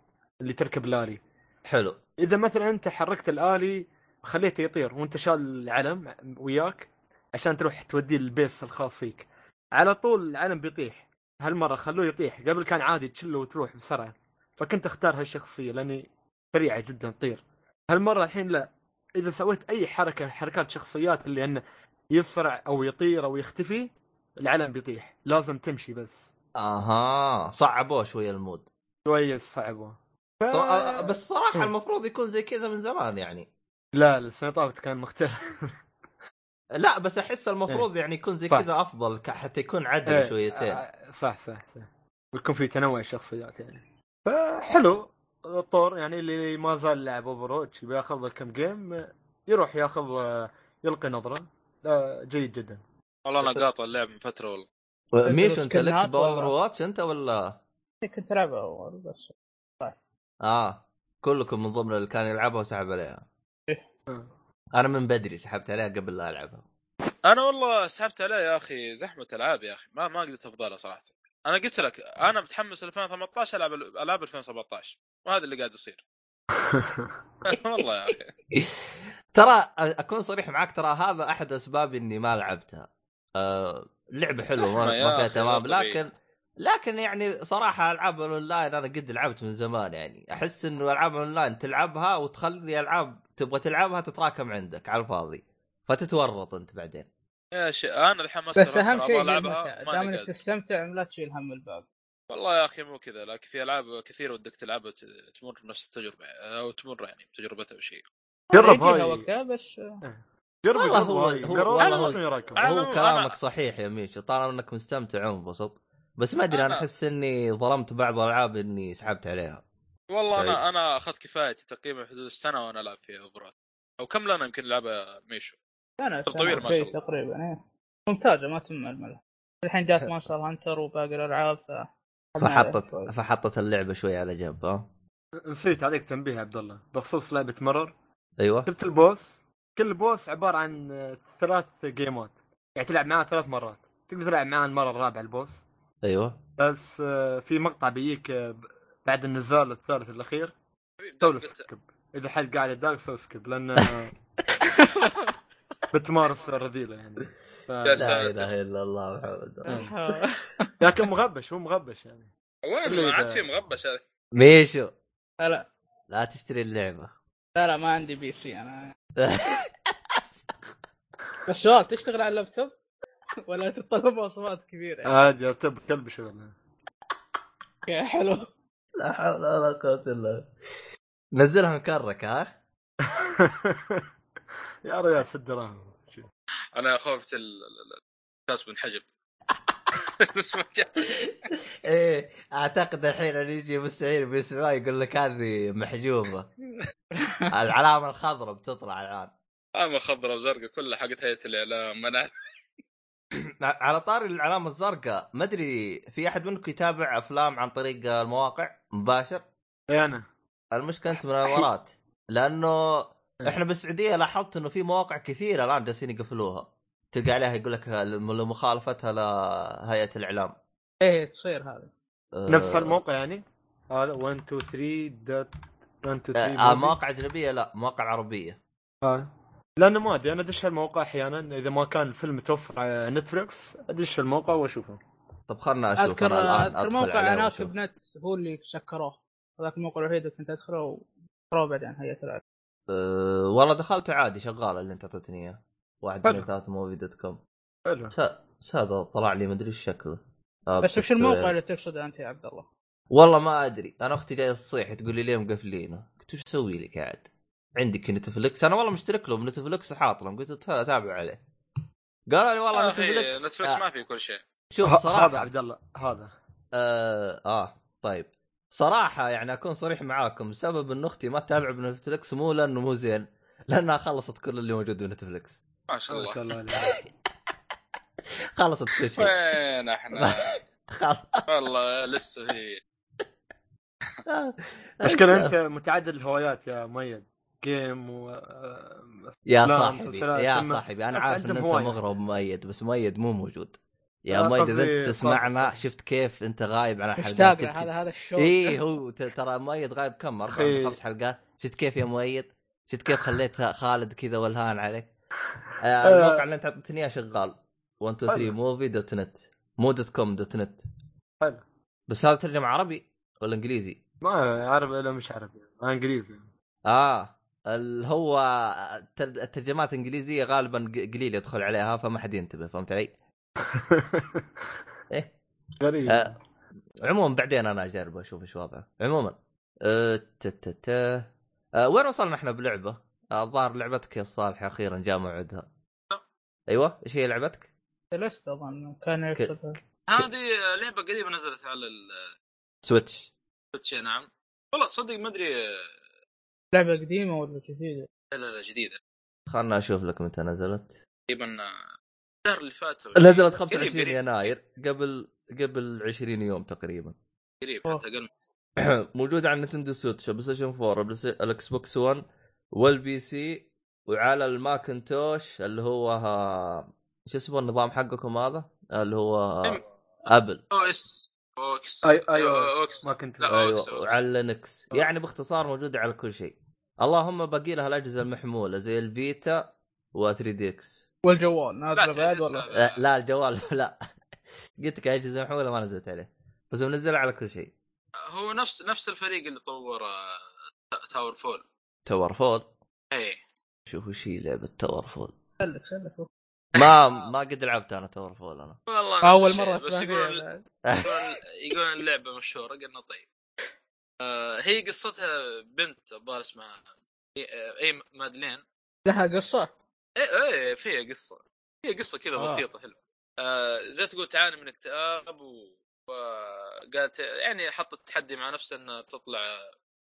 Speaker 5: اللي تركب الالي
Speaker 1: حلو
Speaker 5: اذا مثلا انت حركت الالي خليته يطير وانت شال العلم وياك عشان تروح توديه للبيس الخاص فيك على طول العلم بيطيح هالمره خلوه يطيح قبل كان عادي تشله وتروح بسرعه فكنت اختار هالشخصيه لاني سريعه جدا تطير هالمره الحين لا اذا سويت اي حركه حركات شخصيات اللي انه يسرع او يطير او يختفي العلم بيطيح لازم تمشي بس
Speaker 1: اها صعبوه شويه المود
Speaker 5: شويه صعبه ف...
Speaker 1: طب- آه، آه، بس صراحه
Speaker 5: مم.
Speaker 1: المفروض يكون زي كذا من زمان يعني
Speaker 5: لا لا، السنه طافت كان مختلف
Speaker 1: لا بس احس المفروض يعني يكون زي
Speaker 5: صح.
Speaker 1: كذا افضل ك- حتى يكون
Speaker 5: طيب. إيه،
Speaker 1: عدل شويتين
Speaker 5: آه، صح صح صح ويكون في تنوع الشخصيات يعني فحلو الطور يعني اللي ما زال لاعب اوفروتش بياخذ له كم جيم آه، يروح ياخذ آه، يلقي نظره لا جيد جدا
Speaker 3: والله انا قاطع اللعب من فتره والله
Speaker 1: ميشو انت لك
Speaker 2: سكنات
Speaker 1: باور
Speaker 2: ولا-
Speaker 1: واتش انت ولا
Speaker 2: إيه، كنت العبها اول بس
Speaker 1: اه كلكم من ضمن اللي كان يلعبها وسحب عليها
Speaker 5: آه.
Speaker 1: انا من بدري سحبت عليها قبل لا العبها
Speaker 3: انا والله سحبت عليه يا اخي زحمه العاب يا اخي ما ما قدرت افضلها صراحه انا قلت لك انا متحمس 2018 العب العاب 2017 وهذا اللي قاعد يصير والله يا اخي
Speaker 1: ترى أ- اكون صريح معاك ترى هذا احد اسباب اني ما لعبتها أه لعبه حلوه ما,
Speaker 3: رحمة يا
Speaker 1: ما فيها
Speaker 3: أخي،
Speaker 1: تمام
Speaker 3: مو طبيعي.
Speaker 1: لكن لكن يعني صراحه العاب الاونلاين انا قد لعبت من زمان يعني احس انه العاب الاونلاين تلعبها وتخلي العاب تبغى تلعبها تتراكم عندك على الفاضي فتتورط انت بعدين
Speaker 3: يا شيخ انا الحين ما
Speaker 2: بس اهم شيء
Speaker 3: العبها
Speaker 2: المتعة. دام
Speaker 3: ماني
Speaker 2: انك
Speaker 3: قادر
Speaker 2: تستمتع لا تشيل هم الباقي
Speaker 3: والله يا اخي مو كذا لكن في العاب كثيره ودك تلعبها وت- تمر نفس التجربه او تمر يعني بتجربتها او شيء
Speaker 5: جرب
Speaker 2: يجيها
Speaker 5: هاي
Speaker 2: وقتها بس
Speaker 5: جرب
Speaker 1: والله
Speaker 5: جرب
Speaker 1: هو-
Speaker 5: هاي
Speaker 1: هو-
Speaker 5: جرب
Speaker 1: والله
Speaker 5: هاي
Speaker 1: هو-
Speaker 5: وتعطيني رايك.
Speaker 3: أنا-
Speaker 1: هو
Speaker 3: أنا-
Speaker 1: كلامك صحيح يا ميشو طالما انك مستمتع ومنبسط بس ما ادري انا
Speaker 3: أنا-
Speaker 1: احس اني ظلمت بعض الالعاب اني سحبت عليها
Speaker 3: والله انا
Speaker 1: طيب.
Speaker 3: انا اخذت كفايتي تقريبا في حدود السنه وانا العب فيها اوفرات او كم لنا يمكن لعبه ميشو
Speaker 2: انا
Speaker 3: طيب، طويل ما شاء الله.
Speaker 2: تقريبا إيه. ممتازه ما تمل ملها الحين جات مونستر هانتر وباقي الالعاب ف
Speaker 1: فحطت فحطت اللعبه شوي على جنب ها
Speaker 5: نسيت عليك تنبيه يا عبد الله بخصوص لعبه مرر
Speaker 1: ايوه
Speaker 5: شفت البوس كل بوس عباره عن آه، ثلاث جيمات يعني تلعب معاه ثلاث مرات تقدر تلعب معاه المره الرابعه البوس
Speaker 1: ايوه
Speaker 5: بس آه، في مقطع بيجيك آه، ب- بعد النزال الثالث الاخير
Speaker 3: حبيبي،
Speaker 5: سوي له
Speaker 3: دقت-
Speaker 5: سكيب اذا حد قاعد يداك سوي سكيب لان آه، بتمارس الرذيله يعني ف...
Speaker 3: يا
Speaker 1: لا
Speaker 3: ساتر.
Speaker 1: اله الا الله محمد
Speaker 5: لكن مغبش هو مغبش يعني
Speaker 3: والله ما عاد في مغبش هذا
Speaker 1: ميشو
Speaker 2: لا لا
Speaker 1: لا تشتري اللعبه
Speaker 2: لا لا ما عندي بي سي انا بس سؤال تشتغل على اللابتوب ولا تتطلب مواصفات
Speaker 1: آه.
Speaker 2: كبيره
Speaker 5: عادي ارتب كلب شغل
Speaker 2: يا حلو
Speaker 1: لا حول ولا قوه الا بالله نزلها مكرك ها
Speaker 5: يا ريال ست دراهم
Speaker 3: انا خفت ال- ال- ال- الكاس بنحجب بس ما جاء.
Speaker 1: ايه اعتقد الحين اللي يجي مستعير بيسمعها يقول لك هذه محجوبه العلامه الخضراء بتطلع الان
Speaker 3: اما خضراء آه، وزرقاء كلها حقت هيئه الاعلام ما انا
Speaker 1: على طاري العلامه الزرقاء ما ادري في احد منكم يتابع افلام عن طريق المواقع مباشر
Speaker 5: إي انا
Speaker 1: المشكله انت من الامارات لانه
Speaker 2: إيه.
Speaker 1: احنا بالسعوديه لاحظت انه في مواقع كثيره الان جالسين يقفلوها تلقى عليها يقول لك لمخالفتها لهيئه الاعلام
Speaker 2: ايه تصير هذا
Speaker 1: آه،
Speaker 5: نفس الموقع يعني هذا 1 2 3 دوت 1 2
Speaker 1: آه
Speaker 5: 3
Speaker 1: مواقع اجنبيه لا مواقع عربيه
Speaker 5: آه. لانه ما ادري انا ادش الموقع احيانا اذا ما كان الفيلم متوفر على نتفلكس ادش الموقع واشوفه
Speaker 1: طب خلنا اشوف
Speaker 2: اذكر
Speaker 1: أنا الان
Speaker 2: اذكر
Speaker 1: أدخل
Speaker 2: موقع
Speaker 1: عليه
Speaker 2: هناك
Speaker 1: وأشوف.
Speaker 2: بنت هو اللي سكروه هذاك الموقع الوحيد اللي كنت ادخله وسكروه بعدين هيئه الاعلام
Speaker 1: أه والله دخلت عادي شغاله اللي انت اعطيتني اياه واحد
Speaker 5: حلو.
Speaker 1: من ثلاثة موفي دوت كوم
Speaker 5: حلو
Speaker 1: س- هذا طلع لي مدري ايش شكله آه،
Speaker 2: بس وش
Speaker 1: بشكل-
Speaker 2: الموقع اللي تقصده انت يا عبد الله؟
Speaker 1: والله ما ادري انا اختي جايه تصيح تقول لي ليه مقفلينه قلت وش اسوي لك قاعد عندك نتفليكس انا والله مشترك لهم نتفليكس وحاط لهم قلت أت- اتابع عليه قالوا لي والله
Speaker 3: يا اخي
Speaker 1: نتفليكس
Speaker 5: آه.
Speaker 1: آه،
Speaker 3: نتفلكس آه، ما في كل شيء
Speaker 1: شوف
Speaker 5: ه- هذا
Speaker 1: صراحه
Speaker 5: عبد الله هذا
Speaker 1: آه, اه طيب صراحه يعني اكون صريح معاكم سبب ان اختي ما تتابع بنتفليكس مو لانه مو زين لانها خلصت كل اللي موجود بنتفليكس
Speaker 3: ما شاء
Speaker 5: ما شاء
Speaker 3: الله
Speaker 5: الله عليك.
Speaker 1: خلصت كل
Speaker 3: طيب.
Speaker 1: شيء
Speaker 3: وين احنا
Speaker 1: خلاص
Speaker 3: والله لسه في
Speaker 5: مشكلة انت متعدد الهوايات يا مؤيد جيم و آه،
Speaker 1: يا
Speaker 5: لا،
Speaker 1: صاحبي
Speaker 5: مسلسلات،
Speaker 1: يا
Speaker 5: أما-
Speaker 1: صاحبي انا
Speaker 5: بس
Speaker 1: عارف ان
Speaker 5: عندهم
Speaker 1: انت
Speaker 5: هواية.
Speaker 1: مغرب مؤيد بس مؤيد مو موجود
Speaker 5: لا،
Speaker 1: يا مؤيد اذا
Speaker 5: قصدي
Speaker 1: انت تسمعنا
Speaker 5: صاحبي.
Speaker 1: شفت كيف انت غايب عن
Speaker 2: مش
Speaker 1: الحلقات
Speaker 2: تابع هذا هذا الشو
Speaker 1: اي إيه، هو ت- ترى مؤيد غايب كم
Speaker 5: أخي.
Speaker 1: 4 خمس حلقات شفت كيف يا مؤيد شفت كيف خليت خالد كذا ولهان عليك آه، الموقع اللي انت اعطيتني اياه شغال 1 2 3
Speaker 5: حلو.
Speaker 1: موفي دوت نت مو دوت كوم دوت نت
Speaker 5: حلو.
Speaker 1: بس هذا ترجم عربي ولا انجليزي؟
Speaker 5: ما عربي ولا مش عربي انا انجليزي
Speaker 1: اه اللي هو التر- الترجمات الانجليزيه غالبا ق- قليل يدخل عليها فما حد ينتبه فهمت علي؟ إيه.
Speaker 5: غريب
Speaker 1: آه. عموما بعدين انا اجربه اشوف ايش وضعه. عموما آه، تا- تا- تا. آه، وين وصلنا احنا بلعبه؟ آه، الظاهر لعبتك يا الصالح اخيرا جاء موعدها. ايوه ايش هي لعبتك؟
Speaker 2: سلست اظن كان يقصد
Speaker 3: هذه لعبه قريبه نزلت على السويتش
Speaker 1: سويتش
Speaker 3: نعم والله صدق ما آه، ادري
Speaker 2: لعبه قديمه ولا جديده؟
Speaker 3: لا لا لا، جديده
Speaker 1: خلنا اشوف لك متى نزلت.
Speaker 3: تقريبا آه، الشهر اللي فات ولا شيء.
Speaker 1: نزلت
Speaker 3: قريب-
Speaker 1: 25
Speaker 5: يعني.
Speaker 3: قريب-
Speaker 1: يناير قبل قبل 20 يوم تقريبا.
Speaker 3: قريب حتى اقل
Speaker 1: موجود على نتندو سويتش بلاي ستيشن 4 بلاي ستيشن- الاكس بوكس 1 والبي سي وعلى الماكنتوش اللي هو ها- شو اسمه النظام حقكم هذا؟ اللي هو ها- ابل
Speaker 3: او اس اوكس
Speaker 5: اي اي
Speaker 3: أو- اوكس
Speaker 5: أيوه. ما كنت
Speaker 3: لا، أوكس، أوكس.
Speaker 1: ايوه وعلى لينكس يعني باختصار موجوده على كل شيء اللهم باقي لها الاجهزه المحموله زي الفيتا و 3 دي اكس
Speaker 2: والجوال
Speaker 3: لا
Speaker 2: نازله بعد
Speaker 3: تنسى
Speaker 2: ولا
Speaker 3: هذا.
Speaker 1: آه، لا الجوال لا قلت لك اجهزه محموله ما نزلت عليه بس منزلها على كل شيء
Speaker 3: هو نفس نفس الفريق اللي طور آه، إيه. تا- تاور فول
Speaker 1: تور فول
Speaker 3: اي
Speaker 1: شوفوا شي لعبه تور فول
Speaker 2: سلك سلك
Speaker 1: ما ما قد لعبت انا تور فول انا
Speaker 3: والله نفس
Speaker 2: اول
Speaker 3: الشيء،
Speaker 2: مره
Speaker 3: بس
Speaker 2: اسمع
Speaker 3: يقولون
Speaker 2: فيها.
Speaker 3: يقولون- يقولون اللعبه مشهوره قلنا طيب آه، هي قصتها بنت الظاهر اسمها آه، إي- اي مادلين
Speaker 2: لها قصه
Speaker 3: ايه ايه فيها قصه هي قصه كذا
Speaker 2: آه.
Speaker 3: بسيطه حلوه آه زي تقول تعاني من اكتئاب و... وقالت يعني حطت تحدي مع نفسها انها تطلع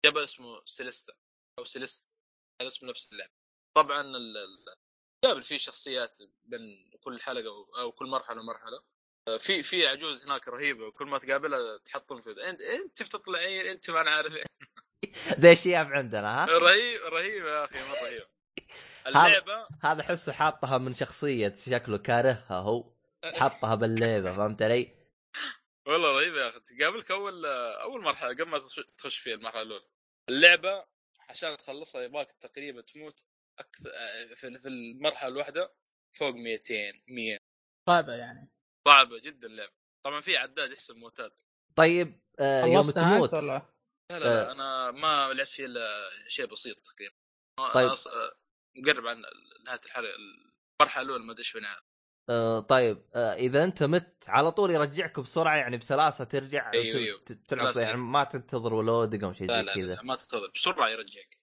Speaker 3: جبل اسمه سيليستا او سيليست على اسم نفس اللعبه طبعا ال- ال- قابل فيه شخصيات بين كل حلقه و- او كل مرحله ومرحله آه، في في عجوز هناك رهيبه وكل ما تقابلها تحطم في انت انت بتطلعين انت ما انا عارف إيه.
Speaker 1: زي الشياب عندنا ها
Speaker 3: رهيب رهيب يا اخي مره رهيب اللعبه
Speaker 1: هذا حسه حاطها من شخصية شكله كارهها هو
Speaker 3: إيه.
Speaker 1: حطها باللعبة فهمت علي؟
Speaker 3: والله رهيبه يا اخي تقابلك اول اول مرحله قبل ما تخش- تخش فيها المرحله الاولى اللعبه آه، عشان تخلصها يباك تقريبا تموت اكثر في في المرحله الواحده فوق 200 100
Speaker 2: صعبه يعني
Speaker 3: صعبه جدا اللعبه طبعا في عداد يحسب موتات
Speaker 1: طيب آه يوم
Speaker 2: خلصتها أنت
Speaker 1: تموت
Speaker 2: ولا؟
Speaker 3: لا لا, لا
Speaker 1: آه.
Speaker 3: انا ما لعبت فيه الا شيء بسيط تقريبا
Speaker 1: طيب.
Speaker 3: طيب مقرب عن نهايه الحلقه المرحله الاولى ما ادري ايش بنها
Speaker 1: آه طيب آه اذا انت مت على طول يرجعك بسرعه يعني بسلاسه ترجع
Speaker 3: أيوه،
Speaker 1: وت-
Speaker 3: أيوه.
Speaker 1: ت- تلعب
Speaker 3: سلاسة.
Speaker 1: يعني ما تنتظر ولو دقم شيء
Speaker 3: لا
Speaker 1: زي
Speaker 3: لا,
Speaker 1: كذا
Speaker 3: لا ما تنتظر بسرعه يرجعك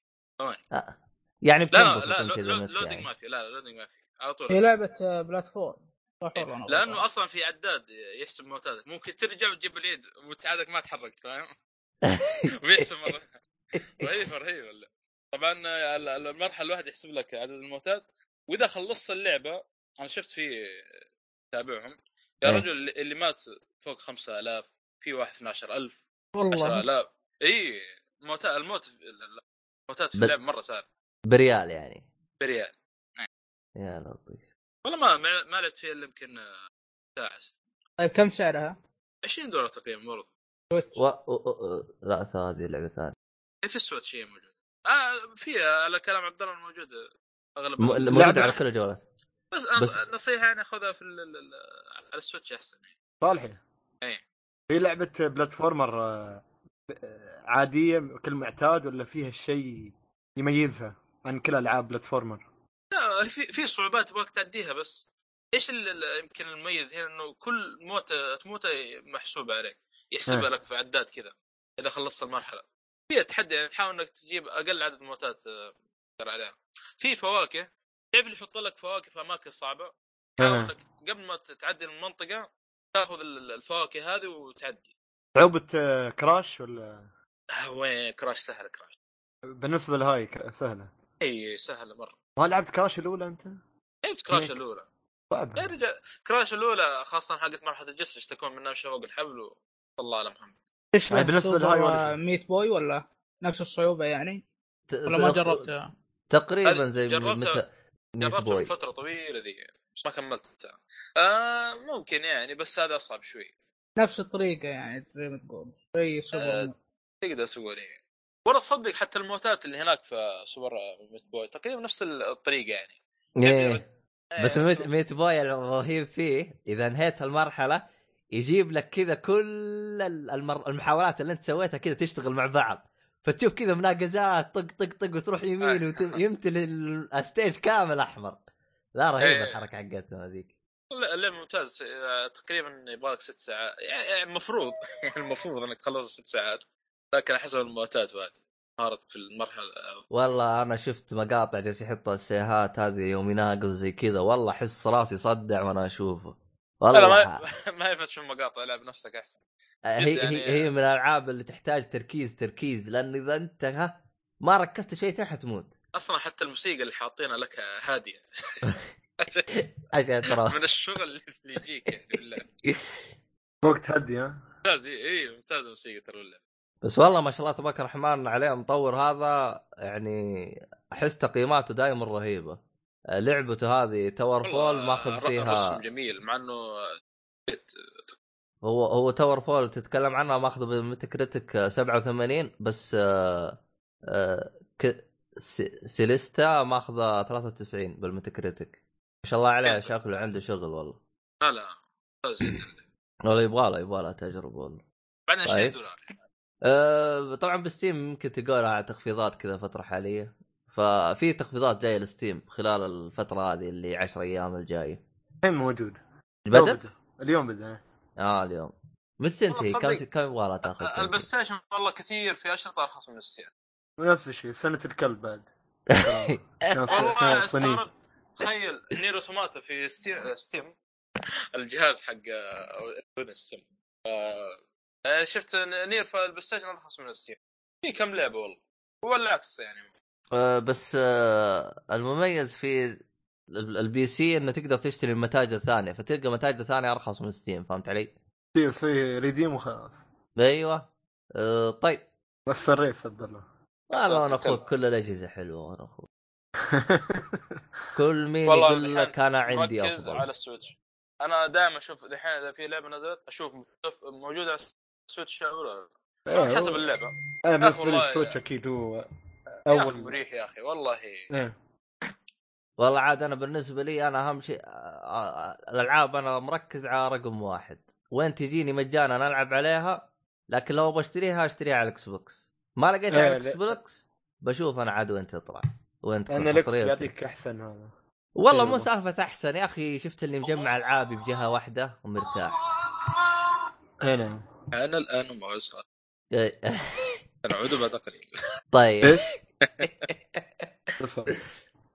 Speaker 1: يعني
Speaker 3: لا
Speaker 1: بتنبسط
Speaker 3: لا
Speaker 1: انت
Speaker 3: لا
Speaker 1: اذا
Speaker 3: لو-
Speaker 1: مت
Speaker 3: لودنج
Speaker 1: يعني
Speaker 3: ما في لا لا لودنج ما في على طول
Speaker 2: هي لعبه آه، بلاتفورم صح
Speaker 3: إيه،
Speaker 2: والله أنا
Speaker 3: لانه
Speaker 2: غلطان.
Speaker 3: اصلا في عداد يحسب موتاتك ممكن ترجع وتجيب العيد وتعادك ما تحركت فاهم؟ ويحسب مره رهيب رهيب ولا طبعا ال- ال- المرحله الواحد يحسب لك عدد الموتات واذا خلصت اللعبه انا شفت في تابعهم يا
Speaker 1: إيه.
Speaker 3: رجل اللي- اللي مات فوق 5000 في واحد 12000
Speaker 2: والله
Speaker 3: 10000 اي موت الموت في- ال- ال- الموتات في
Speaker 1: بل-
Speaker 3: اللعبه مره صار
Speaker 1: بريال يعني
Speaker 3: بريال
Speaker 1: يا لطيف
Speaker 3: والله ما ما- ما لعبت فيها الا يمكن آه، ساعه
Speaker 2: طيب كم سعرها؟
Speaker 3: 20 دولار تقريبا برضه
Speaker 2: سويتش
Speaker 1: و... و... و... لا هذه لعبه ثانيه
Speaker 3: في السويتش شيء موجود آه في على كلام عبد الله موجود اغلب
Speaker 1: م... موجود
Speaker 5: لعبة-
Speaker 1: على كل الجوالات
Speaker 3: بس, أنا
Speaker 1: بس-
Speaker 3: نصيحه يعني خذها في ال- ال- ال- على السويتش احسن
Speaker 5: صالحي
Speaker 3: إيه.
Speaker 5: في لعبه بلاتفورمر آه، آه، عاديه كالمعتاد ولا فيها شيء يميزها عن كل العاب بلاتفورمر
Speaker 3: لا في في صعوبات تبغاك تعديها بس ايش ال- ال- يمكن المميز هنا انه كل موته تموته محسوبه عليك يحسبها
Speaker 5: إيه.
Speaker 3: لك في عداد كذا اذا خلصت المرحله فيها تحدي يعني تحاول انك تجيب اقل عدد موتات آه، تقدر عليها في فواكه تعرف اللي يحط لك فواكه في اماكن صعبه حاول
Speaker 5: إيه.
Speaker 3: انك قبل ما تعدي المنطقه تاخذ ال- ال- الفواكه هذه وتعدي
Speaker 5: صعوبه آه، كراش ولا
Speaker 3: آه، وين كراش سهله كراش
Speaker 5: بالنسبه لهاي ك- سهله
Speaker 3: اي سهله مره
Speaker 5: ما لعبت كراش الاولى انت؟
Speaker 3: لعبت كراش
Speaker 5: ليه؟
Speaker 3: الاولى
Speaker 5: صعبه
Speaker 3: يا رجال إيه، كراش الاولى خاصه حقت مرحله الجسر يشتكون منها مشى فوق الحبل و الله على محمد
Speaker 2: ايش
Speaker 5: يعني بالنسبة لهاي
Speaker 2: بالنسبه
Speaker 5: ولا-
Speaker 2: آه، ميت بوي ولا نفس الصعوبه يعني
Speaker 1: ت...
Speaker 2: ولا ما
Speaker 1: ت-
Speaker 2: جربتها؟
Speaker 1: تقريبا زي
Speaker 3: جربتها-
Speaker 1: متى ميت
Speaker 3: جربتها
Speaker 1: بوي
Speaker 3: فتره طويله ذي بس ما كملتها آه ممكن يعني بس هذا اصعب شوي
Speaker 2: نفس الطريقه يعني زي ما تقول زي
Speaker 3: آه،
Speaker 2: سوبر مان.
Speaker 3: تقدر تقول ايه ولا تصدق حتى الموتات اللي هناك في سوبر ميت بوي تقريبا نفس الطريقه يعني
Speaker 1: إيه.
Speaker 3: إيه،
Speaker 1: بس
Speaker 3: نفس
Speaker 1: ميت... ميت بوي الرهيب فيه اذا انهيت المرحله يجيب لك كذا كل ال- المر... المحاولات اللي انت سويتها كذا تشتغل مع بعض فتشوف كذا مناقزات طق طق طق وتروح يمين
Speaker 3: آه.
Speaker 1: ويمتلي الستيج كامل احمر لا
Speaker 3: إيه.
Speaker 1: رهيبه الحركه حقتهم هذيك
Speaker 3: لا اللعب ممتاز آه، تقريبا يبغالك ست ساعات يعني يعني المفروض المفروض انك تخلص ست ساعات لكن حسب الموتات وهذه مهارتك في المرحله آه،
Speaker 1: والله انا شفت مقاطع جالس يحطوا السيهات هذه يوم يناقض زي كذا والله احس راسي صدع وانا اشوفه
Speaker 3: لا
Speaker 1: والله
Speaker 3: ما ما ينفع تشوف مقاطع لعب نفسك احسن
Speaker 1: هي
Speaker 3: جد يعني-
Speaker 1: هي هي من الالعاب اللي تحتاج تركيز تركيز لان اذا انت ها ما ركزت شيء تحت تموت
Speaker 3: اصلا حتى الموسيقى اللي حاطينها لك هاديه
Speaker 1: عشان ترى
Speaker 3: من الشغل اللي يجيك يعني بالله
Speaker 5: وقت هدي ها
Speaker 3: ممتاز اي إي، ممتاز الموسيقى ترى بالله
Speaker 1: بس والله ما شاء الله تبارك الرحمن عليه المطور هذا يعني احس تقييماته دائما رهيبه لعبته هذه تاور فول
Speaker 3: والله
Speaker 1: ماخذ
Speaker 3: الر- الرسم
Speaker 1: فيها
Speaker 3: جميل مع انه
Speaker 1: هو هو تاور فول تتكلم عنها ماخذه بميتا كريتك 87 بس آه، آه، ك- س- سيليستا ماخذه 93 بالميتا كريتك ما شاء الله عليه
Speaker 3: أنت.
Speaker 1: شكله عنده شغل والله
Speaker 3: لا لا ممتاز جدا
Speaker 1: والله يبغى لها يبغى لها تجربه والله
Speaker 3: بعدين 20
Speaker 1: طيب.
Speaker 3: دولار
Speaker 1: أه طبعا بستيم يمكن تلقوا لها تخفيضات كذا فتره حاليه ففي تخفيضات جايه لستيم خلال الفتره هذه اللي 10 ايام الجايه
Speaker 5: الحين موجود اليوم
Speaker 1: بدت؟
Speaker 5: اليوم بدا
Speaker 1: اه اليوم متى
Speaker 3: والله
Speaker 1: تنتهي؟
Speaker 3: تصدق.
Speaker 1: كم كم يبغى لها تاخذ؟
Speaker 3: البلاي ستيشن والله كثير في اشرطه ارخص من السيارة
Speaker 5: ونفس الشيء سنه الكلب بعد عشان صيني.
Speaker 3: والله
Speaker 5: صيني.
Speaker 3: استغربت تخيل نير اوتوماتا في ستي- ستيم الجهاز حق بدون السم آه، آه، شفت نير في البلاي ستيشن ارخص من الستيم في كم لعبه والله هو العكس يعني
Speaker 1: أه بس أه المميز في ال- البي سي انه تقدر تشتري من متاجر ثانيه فتلقى متاجر ثانيه ارخص من ستيم فهمت علي؟
Speaker 5: في في ريديم وخلاص
Speaker 1: ايوه أه طيب
Speaker 5: بس الريس عبد الله
Speaker 1: والله انا
Speaker 3: أحسنت.
Speaker 1: اخوك كل الاجهزه حلوه انا اخوك كل مين
Speaker 3: والله
Speaker 1: يقول لك انا عندي
Speaker 3: مركز
Speaker 1: افضل
Speaker 3: على السويتش انا دائما اشوف دحين اذا في لعبه نزلت اشوف مف- موجوده على السويتش او لا
Speaker 5: إيه،
Speaker 3: حسب
Speaker 5: هو-
Speaker 3: اللعبه
Speaker 5: انا
Speaker 3: يا أخي
Speaker 5: بالنسبه لي
Speaker 3: والله-
Speaker 5: السويتش اكيد هو
Speaker 3: يا اخي
Speaker 5: اول
Speaker 3: مريح يا اخي والله
Speaker 5: إيه.
Speaker 1: والله عاد انا بالنسبه لي انا اهم شيء آه، الالعاب انا مركز على رقم واحد وين تجيني مجانا العب عليها لكن لو بشتريها اشتريها على الاكس بوكس ما لقيتها على
Speaker 5: إيه،
Speaker 1: الاكس
Speaker 5: لا.
Speaker 1: بوكس بشوف انا عاد وين تطلع وين
Speaker 5: لان
Speaker 1: تكون
Speaker 5: الاكس
Speaker 1: حصريه فيه.
Speaker 5: يعطيك احسن هذا
Speaker 1: والله
Speaker 5: إيه
Speaker 1: مو
Speaker 5: والله.
Speaker 1: سالفه احسن يا اخي شفت اللي مجمع العابي بجهه واحده ومرتاح
Speaker 5: اي نعم
Speaker 3: انا الان مع اسره
Speaker 1: إيه.
Speaker 3: العود بعد قليل
Speaker 1: طيب
Speaker 5: إيش؟ بالضبط.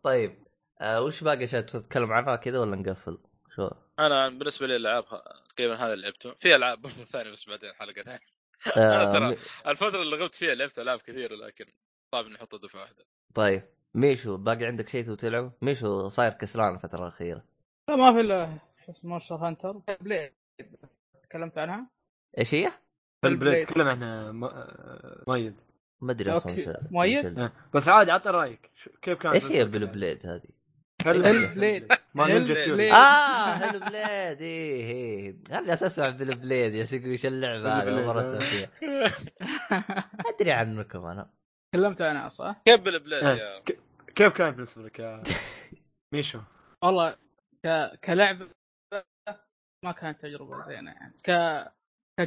Speaker 1: طيب آه وش باقي اشياء تتكلم عنها كذا ولا نقفل؟ شو
Speaker 3: انا بالنسبه لي الالعاب ه- تقريبا هذا اللي لعبته في العاب برضه ثانيه بس بعدين حلقه ثانيه أنا ترى-
Speaker 1: آه، مي-
Speaker 3: الفتره اللي غبت فيها لعبت العاب كثيره لكن صعب اني احطها دفعه واحده
Speaker 1: طيب ميشو باقي عندك شيء تبغى تلعبه؟ ميشو صاير كسلان الفترة الأخيرة
Speaker 2: لا ما في الا شو اسمه مونستر هانتر بليد تكلمت عنها
Speaker 1: ايش هي؟
Speaker 5: البلاي تكلم عنها م- مؤيد
Speaker 1: ما ادري اصلا
Speaker 2: أوكي.
Speaker 1: وش- وش
Speaker 2: مؤيد؟
Speaker 1: ال-
Speaker 5: إيه. بس عادي عطى رايك شو- كيف كان
Speaker 1: ايش هي بالبليد هذه؟
Speaker 2: البليد.
Speaker 5: ما نينجا
Speaker 2: البليد.
Speaker 5: ثيوري
Speaker 1: اه هلو بليد ايه ايه انا جالس اسمع بالبليد يا سيقو وش اللعبة
Speaker 5: هلو
Speaker 1: هذه
Speaker 5: بليد،
Speaker 1: مرة
Speaker 5: آه.
Speaker 1: اسمع فيها ادري عنكم انا
Speaker 2: تكلمت عنها صح؟
Speaker 3: كيف بالبلاد
Speaker 5: إيه.
Speaker 3: يا
Speaker 5: كيف كان بالنسبه لك يا ميشو؟
Speaker 2: والله ك... كلعبة ما كانت تجربة زينة يعني ك...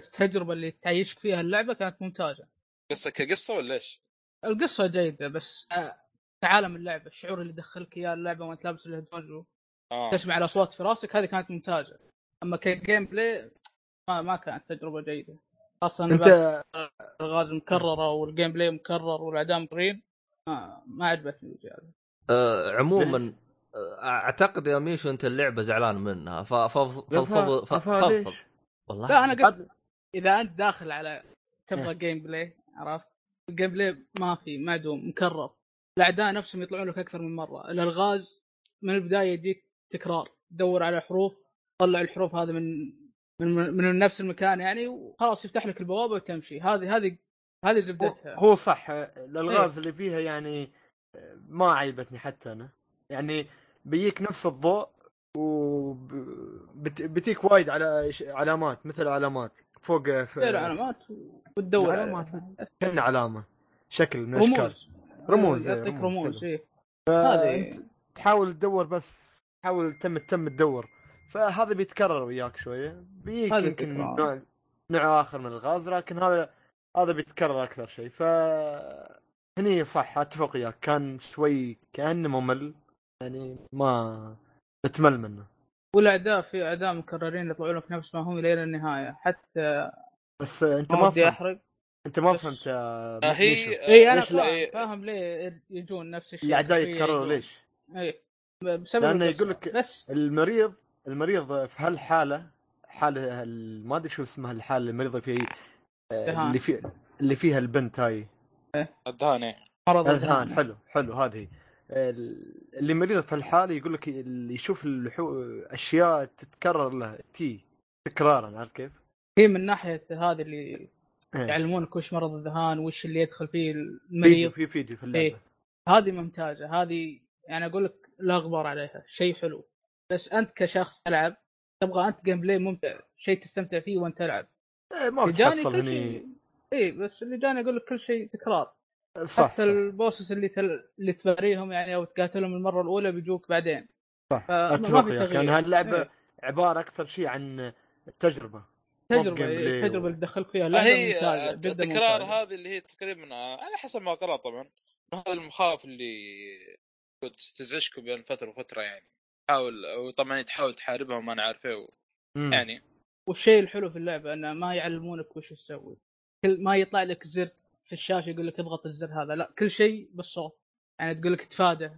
Speaker 2: كتجربة اللي تعيشك فيها اللعبة كانت ممتازة
Speaker 3: قصه كقصه ولا ايش؟
Speaker 2: القصة جيدة بس آه، عالم اللعبة الشعور اللي دخلك اياه اللعبة وانت لابس الهيدفونز
Speaker 3: اه
Speaker 2: وتسمع الاصوات في راسك هذه كانت ممتازة اما كجيم بلاي ما ما كانت تجربة جيدة خاصة إن بعد
Speaker 5: انت
Speaker 2: الغاز مكررة والجيم بلاي مكرر والاعدام قريب ما, ما عجبتني الجهاز.
Speaker 1: آه عموما آه، اعتقد يا ميشو انت اللعبة زعلان منها ف- فف- فضفض
Speaker 5: أفا- أفا ليش؟
Speaker 1: فضفض والله
Speaker 2: لا انا قلت
Speaker 5: قد-
Speaker 2: اذا انت داخل على تبغى جيم بلاي عرفت الجيم بلاي ما في معدوم مكرر الاعداء نفسهم يطلعون لك اكثر من مره الالغاز من البدايه يجيك تكرار دور على حروف طلع الحروف هذه من من من نفس المكان يعني وخلاص يفتح لك البوابه وتمشي هذه هذه هذه زبدتها
Speaker 5: هو صح الالغاز اللي فيها يعني ما عيبتني حتى انا يعني بيجيك نفس الضوء وبتيك وايد على ش- علامات مثل علامات فوق ف-
Speaker 2: تصير علامات وتدور
Speaker 5: العلامات.
Speaker 2: عليها.
Speaker 5: كأنه علامه شكل من الاشكال
Speaker 2: رموز
Speaker 5: رموز، إيه،
Speaker 2: يعطيك
Speaker 5: رموز،
Speaker 2: رموز
Speaker 5: حلو.
Speaker 2: إيه.
Speaker 5: هذه
Speaker 2: هذه
Speaker 5: تحاول تدور بس تحاول تم تم تدور فهذا بيتكرر وياك شويه بيجيك
Speaker 2: هذا
Speaker 5: يمكن
Speaker 2: التكرار.
Speaker 5: نوع نوع اخر من الغاز لكن هذا هذا بيتكرر اكثر شيء ف هني صح اتفق وياك كان شوي كانه ممل يعني ما بتمل منه
Speaker 2: والاعداء في اعداء مكررين يطلعون لك نفس ما هم لين النهايه حتى
Speaker 5: بس انت
Speaker 2: ما
Speaker 5: ما
Speaker 2: ودي
Speaker 5: فهمت
Speaker 2: احرق
Speaker 5: انت ما
Speaker 2: بس-
Speaker 5: فهمت يا
Speaker 3: آه، هي
Speaker 5: ميشو.
Speaker 3: آه،
Speaker 2: اي انا
Speaker 3: ليش لا-
Speaker 2: فاهم,
Speaker 3: إيه،
Speaker 2: فاهم ليه يجون نفس الشيء
Speaker 5: الاعداء
Speaker 2: شوية
Speaker 5: يتكرروا
Speaker 2: يجون.
Speaker 5: ليش؟
Speaker 2: اي بسبب
Speaker 5: لأنه
Speaker 2: القصة.
Speaker 5: يقول لك-
Speaker 2: بس
Speaker 5: المريض المريض في هالحاله حاله هال- ما ادري شو اسمها الحاله اللي المريضه فيه آه،
Speaker 2: دهان.
Speaker 5: اللي في اللي فيها البنت هاي
Speaker 3: الدهان إيه.
Speaker 2: مرض
Speaker 5: الان
Speaker 2: الدهان
Speaker 5: حلو حلو هذه ال- اللي مريضه في الحاله يقول لك اللي يشوف اللحو... اشياء تتكرر له تي تكرارا عرفت كيف؟
Speaker 2: هي من ناحيه هذه اللي
Speaker 5: إيه.
Speaker 2: يعلمونك وش مرض الذهان وش اللي يدخل فيه
Speaker 5: فيديو
Speaker 2: المريض
Speaker 5: في فيديو في اللعبه
Speaker 2: إيه. هذه ممتازه هذه يعني اقول لك لا غبار عليها شيء حلو بس انت كشخص تلعب تبغى انت جيم بلاي ممتع شيء تستمتع فيه وانت تلعب
Speaker 5: إيه. ما
Speaker 2: اللي جاني
Speaker 5: بتحصل
Speaker 2: كل
Speaker 5: هني
Speaker 2: شيء اي بس اللي جاني اقول لك كل شيء تكرار
Speaker 5: صح
Speaker 2: حتى البوسس اللي تل... اللي تباريهم يعني او تقاتلهم المره الاولى بيجوك بعدين
Speaker 5: صح
Speaker 2: فما- آه، ما
Speaker 5: اتفق
Speaker 2: في
Speaker 5: وياك
Speaker 2: تغيير.
Speaker 5: يعني هاللعبه
Speaker 2: إيه.
Speaker 5: عباره اكثر شيء عن التجربه
Speaker 2: تجربه
Speaker 5: Game
Speaker 2: إيه،
Speaker 5: Play
Speaker 2: التجربه
Speaker 5: و-
Speaker 2: اللي تدخلك فيها
Speaker 3: آه،
Speaker 2: لعبه
Speaker 3: هي
Speaker 2: ممتازه
Speaker 3: آه،
Speaker 2: جدا
Speaker 3: التكرار
Speaker 2: ممتازه
Speaker 3: هذا اللي هي تقريبا آه، على حسب ما قرأت طبعا إنه هذا المخاوف اللي كنت تزعجكم بين فتره وفتره يعني تحاول وطبعا تحاول تحاربها وما انا عارف إيه و-
Speaker 5: مم.
Speaker 3: يعني
Speaker 2: والشيء الحلو في اللعبه انه ما يعلمونك وش تسوي كل ما يطلع لك زر في الشاشه يقول لك اضغط الزر هذا لا كل شيء بالصوت يعني تقول لك تفادى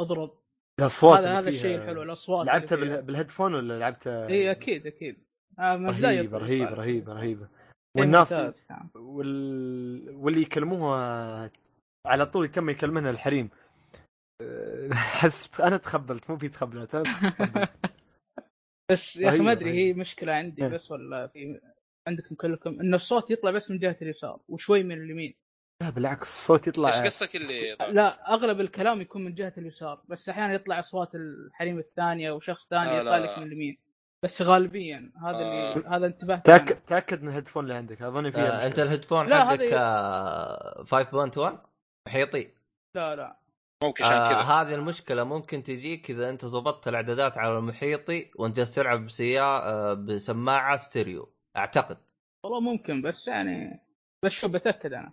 Speaker 2: اضرب
Speaker 5: الاصوات
Speaker 2: هذا
Speaker 5: اللي
Speaker 2: هذا
Speaker 5: فيها.
Speaker 2: الشيء الحلو الاصوات
Speaker 5: لعبتها بال- بالهيدفون ولا لعبتها
Speaker 2: اي اكيد اكيد آه، من البداية
Speaker 5: رهيب رهيب
Speaker 2: يطلع.
Speaker 5: رهيب رهيبه
Speaker 2: شيء
Speaker 5: والناس
Speaker 2: ممتاز كان.
Speaker 5: وال... واللي يكلموها على طول يتم يكلمنا الحريم أه، حس انا تخبلت مو في تخبلت انا تخبلت
Speaker 2: بس يا اخي ما
Speaker 5: رهيب،
Speaker 2: ادري
Speaker 5: رهيب.
Speaker 2: هي مشكله عندي
Speaker 5: إيه.
Speaker 2: بس ولا في عندكم كلكم ان الصوت يطلع بس من جهه اليسار وشوي من اليمين
Speaker 5: لا بالعكس الصوت يطلع
Speaker 3: ايش قصدك اللي
Speaker 2: لا اغلب الكلام يكون من جهه اليسار بس احيانا يطلع اصوات الحريم الثانيه وشخص ثاني
Speaker 3: آه،
Speaker 2: يطلع
Speaker 3: لا.
Speaker 2: لك من اليمين بس غالبيا هذا
Speaker 3: آه.
Speaker 2: اللي هذا انتبهت
Speaker 5: تاكد
Speaker 2: أنا.
Speaker 5: تاكد من الهيدفون اللي عندك اظن فيها
Speaker 1: آه انت
Speaker 5: مشكلة.
Speaker 1: الهيدفون
Speaker 2: لا،
Speaker 1: حقك
Speaker 2: هذه-
Speaker 1: آه، 5.1 محيطي
Speaker 2: لا لا
Speaker 3: ممكن عشان
Speaker 1: آه
Speaker 3: كذا
Speaker 1: هذه المشكله ممكن تجيك اذا انت ضبطت الاعدادات على محيطي وانت جالس تلعب بسيارة آه بسماعه ستيريو اعتقد
Speaker 2: والله ممكن بس يعني بس شو بتاكد انا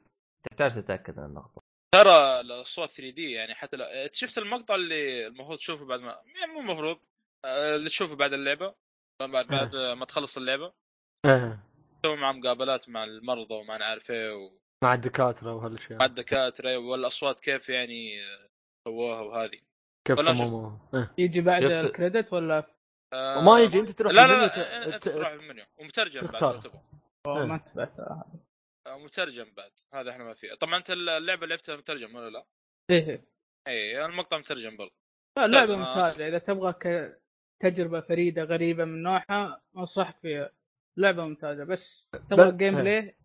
Speaker 1: تحتاج تتاكد من النقطه
Speaker 3: ترى الصوره 3 دي يعني حتى لا أنت شفت المقطع اللي المفروض تشوفه بعد ما يعني مو المفروض آه، اللي تشوفه بعد اللعبه بعد بعد ما تخلص اللعبه
Speaker 5: آه.
Speaker 3: سووا مع مقابلات مع المرضى وما أنا عارف ايه ومع
Speaker 5: مع الدكاتره وهالاشياء
Speaker 3: الدكاتره والاصوات كيف يعني آه، سووها وهذه
Speaker 5: كيف
Speaker 3: ولا
Speaker 5: صمموها آه.
Speaker 2: يجي بعد
Speaker 1: شفت-
Speaker 2: الكريدت ولا
Speaker 3: آه،
Speaker 5: وما يجي انت تروح
Speaker 3: لا لا,
Speaker 5: المنيو
Speaker 3: لا
Speaker 5: ت-
Speaker 3: انت تروح المنيو ومترجم بعد
Speaker 5: تختار.
Speaker 3: لو تبغى
Speaker 2: أوه،
Speaker 5: إيه.
Speaker 2: ما تبعت
Speaker 3: آه، مترجم بعد هذا احنا ما فيه طبعا انت اللعبه لعبتها مترجم ولا لا؟
Speaker 2: ايه
Speaker 3: اي المقطع مترجم برضه
Speaker 2: لا، لعبه
Speaker 3: ممتاز، أنا آسف.
Speaker 2: ممتازه اذا تبغى ك- تجربه فريده غريبه من نوعها انصحك فيها لعبه ممتازه بس تبغى
Speaker 5: بس-
Speaker 2: جيم
Speaker 5: إيه.
Speaker 2: بلاي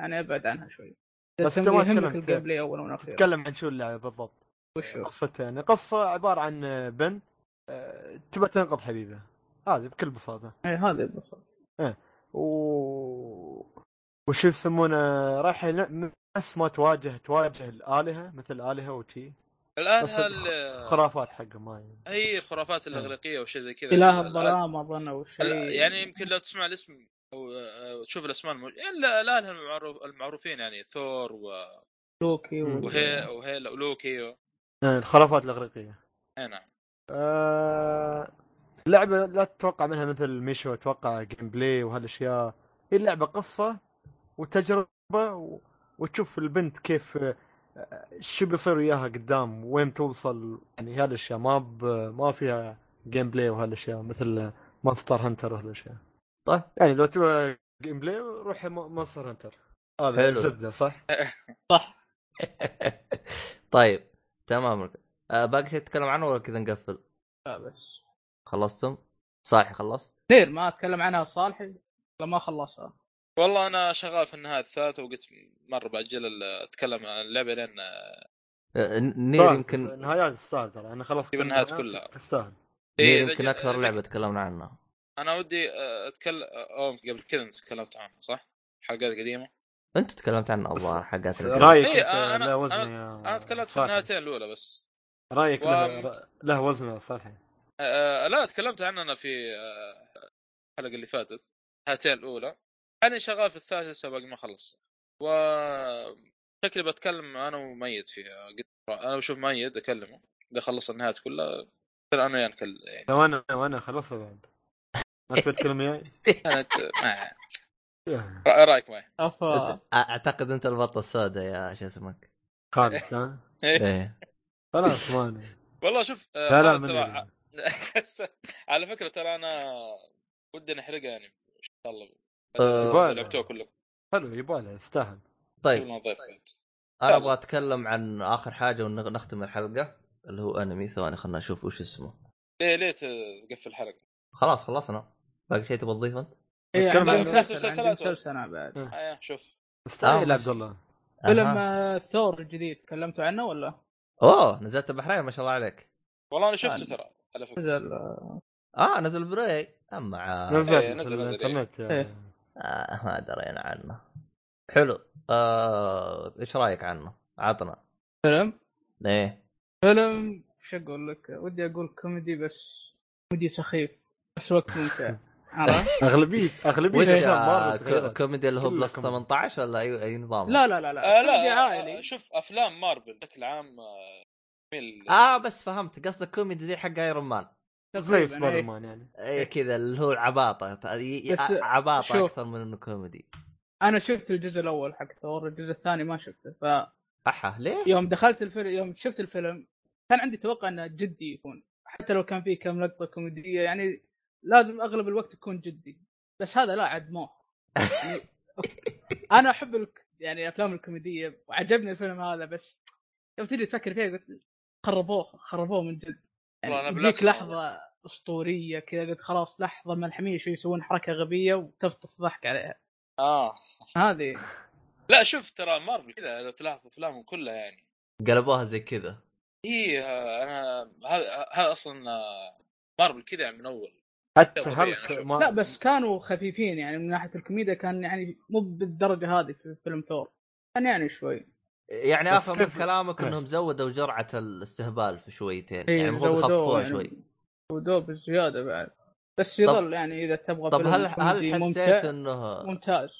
Speaker 2: يعني ابعد عنها شوي
Speaker 5: بس
Speaker 2: بس
Speaker 5: أنت ما
Speaker 2: يهمك
Speaker 5: تكلمت.
Speaker 2: الجيم بلاي اولا واخيرا
Speaker 5: تتكلم عن شو اللعبه بالضبط
Speaker 2: وشو
Speaker 5: قصتها يعني قصه عباره عن بنت آه، تبى تنقذ حبيبها هذه بكل بساطه
Speaker 2: اي هذا البصر
Speaker 5: و وش يسمونه راح ن- نفس ما تواجه تواجه الالهه مثل الالهه وشي
Speaker 3: الان
Speaker 5: بس
Speaker 3: هال
Speaker 5: خرافات حقهم هاي
Speaker 3: هي الخرافات
Speaker 5: نعم.
Speaker 3: الاغريقيه وشيء زي كذا
Speaker 2: اله
Speaker 3: ال-
Speaker 2: الظلام اظن او
Speaker 3: ال-
Speaker 2: شيء
Speaker 3: آه، يعني يمكن لو تسمع الاسم او أو آه، تشوف الاسماء الموج... يعني الا الان المعروف المعروفين يعني ثور و...
Speaker 2: توكي
Speaker 5: مم.
Speaker 3: وهي وهيلا ولوكي و...
Speaker 5: آه، الخرافات الاغريقيه
Speaker 3: اي نعم
Speaker 5: آه، اللعبه لا تتوقع منها مثل ميشو اتوقع جيم بلاي وهالاشياء هي اللعبه قصه وتجربه و... وتشوف البنت كيف آه، شو بيصير وياها قدام وين توصل يعني هالاشياء ما ب... ما فيها جيم بلاي وهالاشياء مثل مونستر هانتر وهالاشياء
Speaker 1: طيب
Speaker 5: يعني لو تبغى جيم بلاي روح م- مونستر هانتر هذا
Speaker 1: حلو.
Speaker 5: زبده صح؟
Speaker 2: صح
Speaker 1: طيب تمام آه باقي شيء تتكلم عنه ولا كذا نقفل
Speaker 2: لا بس
Speaker 1: خلصتم صاحي خلصت
Speaker 2: كثير ما اتكلم عنها صالحي لا ما خلصها
Speaker 3: والله انا شغال في النهايه الثالثه وقلت مره باجل ال- اتكلم عن اللعبه لان
Speaker 1: آه، نير يمكن
Speaker 5: النهايات تستاهل طيب، ترى انا خلصت
Speaker 3: جيب النهايات كلها.
Speaker 5: تستاهل
Speaker 1: نير
Speaker 3: إيه، إذا
Speaker 1: يمكن
Speaker 3: جا-
Speaker 1: اكثر
Speaker 3: إذا
Speaker 1: لعبه تكلمنا عنها
Speaker 3: انا ودي آه، اتكلم او قبل كذا تكلمت عنها صح؟ حلقات قديمه
Speaker 1: انت تكلمت عن الظاهر حقات الجو.
Speaker 5: رايك
Speaker 3: إيه،
Speaker 5: أنت
Speaker 3: أنا-
Speaker 5: له وزن
Speaker 3: أنا-
Speaker 5: يا
Speaker 3: انا تكلمت في
Speaker 5: صالح.
Speaker 3: النهايتين الاولى بس
Speaker 5: رايك له,
Speaker 3: ومت-
Speaker 5: له وزن يا صالحي
Speaker 3: آه، لا تكلمت عنها انا في آه، الحلقه اللي فاتت النهايتين الاولى انا شغال في الثالثه لسه باقي ما خلص و شكلي بتكلم انا وميت فيها قلت انا بشوف ميت اكلمه اذا خلص النهايات كلها ترى انا وياه نكلم يعني
Speaker 5: لو انا لو انا خلصها بعد ما تبي تتكلم وياي؟
Speaker 3: كانت ما
Speaker 5: يا
Speaker 3: رأ- رايك معي
Speaker 2: افا
Speaker 1: أ- اعتقد انت البطه السوداء يا شو اسمك
Speaker 5: خالص ها
Speaker 3: إيه.
Speaker 1: ايه
Speaker 5: خلاص ما أنا.
Speaker 3: والله شوف آه،
Speaker 5: لا لا
Speaker 3: أنا ترى
Speaker 5: من
Speaker 3: على فكره ترى انا ودي نحرقها يعني ان شاء الله
Speaker 1: آه،
Speaker 5: يبالي.
Speaker 3: لعبتوها كلكم
Speaker 5: حلو يبالي يستاهل
Speaker 1: طيب
Speaker 3: قبل ما نضيف بعد
Speaker 1: انا ابغى اتكلم عن اخر حاجه ونختم الحلقه اللي هو انمي ثواني خلنا نشوف وش اسمه
Speaker 3: ليه ليه تقفل الحلقه؟
Speaker 1: خلاص خلصنا باقي شيء تبغى تضيفه انت؟
Speaker 2: إيه،
Speaker 5: نتكلم
Speaker 2: عندي
Speaker 5: عن
Speaker 2: مسلسل
Speaker 3: مسلسلات
Speaker 2: عندي
Speaker 3: ولا؟
Speaker 2: مسلسل انا بعد
Speaker 5: آه.
Speaker 3: آه شوف
Speaker 5: مستحيل
Speaker 1: آه،
Speaker 5: عبد الله
Speaker 2: فيلم
Speaker 1: أها.
Speaker 2: آه، ثور الجديد تكلمتوا عنه ولا؟
Speaker 1: اوه نزلت البحرين ما شاء الله عليك
Speaker 3: والله انا شفته
Speaker 2: آه.
Speaker 3: ترى على فكره
Speaker 2: نزل آه،
Speaker 1: اه نزل براي اما عاد.
Speaker 5: نزل
Speaker 3: إيه،
Speaker 5: في
Speaker 3: نزل، نزل،
Speaker 5: الانترنت
Speaker 2: إيه.
Speaker 5: يا-
Speaker 1: آه ما درينا عنه حلو آه ايش رايك عنه؟ عطنا
Speaker 2: فيلم
Speaker 1: ايه
Speaker 2: فيلم شو اقول لك؟ ودي اقول كوميدي بس كوميدي سخيف بس وقت ممتع عرفت؟
Speaker 5: اغلبيه
Speaker 1: وش
Speaker 5: اغلبيه الأفلام
Speaker 1: آه،
Speaker 5: مرة
Speaker 1: كو-
Speaker 5: تغيرت.
Speaker 1: كوميدي اللي هو
Speaker 5: كله
Speaker 1: بلس
Speaker 5: كوميدي.
Speaker 1: 18 ولا اي اي نظام؟
Speaker 2: لا لا لا لا
Speaker 3: آه
Speaker 2: كوميدي
Speaker 3: لا آه
Speaker 2: عائلي
Speaker 3: شوف افلام مارفل بشكل عام آه، جميل
Speaker 1: اه بس فهمت قصدك كوميدي زي حق ايرون مان
Speaker 5: زي
Speaker 2: تقريبا
Speaker 5: سبايدر
Speaker 2: إيه.
Speaker 5: مان يعني
Speaker 1: اي كذا اللي هو العباطه ت- ي- ي-
Speaker 2: بس
Speaker 1: عباطه
Speaker 2: شوف.
Speaker 1: اكثر من انه كوميدي
Speaker 2: انا شفت الجزء الاول حق ثور الجزء الثاني ما شفته ف
Speaker 1: احا ليه؟
Speaker 2: يوم دخلت الفيلم يوم شفت الفيلم كان عندي توقع انه جدي يكون حتى لو كان فيه كم لقطه كوميديه يعني لازم اغلب الوقت يكون جدي بس هذا لا عاد ما يعني انا احب الك... يعني الافلام الكوميديه وعجبني الفيلم هذا بس يوم تجي تفكر فيها قلت خربوه خربوه من جد
Speaker 3: والله أنا
Speaker 2: يعني
Speaker 3: بالعكس
Speaker 2: تجيك لحظه اسطوريه كذا قلت خلاص لحظه ملحميه شو يسوون حركه غبيه وتفطس ضحك عليها
Speaker 3: اه
Speaker 2: هذه
Speaker 3: لا شوف ترى مارفل كذا لو تلاحظ افلامهم كلها يعني
Speaker 1: قلبوها زي كذا
Speaker 3: هي آه، انا هذا هذا اصلا آه، مارفل كذا يعني من اول
Speaker 5: حتى
Speaker 3: طبيعي، أنا
Speaker 5: هلك
Speaker 3: أشوف.
Speaker 5: ما
Speaker 2: لا بس كانوا خفيفين يعني من ناحيه الكوميديا كان يعني مو بالدرجه هذه في فيلم ثور كان يعني شوي
Speaker 1: يعني
Speaker 5: بس
Speaker 1: افهم
Speaker 5: كيف-
Speaker 1: من كلامك انهم زودوا جرعه الاستهبال في شويتين
Speaker 2: إيه،
Speaker 1: يعني المفروض يخففوها
Speaker 2: زودوه يعني.
Speaker 1: شوي
Speaker 2: ودوب الزياده بعد بس يظل يعني اذا تبغى
Speaker 1: طب
Speaker 2: فيلم
Speaker 1: هل
Speaker 2: كوميدي
Speaker 1: هل حسيت
Speaker 2: ممتع-
Speaker 1: انه
Speaker 2: ممتاز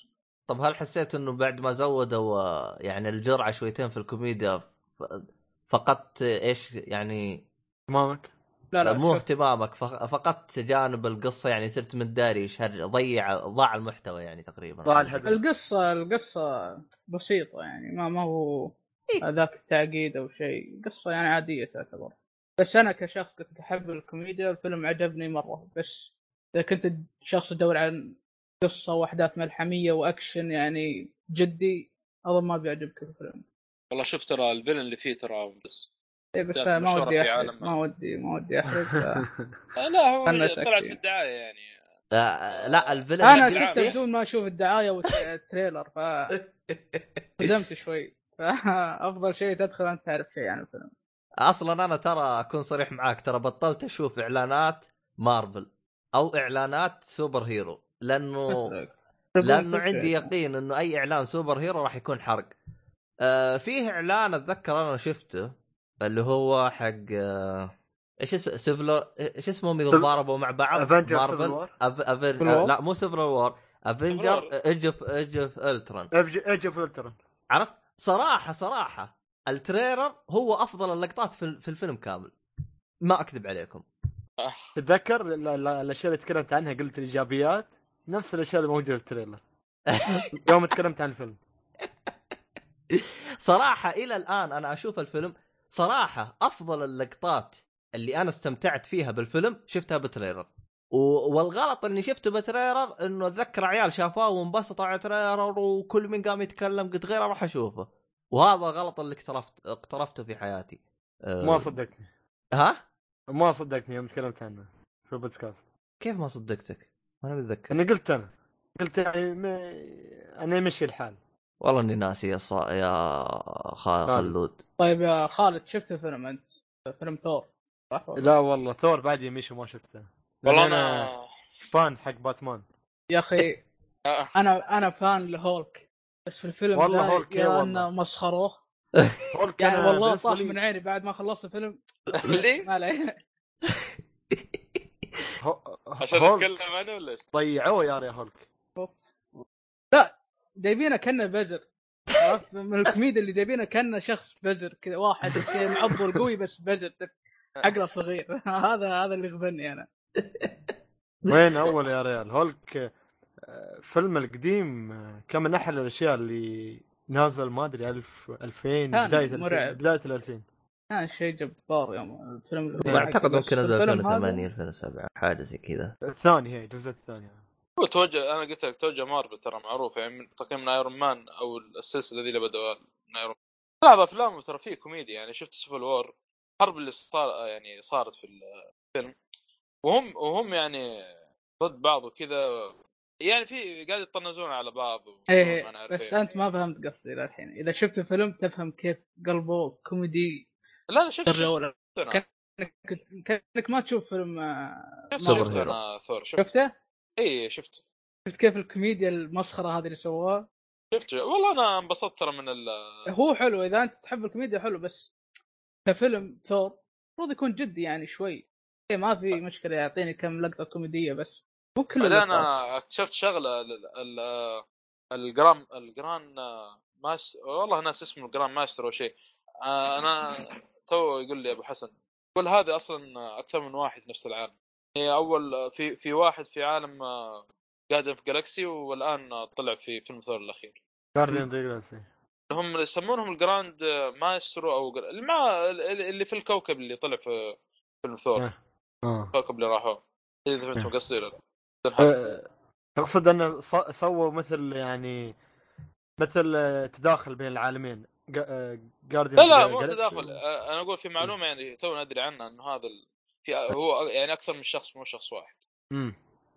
Speaker 1: طب هل حسيت انه بعد ما زودوا آه، يعني الجرعه شويتين في الكوميديا ف- فقدت ايش يعني
Speaker 5: تمامك
Speaker 2: لا لا
Speaker 1: مو
Speaker 2: شوف،
Speaker 1: اهتمامك فق- فقدت جانب القصه يعني صرت متداري ايش هر- ضيع ضاع المحتوى يعني تقريبا
Speaker 5: ضاع الهدف.
Speaker 2: القصه القصه بسيطه يعني ما ما هو هذاك التعقيد او شيء قصه يعني عاديه تعتبر بس انا كشخص كنت احب الكوميديا الفيلم عجبني مره بس اذا كنت شخص يدور عن قصه واحداث ملحميه واكشن يعني جدي اظن ما بيعجبك الفيلم
Speaker 3: والله شوف ترى الفيلن اللي فيه ترى بس
Speaker 2: إيه بس
Speaker 3: ذات
Speaker 2: ما
Speaker 3: مشهورة
Speaker 2: ودي
Speaker 3: في
Speaker 2: احرق
Speaker 3: عالم-
Speaker 2: ما ودي ما ودي احرق ف-
Speaker 3: آه، لا هو
Speaker 2: خلنا
Speaker 3: طلعت
Speaker 2: نتأكد.
Speaker 3: في الدعايه يعني
Speaker 1: آه، لا الفيلم
Speaker 2: انا
Speaker 1: اللي قلت
Speaker 2: شفته
Speaker 1: فيه-
Speaker 2: بدون ما اشوف الدعايه والتريلر ف صدمت شوي فافضل شيء تدخل انت تعرف شيء عن الفيلم
Speaker 1: اصلا انا ترى اكون صريح معاك ترى بطلت اشوف اعلانات مارفل او اعلانات سوبر هيرو لانه لانه عندي يقين انه اي اعلان سوبر هيرو راح يكون حرق. آه فيه اعلان اتذكر انا شفته اللي هو حق آه ايش اسمه سيفلو ايش اسمهم اذا
Speaker 5: Civil-
Speaker 1: ضاربوا مع بعض؟
Speaker 5: Avengers Civil
Speaker 1: مارفل
Speaker 5: War؟
Speaker 1: أف... أف...
Speaker 2: Civil War؟
Speaker 1: لا مو سيفل وور افنجر
Speaker 3: War.
Speaker 1: ايج اوف ايج اوف الترون
Speaker 5: ايج اوف الترن
Speaker 1: عرفت؟ صراحه صراحه التريلر هو افضل اللقطات في, في الفيلم كامل ما اكذب عليكم
Speaker 3: آه،
Speaker 5: تتذكر ال- ال- الاشياء اللي تكلمت عنها قلت الايجابيات نفس الاشياء اللي موجوده في التريلر يوم تكلمت عن الفيلم
Speaker 1: صراحه الى الان انا اشوف الفيلم صراحه افضل اللقطات اللي انا استمتعت فيها بالفيلم شفتها بتريلر و... والغلط اني شفته بتريلر انه اتذكر عيال شافوه وانبسطوا على تريلر وكل من قام يتكلم قلت غير اروح اشوفه وهذا غلط اللي اقترفت اقترفته في حياتي أه...
Speaker 5: ما صدقتني
Speaker 1: ها
Speaker 5: ما صدقتني يوم تكلمت عنه في البودكاست
Speaker 1: كيف ما صدقتك؟ ما انا متذكر
Speaker 5: انا قلت انا قلت يعني ما... انا يمشي الحال
Speaker 1: والله اني ناسي يا صا... يا خا...
Speaker 5: خالد.
Speaker 1: خلود
Speaker 2: طيب يا خالد شفت الفيلم انت فيلم ثور صح ولا؟
Speaker 5: لا والله ثور بعد يمشي وما شفته
Speaker 3: والله
Speaker 5: لأن
Speaker 3: انا
Speaker 5: فان حق باتمان
Speaker 2: يا اخي
Speaker 3: آه،
Speaker 2: انا انا فان لهولك بس في الفيلم
Speaker 5: والله
Speaker 2: ذا
Speaker 5: هولك، إيه
Speaker 2: يا
Speaker 5: والله.
Speaker 2: انه مسخروه
Speaker 5: هولك
Speaker 2: يعني
Speaker 5: أنا
Speaker 2: والله
Speaker 5: بالنسبة
Speaker 2: طاح
Speaker 5: لي-
Speaker 2: من عيني بعد ما خلصت الفيلم
Speaker 3: آه. ليه؟
Speaker 2: ما عليه
Speaker 5: هو-
Speaker 3: عشان
Speaker 5: هولك
Speaker 3: اتكلم عنه ولا ايش؟
Speaker 5: ضيعوه يا يا هولك
Speaker 2: جايبينه كانه بزر عرفت؟ من الكوميديا اللي جايبينه كانه شخص بزر كذا واحد كذا معضل قوي بس بزر عقله صغير هذا هذا اللي غبني انا
Speaker 5: وين اول يا ريال هولك آه، فيلم القديم آه، كان من احلى الاشياء اللي نازل ما ادري 1000 2000
Speaker 2: كان
Speaker 5: بدايه الألفين-
Speaker 2: مرعب.
Speaker 5: بدايه ال 2000
Speaker 2: كان آه، شيء جبار يوم الفيلم الأول
Speaker 1: اعتقد
Speaker 2: حقه، بس
Speaker 1: ممكن نزل
Speaker 2: إيه، الفيلم هذا
Speaker 1: 2008 2007 حاجه زي كذا
Speaker 5: الثاني هي الجزء الثاني
Speaker 3: هو توجه انا قلت لك توجه مارفل ترى معروف يعني من تقييم ايرون مان او السلسله ذي اللي بدأوا من ايرون مان. بعض افلامه ترى فيه كوميديا يعني شفت سيفل وور الحرب اللي صار يعني صارت في الفيلم وهم وهم يعني ضد بعض وكذا يعني في قاعد يطنزون على بعض و-
Speaker 2: ايه
Speaker 3: أنا عارف
Speaker 2: بس
Speaker 3: إيه.
Speaker 2: انت ما فهمت قصدي للحين اذا شفت الفيلم تفهم كيف قلبه كوميدي
Speaker 3: لا انا شفت
Speaker 2: درجه
Speaker 3: شفت
Speaker 2: اولى
Speaker 3: انا
Speaker 2: كنت- كانك ما تشوف فيلم آه،
Speaker 3: شفت-
Speaker 1: سوبر
Speaker 3: شفت
Speaker 1: هيرو.
Speaker 3: انا ثور شفت
Speaker 2: شفته
Speaker 3: اي شفت
Speaker 2: شفت كيف الكوميديا المسخره هذه اللي سووها
Speaker 3: شفت والله انا انبسطت ترى من ال
Speaker 2: هو حلو اذا انت تحب الكوميديا حلو بس كفيلم ثور المفروض يكون جدي يعني شوي إيه ما في مشكله يعطيني كم لقطه كوميديه بس مو كل
Speaker 3: بعدين
Speaker 2: اللقطات.
Speaker 3: انا اكتشفت شغله ال- ال- ال- الجرام الجران ماس والله ناس اسمه الجران ماستر او شيء آه، انا تو يقول لي ابو حسن يقول هذا اصلا اكثر من واحد نفس العالم هي اول في في واحد في عالم جاردن في جالكسي والان آه، طلع في فيلم ثور الاخير
Speaker 5: جارديان ذا جلاكسي
Speaker 3: هم يسمونهم الجراند آه، ماسترو او جر- اللي مع اللي في الكوكب اللي طلع في فيلم ثور
Speaker 5: آه. اه
Speaker 3: الكوكب اللي راحوا اذا فهمتم قصدي ولا لا؟
Speaker 5: آه، تقصد انه ص- سووا مثل يعني مثل آه، تداخل بين العالمين آه، جارديان
Speaker 3: لا لا مو تداخل آه، انا اقول في معلومه يعني تونا ادري عنها انه هذا ال... في هو يعني اكثر من شخص مو شخص واحد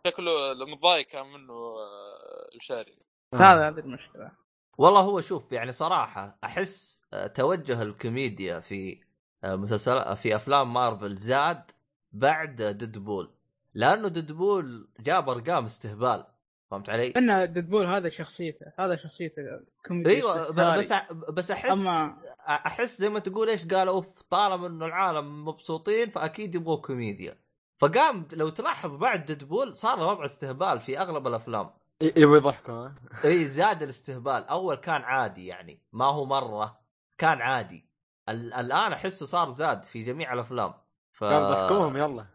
Speaker 3: شكله المتضايق كان منه آه، الشاري
Speaker 1: آه.
Speaker 2: هذا هذه المشكله
Speaker 1: والله هو شوف يعني صراحه احس آه، توجه الكوميديا في آه، مسلسل في افلام مارفل زاد بعد ديدبول لانه ديدبول جاب ارقام استهبال فهمت علي؟
Speaker 2: ان ديدبول هذا شخصيته هذا شخصيته
Speaker 3: أيوة،
Speaker 2: كوميدي
Speaker 1: ايوه ب-
Speaker 2: استهتاري.
Speaker 1: بس أ- بس احس
Speaker 2: اما
Speaker 1: احس زي ما تقول ايش قال اوف طالما انه العالم مبسوطين فاكيد يبغوا كوميديا فقام لو تلاحظ بعد ديدبول صار وضع استهبال في اغلب الافلام
Speaker 5: يبغى يضحكوا ها؟
Speaker 1: اي زاد الاستهبال اول كان عادي يعني ما هو مره كان عادي ال- الان احسه صار زاد في جميع الافلام ف
Speaker 5: قالوا ضحكوهم يلا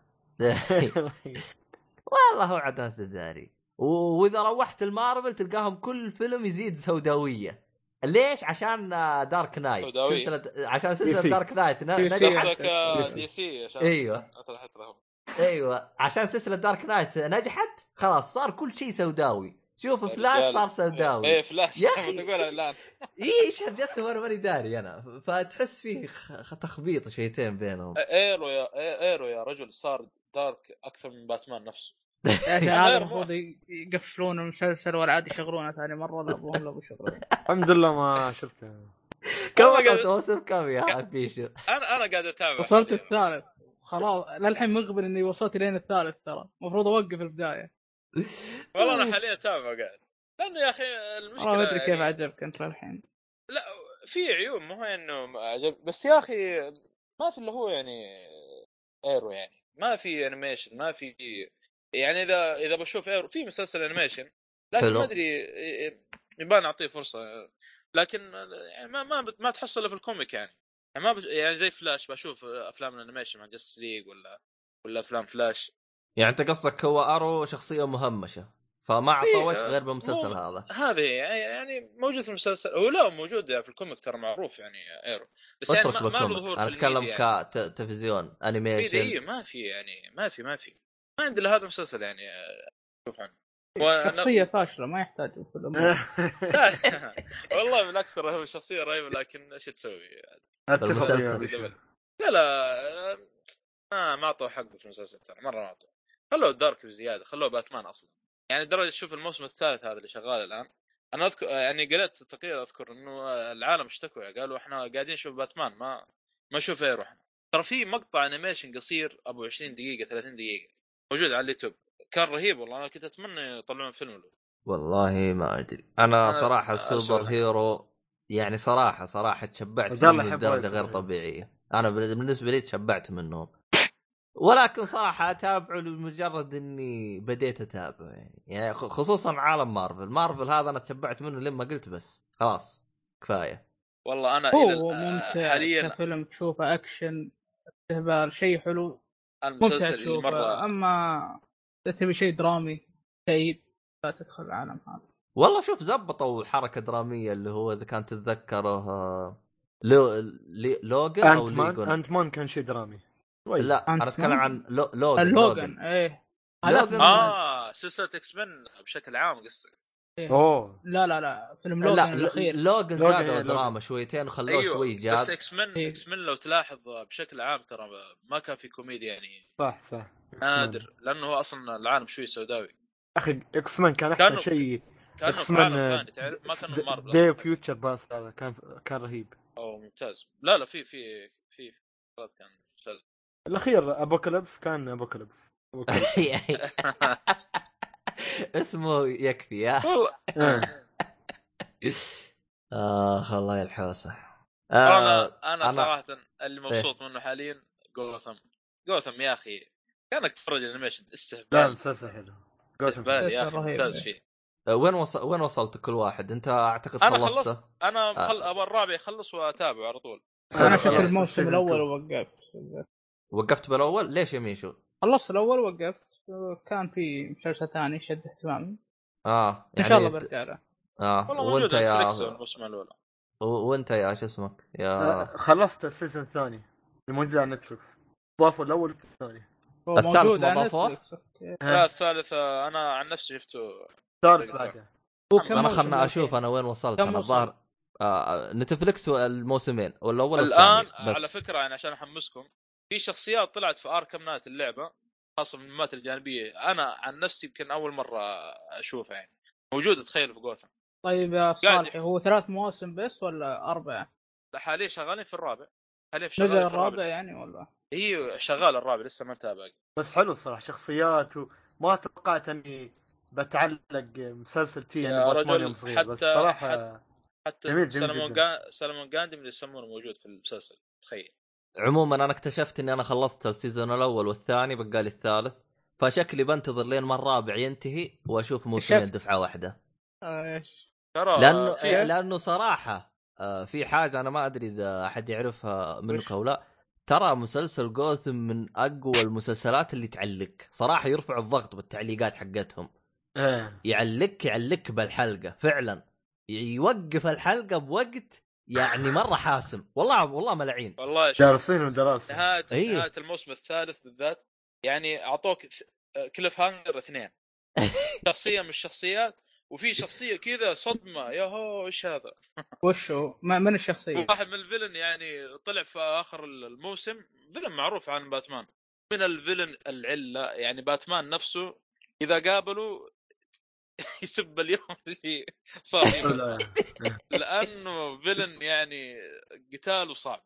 Speaker 1: والله هو عاد استداري و- واذا روحت المارفل تلقاهم كل فيلم يزيد سوداويه ليش عشان آه، دارك نايت
Speaker 3: سوداوية.
Speaker 1: سلسله عشان
Speaker 5: دي سي.
Speaker 1: سلسله دارك نايت ن-
Speaker 2: دي سي.
Speaker 1: نجحت
Speaker 3: قصدك آه، دي سي عشان
Speaker 2: إيه.
Speaker 1: ايوه
Speaker 3: طلعت لهم
Speaker 1: ايوه عشان سلسله دارك نايت نجحت خلاص صار كل شيء سوداوي شوف
Speaker 3: يا
Speaker 1: فلاش
Speaker 3: رجال.
Speaker 1: صار سوداوي إيه،
Speaker 3: ايه فلاش
Speaker 1: يا أخي.
Speaker 3: تقول الان
Speaker 1: اي ايش جتهم وانا ماني داري انا فتحس فيه خ- تخبيط شيتين بينهم
Speaker 3: ايرو يا ايرو يا رجل صار دارك اكثر من باتمان نفسه
Speaker 2: يا أخي يعني هذا
Speaker 3: غير
Speaker 2: المفروض يقفلون المسلسل ولا عاد يشغلونه ثاني مره لا ابوهم لا أبو يشغلونه
Speaker 5: الحمد لله ما شفته
Speaker 1: كم
Speaker 3: والله قاعد-
Speaker 1: وصلت موسم كم يا بيشو
Speaker 3: انا انا قاعد اتابع
Speaker 2: وصلت الثالث خلاص للحين مخبر اني وصلت لين الثالث ترى المفروض اوقف البدايه
Speaker 3: والله انا حاليا اتابع قاعد لانه يا اخي المشكله
Speaker 2: والله ما ادري كيف
Speaker 3: يعني-
Speaker 2: عجبك انت للحين
Speaker 3: لا في عيوب مو هي انه ما عجب بس يا اخي ما في اللي هو يعني ايرو يعني ما في انيميشن ما في يعني اذا اذا بشوف ايرو في مسلسل انيميشن لكن
Speaker 1: حلو.
Speaker 3: ما ادري يبان اعطيه فرصه لكن يعني ما ما بت- ما تحصله في الكوميك يعني يعني ما بش... يعني زي فلاش بشوف افلام الانيميشن مع جاستس ليج ولا ولا افلام فلاش
Speaker 1: يعني انت قصدك هو ارو شخصيه مهمشه فما
Speaker 3: إيه،
Speaker 1: عطى وجه
Speaker 3: آه،
Speaker 1: غير بالمسلسل
Speaker 3: مو-
Speaker 1: هذا
Speaker 3: هذه يعني موجود في المسلسل هو لا موجود في الكوميك ترى معروف يعني ايرو بس يعني
Speaker 1: اترك
Speaker 3: ما, ما له
Speaker 1: بالكوميك
Speaker 3: ظهور
Speaker 1: انا
Speaker 3: في الميديا إيه،
Speaker 1: اتكلم
Speaker 3: يعني.
Speaker 1: كتلفزيون انيميشن
Speaker 3: اي ما في يعني ما في ما في ما عندي الا هذا المسلسل يعني آه، اشوف عنه وأنا-
Speaker 2: شخصيه فاشله ما يحتاج في
Speaker 5: آه.
Speaker 2: الامور
Speaker 3: لا، والله بالعكس ترى هو شخصيه رهيبه لكن ايش تسوي؟
Speaker 5: اتفق يا
Speaker 1: المسلسل.
Speaker 5: بيشو.
Speaker 3: لا لا آه، ما ما اعطوه حقه في المسلسل ترى مره ما اعطوه خلوه دارك بزياده خلوه باتمان اصلا يعني درجة شوف الموسم الثالث هذا اللي شغال الان انا اذكر آه، يعني قريت تقرير اذكر انه آه، العالم اشتكوا قالوا احنا قاعدين نشوف باتمان ما ما نشوف ايرو احنا ترى في مقطع انيميشن قصير ابو 20 دقيقه 30 دقيقه موجود على اليوتيوب كان رهيب والله انا كنت اتمنى يطلعون فيلم له
Speaker 1: والله ما ادري انا
Speaker 3: آه،
Speaker 1: صراحه
Speaker 3: آه،
Speaker 1: السوبر
Speaker 3: شغل.
Speaker 1: هيرو يعني صراحه صراحه تشبعت
Speaker 5: عبد الله
Speaker 1: منه
Speaker 5: يحب
Speaker 1: بدرجه
Speaker 5: السوبر
Speaker 1: غير
Speaker 5: هيرو.
Speaker 1: طبيعيه انا بال- بالنسبه لي تشبعت منهم ولكن صراحه اتابعه لمجرد اني بديت اتابعه يعني, يعني خ- خصوصا عالم مارفل مارفل هذا انا تشبعت منه لما قلت بس خلاص كفايه
Speaker 3: والله انا الى
Speaker 2: هو
Speaker 3: ال- آه،
Speaker 2: ممتع
Speaker 3: حاليا
Speaker 2: كفيلم تشوفه اكشن استهبال شيء حلو ممتع
Speaker 3: المسلسل اللي
Speaker 2: تشوفه
Speaker 3: مره
Speaker 2: اما اذا تبي شيء درامي كئيب لا تدخل العالم هذا
Speaker 1: والله شوف زبطوا حركه دراميه اللي هو اذا كان تتذكره آه، لو لي- لوجن او
Speaker 5: انت مان
Speaker 1: ليجون
Speaker 5: انت مان كان شيء درامي شوي.
Speaker 1: لا
Speaker 2: أنت
Speaker 1: انا اتكلم
Speaker 2: مان؟
Speaker 1: عن لو- لوجن
Speaker 2: اللوغن ايه هذاك
Speaker 1: لوغان.
Speaker 2: من-
Speaker 3: اه سلسله اكس من بشكل عام قصه
Speaker 5: اوه
Speaker 2: إيه. لا لا لا فيلم لوغن
Speaker 1: لا
Speaker 2: الاخير
Speaker 1: لوجن
Speaker 5: لوغان،
Speaker 1: زادوا
Speaker 5: إيه،
Speaker 1: الدراما
Speaker 5: لوغان.
Speaker 1: شويتين وخلوه
Speaker 3: ايوه
Speaker 1: شوي
Speaker 3: بس
Speaker 1: جاد
Speaker 3: اكس من
Speaker 2: إيه.
Speaker 3: اكس من لو تلاحظ بشكل عام ترى ما كان في كوميديا يعني
Speaker 5: صح صح
Speaker 3: نادر لانه هو اصلا العالم شوي سوداوي
Speaker 5: اخي اكس مان كان احسن
Speaker 3: كانوا-
Speaker 5: شيء
Speaker 3: كانه
Speaker 5: X-Men،
Speaker 3: في عالم
Speaker 5: آه،
Speaker 3: ثاني تعرف ما كانوا مارفل
Speaker 5: دي
Speaker 3: أصلاً.
Speaker 5: فيوتشر باس هذا كان كان رهيب
Speaker 3: او ممتاز لا لا في في في شغلات كان ممتاز
Speaker 5: الاخير ابوكاليبس كان ابوكاليبس أبوكاليبس.
Speaker 1: اسمه يكفي يا
Speaker 3: والله
Speaker 5: آه.
Speaker 1: اخ الله يا الحوسه آه
Speaker 3: انا انا
Speaker 1: أنا- إيه.
Speaker 3: صراحه اللي مبسوط منه حاليا جوثم جوثم يا اخي كانك تتفرج انيميشن
Speaker 5: لا إيه،
Speaker 3: استهبال
Speaker 5: مسلسل حلو
Speaker 3: طيب، استهبال يا اخي
Speaker 2: رهيب.
Speaker 3: ممتاز فيه
Speaker 1: آه، وين وصل وين وصلت كل واحد انت اعتقد
Speaker 3: انا
Speaker 1: خلصته
Speaker 3: خلصت انا
Speaker 1: آه.
Speaker 3: خل... ابغى الرابع يخلص واتابع على طول
Speaker 2: انا
Speaker 5: خلصت
Speaker 2: شفت
Speaker 5: خلصت
Speaker 2: الموسم
Speaker 5: season
Speaker 2: الاول
Speaker 5: two.
Speaker 2: ووقفت
Speaker 1: وقفت بالاول ليش يا ميشو؟
Speaker 2: خلصت الاول ووقفت كان في مسلسل ثاني شد اهتمامي
Speaker 1: اه
Speaker 2: ان
Speaker 1: يعني
Speaker 2: شاء الله
Speaker 1: ت-
Speaker 2: برجع له
Speaker 1: اه
Speaker 3: والله موجود
Speaker 1: وانت
Speaker 3: على
Speaker 1: يا
Speaker 3: نتفلكس الموسم الاول
Speaker 1: و- وانت يا شو اسمك؟ يا
Speaker 5: آه، خلصت السيزون الثاني الموجود على نتفلكس ضافوا الاول والثاني
Speaker 2: هو
Speaker 1: الثالث
Speaker 2: موجود
Speaker 1: ما
Speaker 2: على
Speaker 1: ضافوه؟
Speaker 2: Netflix. أوكي.
Speaker 3: لا الثالث آه، انا عن نفسي شفته
Speaker 5: الثالث بعده
Speaker 2: هو كم
Speaker 1: انا
Speaker 2: موسم
Speaker 1: خلنا اشوف
Speaker 2: الحين؟
Speaker 1: انا وين وصلت
Speaker 2: كم
Speaker 1: انا
Speaker 2: وصل؟
Speaker 1: الظاهر آه نتفلكس الموسمين والاول
Speaker 3: الان
Speaker 1: والثاني، بس.
Speaker 3: على فكره يعني عشان احمسكم في شخصيات طلعت في اركم نايت اللعبه خاصه من المهمات الجانبيه انا عن نفسي يمكن اول مره اشوفها يعني موجود تخيل في جوثم
Speaker 2: طيب يا
Speaker 3: قاعد-
Speaker 2: صالحي هو ثلاث مواسم بس ولا اربعه؟
Speaker 3: حاليا شغالين في الرابع حاليا شغالين
Speaker 2: نزل
Speaker 3: في
Speaker 2: الرابع
Speaker 3: الرابع
Speaker 2: يعني ولا؟
Speaker 3: ايوه شغال الرابع لسه ما انتهى باقي
Speaker 5: بس حلو الصراحه شخصيات وما توقعت اني بتعلق مسلسل تي
Speaker 3: يا
Speaker 5: يعني باتمان
Speaker 3: رجل،
Speaker 5: يوم صغير بس
Speaker 3: حتى-
Speaker 5: صراحه جميل،
Speaker 3: حتى
Speaker 5: جميل
Speaker 3: سلمون
Speaker 5: جداً.
Speaker 3: جا... سلمون جاندي من اللي يسمونه موجود في المسلسل تخيل
Speaker 1: عموما انا اكتشفت اني انا خلصت السيزون الاول والثاني بقالي الثالث فشكلي بنتظر لين ما الرابع ينتهي واشوف موسمين
Speaker 2: اكتشفت.
Speaker 1: دفعه واحده
Speaker 2: آه،
Speaker 3: ترى
Speaker 1: لانه
Speaker 3: في-
Speaker 2: في-
Speaker 1: لانه صراحه إيه، آه، في حاجه انا ما ادري اذا احد يعرفها منك
Speaker 2: وش؟
Speaker 1: او لا ترى مسلسل جوثم من اقوى المسلسلات اللي تعلق صراحه يرفع الضغط بالتعليقات حقتهم
Speaker 5: ايه
Speaker 1: يعلق يعلق بالحلقه فعلا يوقف الحلقه بوقت يعني مره حاسم والله والله ملعين
Speaker 3: والله شوف
Speaker 5: جالسين ودراسه
Speaker 3: نهايه
Speaker 1: إيه.
Speaker 3: نهايه الموسم الثالث بالذات يعني اعطوك كليف هانجر اثنين شخصيه من الشخصيات وفي شخصيه كذا صدمه يا هو ايش هذا؟
Speaker 2: وش هو؟ ما- من
Speaker 1: إيه.
Speaker 2: الشخصيه؟
Speaker 3: واحد من الفيلن يعني طلع في اخر الموسم فيلن معروف عن باتمان من الفيلن العله يعني باتمان نفسه اذا قابلوا يسب اليوم اللي صار فيه باتمان.
Speaker 5: لا،
Speaker 3: لانه فيلن يعني قتاله صعب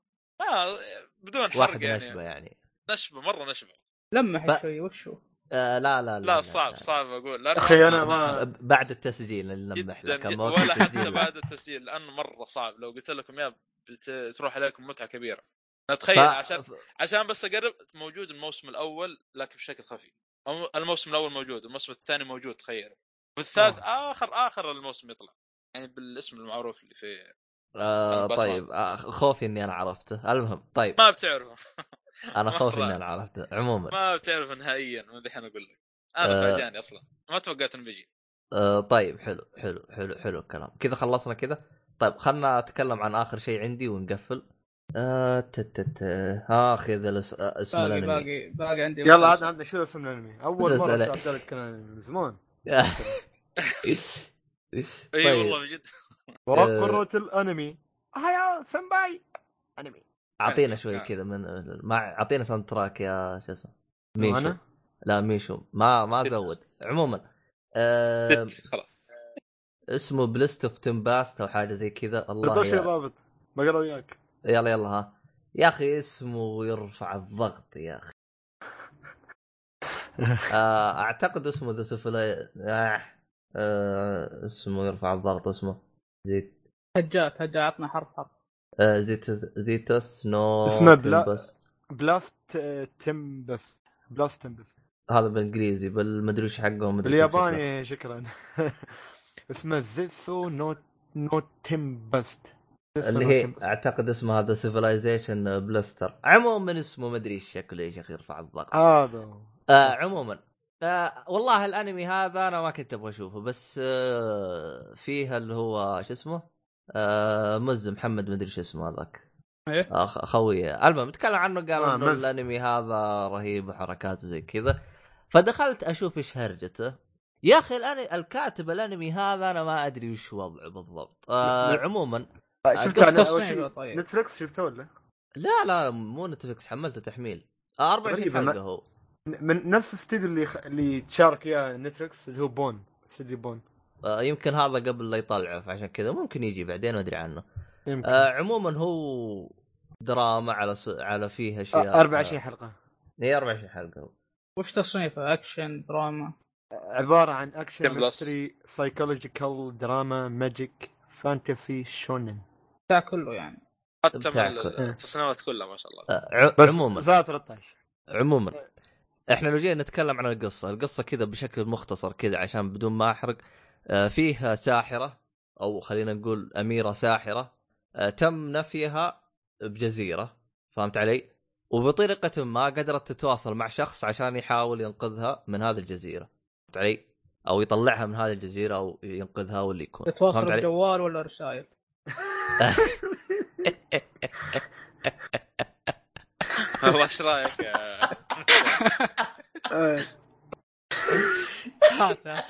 Speaker 3: آه بدون حرق
Speaker 1: واحد
Speaker 3: يعني
Speaker 1: نشبه يعني
Speaker 3: نشبه مره نشبه
Speaker 2: لمح
Speaker 1: ف-
Speaker 2: شوي وش هو؟
Speaker 1: آه لا لا لا,
Speaker 3: لا صعب صعب اقول لانه
Speaker 5: اخي انا
Speaker 3: أصلاً
Speaker 5: ما
Speaker 1: آه، بعد التسجيل نلمح
Speaker 3: جدا
Speaker 1: لك
Speaker 3: جدا
Speaker 1: أما وقت
Speaker 3: آه. ولا حتى
Speaker 1: التسجيل لا.
Speaker 3: بعد التسجيل لانه مره صعب لو قلت لكم يا بت- تروح عليكم متعه كبيره أنا اتخيل طيب، عشان
Speaker 1: ف...
Speaker 3: عشان بس اقرب موجود الموسم الاول لكن بشكل خفي أم- الموسم الاول موجود الموسم الثاني موجود تخيل والثالث
Speaker 1: آه.
Speaker 3: اخر اخر الموسم يطلع يعني بالاسم المعروف اللي في
Speaker 1: آه
Speaker 3: باتمان.
Speaker 1: طيب آه خوفي اني انا عرفته المهم طيب
Speaker 3: ما بتعرفه
Speaker 1: انا
Speaker 3: مرة.
Speaker 1: خوفي اني انا عرفته عموما
Speaker 3: ما بتعرفه نهائيا ما دحين اقول لك انا
Speaker 1: طيب. آه.
Speaker 3: فاجاني اصلا ما توقعت انه بيجي
Speaker 1: آه طيب حلو حلو حلو حلو الكلام كذا خلصنا كذا طيب خلنا اتكلم عن اخر شيء عندي ونقفل آه تت تت اخ اذا الأس- آه، اسم
Speaker 2: باقي
Speaker 1: الأنمي.
Speaker 2: باقي باقي عندي
Speaker 5: يلا عاد عندنا شو اسم الانمي اول مره
Speaker 1: مسلسل.
Speaker 5: شو عبد الله يتكلم عن الأنمي، من زمان
Speaker 3: اي
Speaker 1: طيب.
Speaker 3: والله من جد
Speaker 1: آه.
Speaker 5: وقرة الانمي هيا سمباي انمي
Speaker 1: اعطينا
Speaker 3: يعني،
Speaker 1: شوي
Speaker 3: يعني.
Speaker 1: كذا من مع اعطينا ساوند تراك يا شو اسمه ميشو
Speaker 5: وانا
Speaker 1: لا ميشو ما ما
Speaker 3: دت.
Speaker 1: زود عموما آه
Speaker 3: دت خلاص
Speaker 1: اسمه بليست اوف تمباست او حاجه زي كذا الله
Speaker 5: تقدرش
Speaker 1: يا...
Speaker 5: رابط بقرا وياك
Speaker 1: يلا يلا ها يا اخي اسمه يرفع الضغط يا اخي آه اعتقد اسمه ذا سفلاي آه آه اسمه يرفع الضغط اسمه زيت
Speaker 2: هجات هجات عطنا حرف حرف
Speaker 1: آه زيتوس زيتوس نو
Speaker 5: اسمه بلا-
Speaker 1: تمبس.
Speaker 5: بلاست آه، تمبس بلاست تمبس
Speaker 1: هذا بالانجليزي بالمدري ايش حقهم مدري كيف شكله.
Speaker 5: بالياباني شكرا اسمه زيسو نو نو تمبست زيسو
Speaker 1: اللي
Speaker 5: نو
Speaker 1: هي
Speaker 5: تمبست.
Speaker 1: اعتقد اسمها هذا سيفلايزيشن بلاستر عموما اسمه مدري ايش شكله يا شيخ يرفع الضغط
Speaker 5: هذا هو.
Speaker 1: آه عموما آه والله الانمي هذا انا ما كنت ابغى اشوفه بس آه فيه اللي هو شو اسمه آه مز محمد مدري شو اسمه هذاك
Speaker 2: إيه.
Speaker 1: آه خ- خويه المهم تكلم عنه قال
Speaker 5: آه،
Speaker 1: انه
Speaker 5: مز.
Speaker 1: الانمي هذا رهيب وحركاته زي كذا فدخلت اشوف ايش هرجته يا اخي الانمي الكاتب الانمي هذا انا ما ادري وش وضعه بالضبط آه
Speaker 5: لا.
Speaker 1: عموما
Speaker 5: طيب،
Speaker 1: آه،
Speaker 5: شفت
Speaker 1: قصة
Speaker 5: أنا أول
Speaker 2: صعبة،
Speaker 5: شيء
Speaker 2: طيب.
Speaker 5: نتفلكس شفته ولا؟
Speaker 1: لا لا مو نتفلكس حملته تحميل آه 24
Speaker 5: غريب، ما-
Speaker 1: حلقه هو
Speaker 5: من نفس الاستديو اللي خ... اللي تشارك اياه نتفلكس اللي هو بون استديو بون
Speaker 1: آه، يمكن هذا قبل لا يطلعه فعشان كذا ممكن يجي بعدين ادري عنه
Speaker 5: يمكن
Speaker 1: آه عموما هو دراما على س... على فيه اشياء
Speaker 5: آه، 24 حلقه
Speaker 1: آه، إيه، 24 حلقه هو.
Speaker 2: وش تصنيفه؟ اكشن دراما
Speaker 5: عباره عن
Speaker 3: كم
Speaker 5: اكشن
Speaker 3: بلس؟
Speaker 5: ميستري سايكولوجيكال دراما ماجيك فانتسي شونن
Speaker 2: بتاع كله يعني
Speaker 3: حتى من
Speaker 1: بتاع-
Speaker 3: ال- التصنيفات كلها ما شاء الله
Speaker 1: آه ع...
Speaker 5: بس
Speaker 1: عموما
Speaker 5: زائد 13
Speaker 1: عموما احنا لو جينا نتكلم عن القصه، القصه كذا بشكل مختصر كذا عشان بدون ما احرق آه، فيها ساحره او خلينا نقول اميره ساحره آه، تم نفيها بجزيره فهمت علي؟ وبطريقه ما قدرت تتواصل مع شخص عشان يحاول ينقذها من هذه الجزيره فهمت علي؟ او يطلعها من هذه الجزيره او ينقذها واللي يكون
Speaker 2: تتواصل
Speaker 1: فهمت علي؟
Speaker 2: بالجوال ولا رسائل؟
Speaker 3: والله ايش رايك يا
Speaker 5: آه،
Speaker 2: هات هات.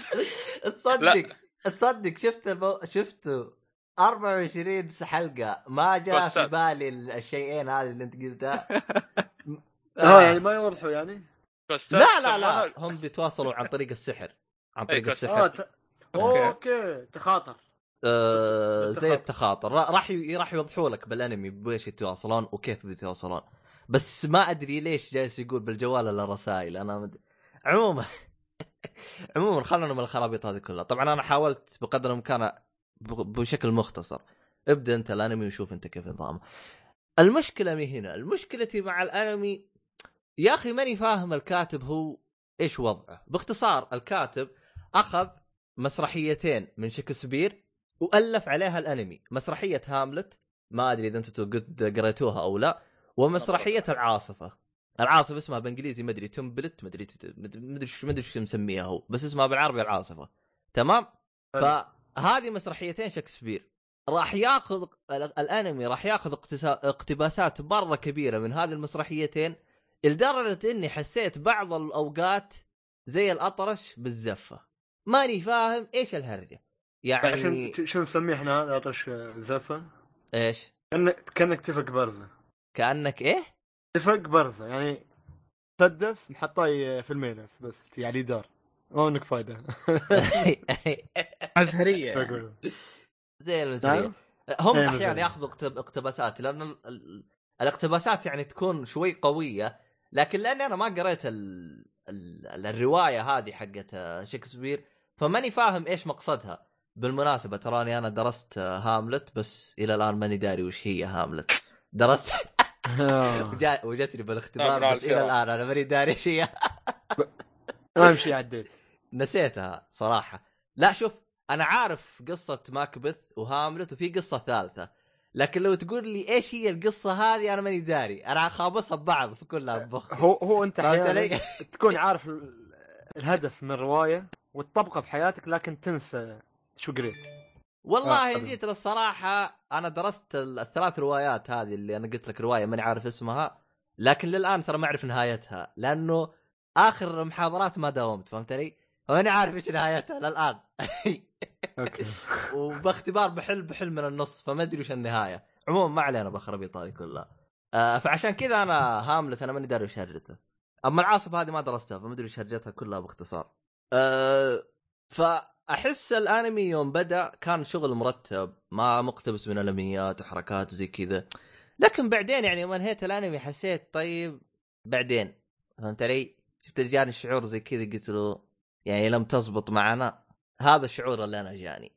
Speaker 1: تصدق تصدق شفت بو... شفته 24 حلقه ما جاء في
Speaker 3: توسعت.
Speaker 1: بالي الشيئين هذه اللي انت قلتها آه.
Speaker 5: اه يعني ما يوضحوا يعني؟
Speaker 3: كوستات
Speaker 1: لا لا
Speaker 3: سموها-
Speaker 1: لا هم بيتواصلوا عن طريق السحر عن
Speaker 3: أي
Speaker 1: طريق
Speaker 3: قصة.
Speaker 5: اه
Speaker 1: السحر
Speaker 5: ت...
Speaker 2: أوكي.
Speaker 5: اوكي تخاطر
Speaker 1: آه زي
Speaker 5: التخاطر.
Speaker 1: التخاطر را- راح ي- راح يوضحوا لك بالانمي بايش يتواصلون وكيف بيتواصلون بس ما ادري ليش جالس يقول بالجوال الا رسائل انا مد... عموما عموما خلونا من الخرابيط هذه كلها طبعا انا حاولت بقدر الامكان ب- بشكل مختصر ابدا انت الانمي وشوف انت كيف نظامه المشكله مي هنا المشكلتي مع الانمي يا اخي ماني فاهم الكاتب هو ايش وضعه باختصار الكاتب اخذ مسرحيتين من شكسبير والف عليها الانمي مسرحيه هاملت ما ادري اذا انتم قد قريتوها او لا ومسرحيه العاصفه العاصفه اسمها بالانجليزي ما ادري تمبلت ما ادري ما ادري ما ادري شو مسميها هو بس اسمها بالعربي العاصفه تمام فهذه مسرحيتين شكسبير راح ياخذ الانمي راح ياخذ اقتسا... اقتباسات مره كبيره من هذه المسرحيتين لدرجه اني حسيت بعض الاوقات زي الاطرش بالزفه ماني فاهم ايش الهرجه يعني
Speaker 5: شو شو نسميه آه، احنا هذا عطش زفه؟
Speaker 1: ايش
Speaker 5: كانك كانك تفك برزه
Speaker 1: كانك ايه
Speaker 5: تفك برزه يعني مسدس محطاه في المينس بس يعني دار ما منك فايده
Speaker 2: ازهريه يعني.
Speaker 1: زي
Speaker 5: نعم؟
Speaker 1: المثاليه هم
Speaker 5: أيوة
Speaker 1: احيانا
Speaker 5: بالضبط.
Speaker 1: ياخذوا اقتب- اقتباسات لان ال- ال- الاقتباسات يعني تكون شوي قويه لكن لاني انا ما قريت ال... ال... ال- الروايه هذه حقت آه، شكسبير فماني فاهم ايش مقصدها بالمناسبه تراني انا درست آه، هاملت بس الى الان ماني داري وش هي هاملت درست وجا... وجتني
Speaker 3: لا، لا،
Speaker 1: بالاختبار بس الى
Speaker 3: الفيرة.
Speaker 1: الان انا ماني داري ايش هي
Speaker 5: اهم شيء عديت
Speaker 1: نسيتها صراحة لا شوف أنا عارف قصة ماكبث وهاملت وفي قصة ثالثة لكن لو تقول لي ايش هي القصة هذه أنا ماني داري أنا خابصها ببعض في كلها ببخ
Speaker 5: هو هو انت
Speaker 1: فهمت علي؟
Speaker 5: احيانا تكون عارف ال- الهدف من الروايه وتطبقه في حياتك لكن تنسى شو قريت
Speaker 1: والله
Speaker 5: آه،
Speaker 1: إن جيت للصراحة أنا درست ال- الثلاث روايات هذه اللي أنا قلت لك رواية ماني عارف اسمها لكن للآن ترى ما أعرف نهايتها لأنه آخر المحاضرات ما داومت فهمت علي؟ فماني عارف ايش نهايتها للآن
Speaker 5: اوكي
Speaker 1: وباختبار بحل بحل من النص فما ادري وش النهايه عموما ما علينا بالخرابيط هذه كلها آه فعشان كذا انا هاملت انا ماني داري وش هرجته اما العاصفه هذه ما درستها فما ادري وش هرجتها كلها باختصار آه فاحس الانمي يوم بدا كان شغل مرتب ما مقتبس من الامنيات وحركات وزي كذا لكن بعدين يعني يوم انهيت الانمي حسيت طيب بعدين فهمت علي؟ شفت جاني شعور زي كذا قلت له يعني لم تزبط معنا هذا الشعور اللي انا جاني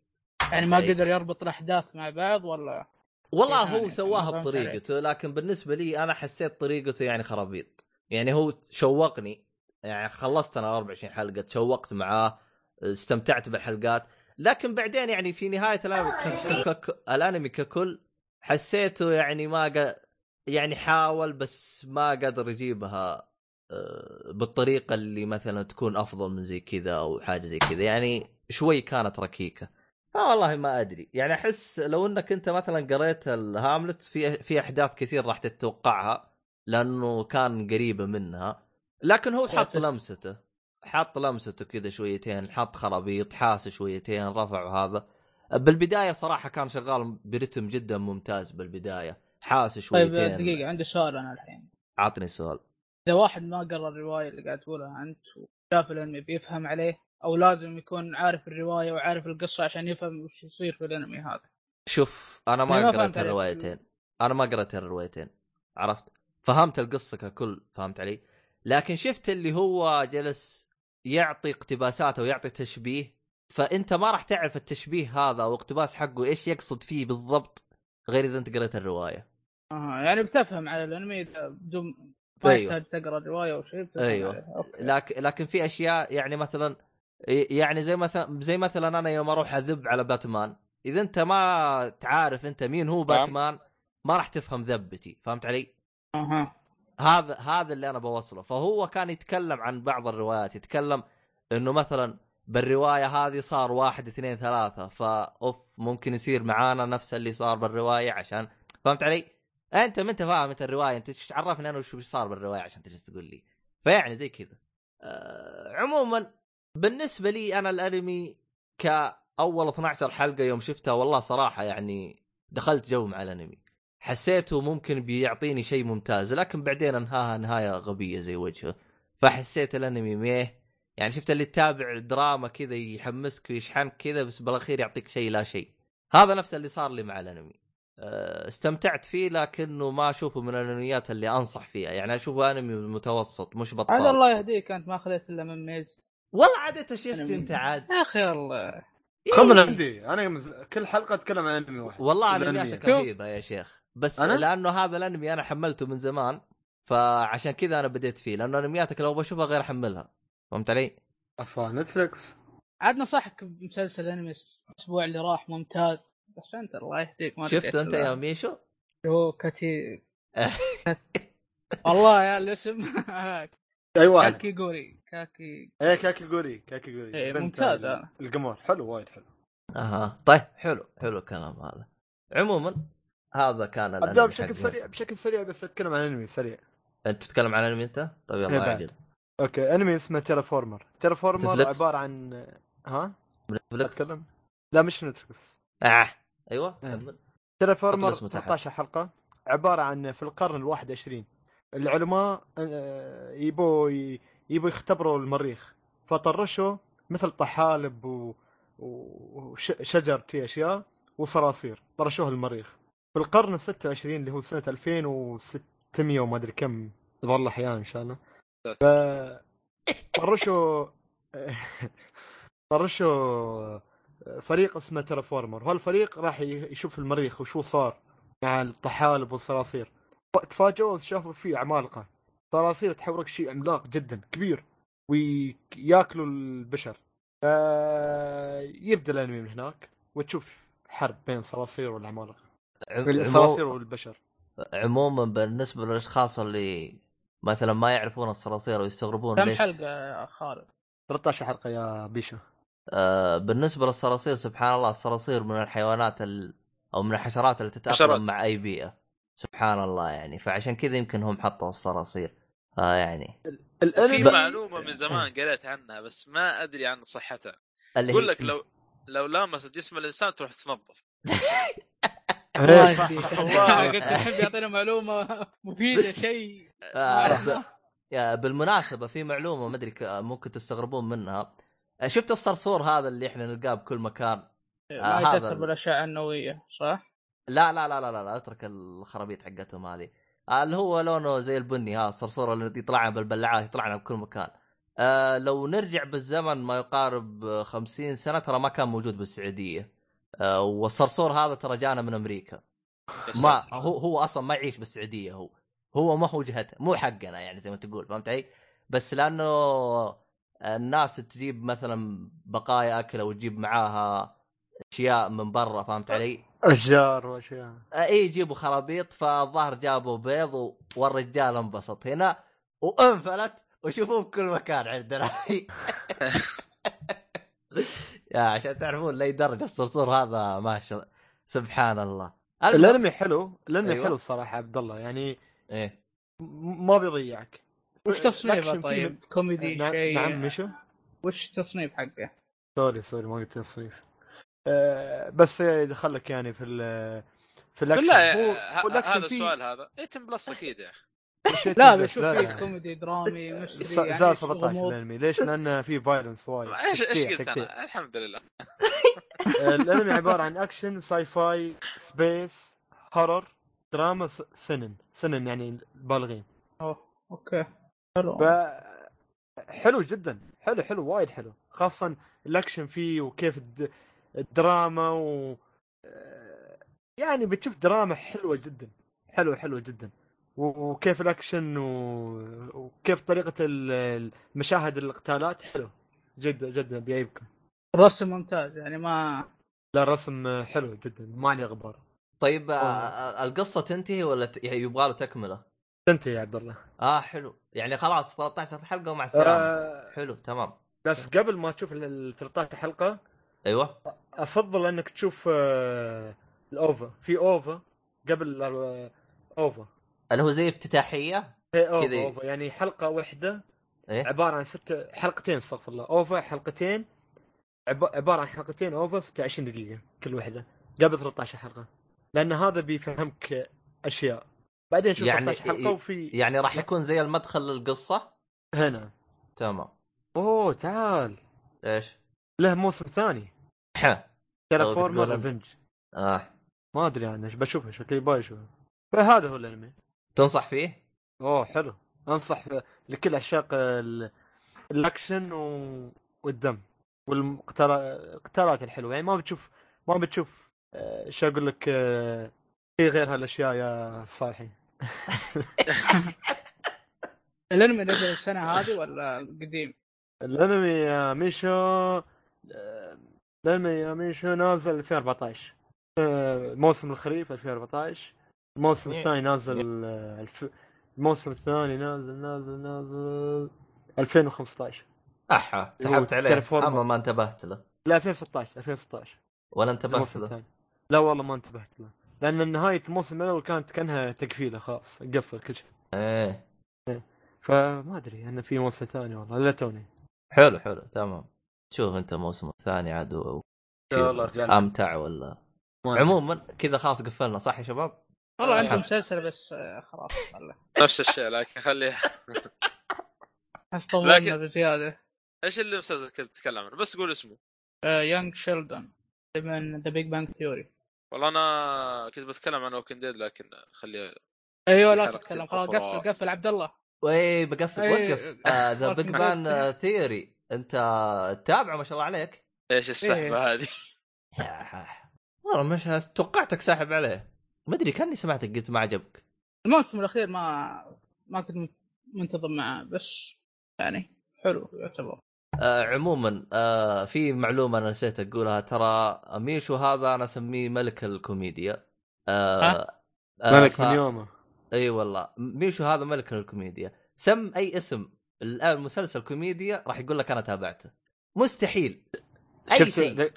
Speaker 2: يعني ما
Speaker 1: أي.
Speaker 2: قدر يربط الاحداث مع بعض ولا
Speaker 1: والله
Speaker 2: شيء
Speaker 1: هو
Speaker 2: ثاني.
Speaker 1: سواها
Speaker 2: فهمت
Speaker 1: بطريقته لكن بالنسبه لي انا حسيت طريقته يعني خرابيط يعني هو شوقني يعني خلصت انا 24 حلقه تشوقت معاه استمتعت بالحلقات لكن بعدين يعني في نهايه الانمي ك- ك- ك- الانمي ككل حسيته يعني ما قا... يعني حاول بس ما قدر يجيبها آه، بالطريقه اللي مثلا تكون افضل من زي كذا او حاجه زي كذا يعني شوي كانت ركيكه آه والله ما ادري يعني احس لو انك انت مثلا قريت الهاملت في في احداث كثير راح تتوقعها لانه كان قريبه منها لكن هو حط
Speaker 2: صحيح.
Speaker 1: لمسته حط لمسته كذا شويتين حط خرابيط حاس شويتين رفع هذا بالبدايه صراحه كان شغال برتم جدا ممتاز بالبدايه حاس
Speaker 2: طيب
Speaker 1: شويتين
Speaker 2: دقيقه عندي سؤال انا الحين
Speaker 1: عطني السؤال
Speaker 2: اذا واحد ما قرا الروايه اللي قاعد تقولها انت وشاف الانمي بيفهم عليه او لازم يكون عارف الروايه وعارف القصه عشان يفهم وش يصير في الانمي هذا
Speaker 1: شوف انا
Speaker 2: أنا إيه،
Speaker 1: ما
Speaker 2: ما فهمت
Speaker 1: قرأت
Speaker 2: عليك.
Speaker 1: الروايتين انا ما قرأت الروايتين عرفت فهمت القصه ككل فهمت علي لكن شفت اللي هو جلس يعطي اقتباسات او يعطي تشبيه فانت ما راح تعرف التشبيه هذا او اقتباس حقه ايش يقصد فيه بالضبط غير اذا انت قرأت الروايه
Speaker 2: آه يعني بتفهم على الانمي إذا بدون ما
Speaker 1: أيوه.
Speaker 2: يحتاج تقرا الروايه او شيء بتفهم
Speaker 1: أيوه.
Speaker 2: عليه. أوكي.
Speaker 1: لكن لكن في اشياء يعني مثلا يعني زي مثلا زي مثلا انا يوم اروح اذب على باتمان اذا انت ما تعرف انت مين هو
Speaker 3: نعم.
Speaker 1: باتمان ما راح تفهم ذبتي فهمت علي؟
Speaker 2: اها
Speaker 1: هذا هذا اللي انا بوصله فهو كان يتكلم عن بعض الروايات يتكلم انه مثلا بالروايه هذه صار واحد اثنين ثلاثه فاوف ممكن يصير معانا نفس اللي صار بالروايه عشان فهمت علي؟ انت ما انت فاهم انت الروايه انت ايش عرفني انا وش وش صار بالروايه عشان تجلس تقول لي فيعني زي كذا أه عموما بالنسبه لي انا الانمي كاول 12 حلقه يوم شفتها والله صراحه يعني دخلت جو مع الانمي حسيته ممكن بيعطيني شيء ممتاز لكن بعدين انهاها نهايه غبيه زي وجهه فحسيت الانمي ميه يعني شفت اللي تتابع دراما كذا يحمسك ويشحنك كذا بس بالاخير يعطيك شيء لا شيء هذا نفس اللي صار لي مع الانمي أه، استمتعت فيه لكنه ما اشوفه من الانميات اللي انصح فيها يعني اشوفه انمي متوسط مش بطال
Speaker 2: عاد الله يهديك انت ما اخذت الا من ميز
Speaker 1: والله عاد انت شفت انت عاد
Speaker 2: يا اخي الله
Speaker 5: خذ عندي انا مز... كل حلقه اتكلم عن انمي واحد
Speaker 1: والله
Speaker 5: كل
Speaker 1: انمياتك
Speaker 2: شوف.
Speaker 1: رهيبه يا شيخ بس
Speaker 5: أنا؟
Speaker 1: لانه هذا الانمي انا حملته من زمان فعشان كذا انا بديت فيه لانه انمياتك لو بشوفها غير احملها فهمت علي؟
Speaker 5: افا نتفلكس
Speaker 2: عاد نصحك بمسلسل انمي الاسبوع اللي راح ممتاز بس انت الله يهديك ما
Speaker 1: شفته انت يا
Speaker 2: يا
Speaker 1: ميشو؟
Speaker 2: هو كتي كت- والله يا الاسم
Speaker 5: اي واحد
Speaker 2: كاكي جوري كاكي
Speaker 5: ايه كاكي جوري كاكي جوري
Speaker 2: إيه،
Speaker 5: بنت
Speaker 2: ممتاز
Speaker 5: ال-
Speaker 2: هذا.
Speaker 5: القمر حلو وايد حلو
Speaker 1: اها طيب حلو حلو الكلام هذا عموما هذا كان
Speaker 5: ابدا
Speaker 1: الانمي
Speaker 5: بشكل
Speaker 1: حقنا
Speaker 5: سريع بشكل سريع بس اتكلم عن انمي سريع
Speaker 1: انت تتكلم عن انمي انت؟ طيب يلا
Speaker 5: إيه بعد.
Speaker 1: عجل
Speaker 5: اوكي انمي اسمه تيرافورمر تيرافورمر
Speaker 1: نتفلكس؟
Speaker 5: عباره عن ها
Speaker 1: نتفلكس
Speaker 5: اتكلم لا مش نتفلكس
Speaker 1: اه ايوه
Speaker 5: إيه.
Speaker 1: كمل.
Speaker 5: تيرافورمر
Speaker 1: حط الاسم تحت.
Speaker 5: 13 حلقه عباره عن في القرن الواحد 21 العلماء آه، يبوا ي- يبوا يختبروا المريخ فطرشوا مثل طحالب و- و- وشجر تي اشياء وصراصير طرشوها المريخ في القرن ال 26 اللي هو سنه 2600 وما ادري كم ظل احياء ان شاء الله طرشوا طرشوا فريق اسمه ترافورمر وهالفريق راح ي- يشوف المريخ وشو صار مع الطحالب والصراصير تفاجئوا شافوا فيه عمالقه صراصير تحورك شيء عملاق جدا كبير وياكلوا البشر آه، يبدا الانمي من هناك وتشوف حرب بين الصراصير والعمالقه
Speaker 1: عم-
Speaker 5: الصراصير
Speaker 1: عمو-
Speaker 5: والبشر
Speaker 1: عموما بالنسبه للاشخاص اللي مثلا ما يعرفون الصراصير ويستغربون
Speaker 2: كم
Speaker 1: ليش
Speaker 2: حلقه يا خالد
Speaker 5: 13 حلقه يا بيشا
Speaker 1: آه، بالنسبه للصراصير سبحان الله الصراصير من الحيوانات ال... او من الحشرات اللي
Speaker 3: حشرات.
Speaker 1: تتاقلم مع اي بيئه سبحان الله يعني فعشان كذا يمكن هم حطوا الصراصير آه يعني
Speaker 3: في
Speaker 5: الانمي
Speaker 3: معلومه من زمان قريت عنها بس ما ادري عن صحتها
Speaker 1: اللي
Speaker 3: يقول
Speaker 1: هي-
Speaker 3: لك لو لو لامست جسم الانسان تروح تتنظف
Speaker 2: الله
Speaker 5: إيه، صح،
Speaker 2: يهديك
Speaker 5: صح،
Speaker 2: قلت
Speaker 5: والله.
Speaker 2: يحب يعطينا معلومه مفيده شيء
Speaker 1: آه، ب- آه، بالمناسبه في معلومه ما ادري ك- ممكن تستغربون منها آه، شفت الصرصور هذا اللي احنا نلقاه بكل مكان
Speaker 2: ما
Speaker 1: آه، هذا
Speaker 2: يتاثر
Speaker 1: ال-
Speaker 2: بالاشعه النوويه صح؟
Speaker 1: لا لا لا لا لا, لا اترك الخرابيط حقتهم هذه آه، اللي هو لونه زي البني ها الصرصور اللي يطلعنا بالبلعات يطلعنا بكل مكان آه لو نرجع بالزمن ما يقارب آه، 50 سنه ترى ما كان موجود بالسعوديه آه والصرصور هذا ترى جانا من امريكا ما هو هو اصلا ما يعيش بالسعوديه هو هو ما هو جهته مو حقنا يعني زي ما تقول فهمت علي؟ بس لانه الناس تجيب مثلا بقايا اكل او تجيب معاها اشياء من برا فهمت علي؟
Speaker 5: اشجار واشياء
Speaker 1: اي آه، إيه، يجيبوا خرابيط فالظاهر جابوا بيض و- والرجال انبسط هنا وانفلت وشوفوه بكل مكان عندنا يا عشان تعرفون لاي درجه الصرصور هذا ما شاء سبحان الله المهم-
Speaker 5: الانمي حلو الانمي
Speaker 1: أيوة.
Speaker 5: أيوة. حلو الصراحه عبد الله يعني
Speaker 1: ايه
Speaker 5: م- ما بيضيعك أه،
Speaker 2: وش
Speaker 5: الأكشن
Speaker 2: تصنيفه
Speaker 5: فيه
Speaker 2: طيب؟ كوميدي
Speaker 5: نعم نعم
Speaker 2: شيء
Speaker 5: مشو
Speaker 2: وش تصنيف حقه؟
Speaker 5: سوري سوري ما قلت تصريف آه بس يدخلك يعني في ال في الاكشن
Speaker 3: بالله
Speaker 5: هو-
Speaker 3: يا- ه-
Speaker 5: هو الأكشن
Speaker 3: هذا
Speaker 5: فيه
Speaker 3: السؤال هذا إيه، 8 بلس اكيد يا اخي
Speaker 5: شيء
Speaker 2: لا
Speaker 5: تنبس،
Speaker 2: بشوف
Speaker 5: لا،
Speaker 2: فيه
Speaker 5: لا.
Speaker 2: كوميدي درامي
Speaker 5: س-
Speaker 2: مشتري
Speaker 5: زاد
Speaker 2: يعني
Speaker 5: 17
Speaker 2: غموض
Speaker 5: الانمي ليش؟ لانه في فايلنس
Speaker 1: طيب،
Speaker 5: وايد
Speaker 3: ايش ايش
Speaker 5: تقطيع،
Speaker 3: قلت
Speaker 5: تقطيع.
Speaker 3: انا الحمد لله
Speaker 5: آه، الانمي عباره عن اكشن ساي فاي سبيس هورر دراما س- سنن سنن يعني البالغين
Speaker 2: اوكي حلو
Speaker 5: ف آه. حلو جدا حلو حلو وايد حلو خاصة الاكشن فيه وكيف الد- الدراما و آه، يعني بتشوف دراما حلوة جدا حلوة حلوة جدا و- وكيف الاكشن و... وكيف طريقة ال- المشاهد القتالات حلو جدا جدا بيعيبكم
Speaker 2: الرسم ممتاز يعني ما
Speaker 5: لا الرسم حلو جدا ما عليه غبار
Speaker 1: طيب آه،
Speaker 5: والله.
Speaker 1: القصه تنتهي ولا ت- يعني يبغى له تكمله؟
Speaker 5: انت يا عبد الله
Speaker 1: اه حلو يعني خلاص 13 حلقه ومع السلامه
Speaker 5: آه
Speaker 1: حلو تمام
Speaker 5: بس قبل ما تشوف ال 13 حلقة
Speaker 1: ايوه
Speaker 5: افضل انك تشوف آه، الاوفا في اوفا قبل ال- آه، اوفا
Speaker 1: اللي هو زي افتتاحيه
Speaker 5: هي اوفا
Speaker 1: كذي.
Speaker 5: اوفا يعني حلقه واحده
Speaker 1: ايه
Speaker 5: عباره عن ست حلقتين استغفر الله اوفا حلقتين عب... عباره عن حلقتين اوفا 26 دقيقه كل واحده قبل 13 حلقه لان هذا بيفهمك اشياء بعدين شوف
Speaker 1: يعني-
Speaker 5: يعني 13 حلقه وفي
Speaker 1: يعني راح يكون زي المدخل للقصه
Speaker 5: هنا
Speaker 1: تمام
Speaker 5: اوه تعال
Speaker 1: ايش؟
Speaker 5: له موسم ثاني
Speaker 1: أوه،
Speaker 5: تيرافورمر
Speaker 1: بتقول أنت.
Speaker 5: ريفنج
Speaker 1: اه
Speaker 5: ما ادري عنه بشوفه شكلي باي اشوفه فهذا هو الانمي
Speaker 1: تنصح فيه؟
Speaker 5: اوه حلو انصح لكل عشاق ال- الاكشن و... والدم والقتالات الحلوه يعني ما بتشوف ما بتشوف آه، شو اقول لك آه، شيء غير هالاشياء يا صالحي
Speaker 2: الانمي نزل السنه هذه ولا قديم؟
Speaker 5: الانمي يا ميشو آه، الانمي يا ميشو نازل 2014 آه، موسم الخريف 2014 الموسم
Speaker 1: إيه.
Speaker 5: الثاني نازل آه، الف- الموسم الثاني نازل نازل نازل 2015
Speaker 1: احا سحبت عليه
Speaker 5: كاليفورنيا.
Speaker 1: اما ما انتبهت له
Speaker 5: لا 2016 2016
Speaker 1: ولا انتبهت
Speaker 5: الموسم
Speaker 1: له
Speaker 5: الثاني لا والله ما انتبهت له لان نهايه الموسم الاول كانت كانها تقفيله خلاص قفل كل شيء
Speaker 1: ايه
Speaker 5: فما ادري انه في موسم ثاني والله لا توني
Speaker 1: حلو حلو تمام شوف انت الموسم الثاني عاد و-
Speaker 5: يلا رجال.
Speaker 1: امتع ولا عموما كذا خلاص قفلنا صح يا شباب؟
Speaker 2: والله
Speaker 3: آه.
Speaker 2: عندي مسلسل بس آه، خلاص خله.
Speaker 3: نفس الشيء لكن خليه
Speaker 2: أحس
Speaker 3: لكن-
Speaker 2: طولنا بزياده
Speaker 3: ايش اللي مسلسل كنت تتكلم عنه بس قول اسمه
Speaker 2: يونج شيلدون من ذا بيج بانك ثيوري
Speaker 3: والله انا كنت بتكلم عن ووكن ديد لكن خليه
Speaker 2: ايوه لا
Speaker 3: حلقة
Speaker 2: تتكلم خلاص
Speaker 3: الأفراد.
Speaker 2: قفل قفل عبد الله
Speaker 1: وي بقفل
Speaker 2: إيه.
Speaker 1: وقف آه، ذا بيج بان ثيوري انت تتابعه ما شاء الله عليك
Speaker 3: ايش السحبه
Speaker 1: إيه.
Speaker 3: هذه
Speaker 1: والله مش هس- توقعتك ساحب عليه ما ادري كاني سمعتك قلت ما عجبك
Speaker 2: الموسم الاخير ما ما كنت من- منتظم معه بس يعني حلو يعتبر
Speaker 1: آه عموما آه في معلومه انا نسيت اقولها ترى ميشو هذا انا اسميه ملك الكوميديا آه
Speaker 2: ها؟
Speaker 1: آه،
Speaker 5: ملك
Speaker 1: ف-
Speaker 5: من يومه
Speaker 1: اي والله ميشو هذا ملك الكوميديا سم اي اسم الان مسلسل كوميديا راح يقول لك انا تابعته مستحيل اي
Speaker 5: شفت
Speaker 1: شيء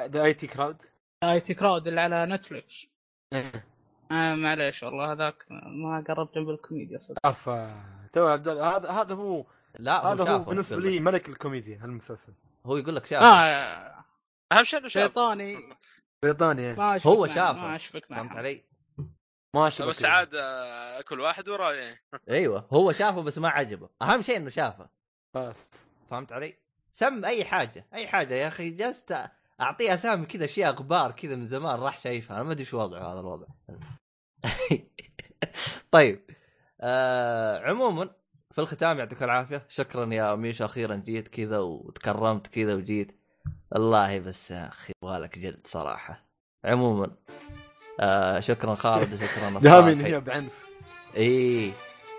Speaker 5: ذا اي تي كراود
Speaker 2: اي تي كراود آه، اللي على نتفلكس
Speaker 1: إيه.
Speaker 2: آه معليش والله هذاك ما قربت من الكوميديا صدق
Speaker 5: افا تو عبد الله هذا هذا هو
Speaker 1: لا هو
Speaker 5: هذا
Speaker 1: شافه
Speaker 5: هو بالنسبه
Speaker 1: يقول لك.
Speaker 5: لي ملك الكوميديا هالمسلسل
Speaker 1: هو يقول لك شافه آه.
Speaker 2: اه
Speaker 3: اهم شيء انه
Speaker 1: طيب،
Speaker 3: شاب
Speaker 2: شيطاني
Speaker 5: بريطانيا
Speaker 2: ما أشفق
Speaker 1: هو
Speaker 2: معه،
Speaker 1: شافه.
Speaker 2: ما اشفق
Speaker 1: فهمت
Speaker 2: معه
Speaker 1: علي؟
Speaker 5: ما
Speaker 1: طيب،
Speaker 5: شاء
Speaker 3: بس عاد آه، كل واحد وراه
Speaker 1: ايوه هو شافه بس ما عجبه اهم شيء انه شافه فهمت علي؟ سم اي حاجه اي حاجه يا اخي جلست اعطيه اسامي كذا اشياء غبار كذا من زمان راح شايفها انا ما ادري شو وضعه هذا الوضع طيب آه عموما في الختام يعطيك العافيه شكرا يا ميشو اخيرا جيت كذا وتكرمت كذا وجيت والله بس يا اخي يبغالك جلد صراحه عموما آه شكرا خالد وشكرا
Speaker 5: دامين
Speaker 1: الصالحي.
Speaker 5: هي بعنف
Speaker 1: اي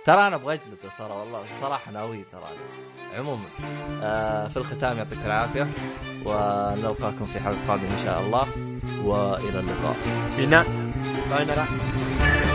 Speaker 1: ترى انا ابغى اجلده صراحه والله الصراحه ناوي ترى أنا. عموما آه في الختام يعطيك العافيه ونلقاكم في حلقه قادمه ان شاء الله والى اللقاء
Speaker 5: بناء باينة لا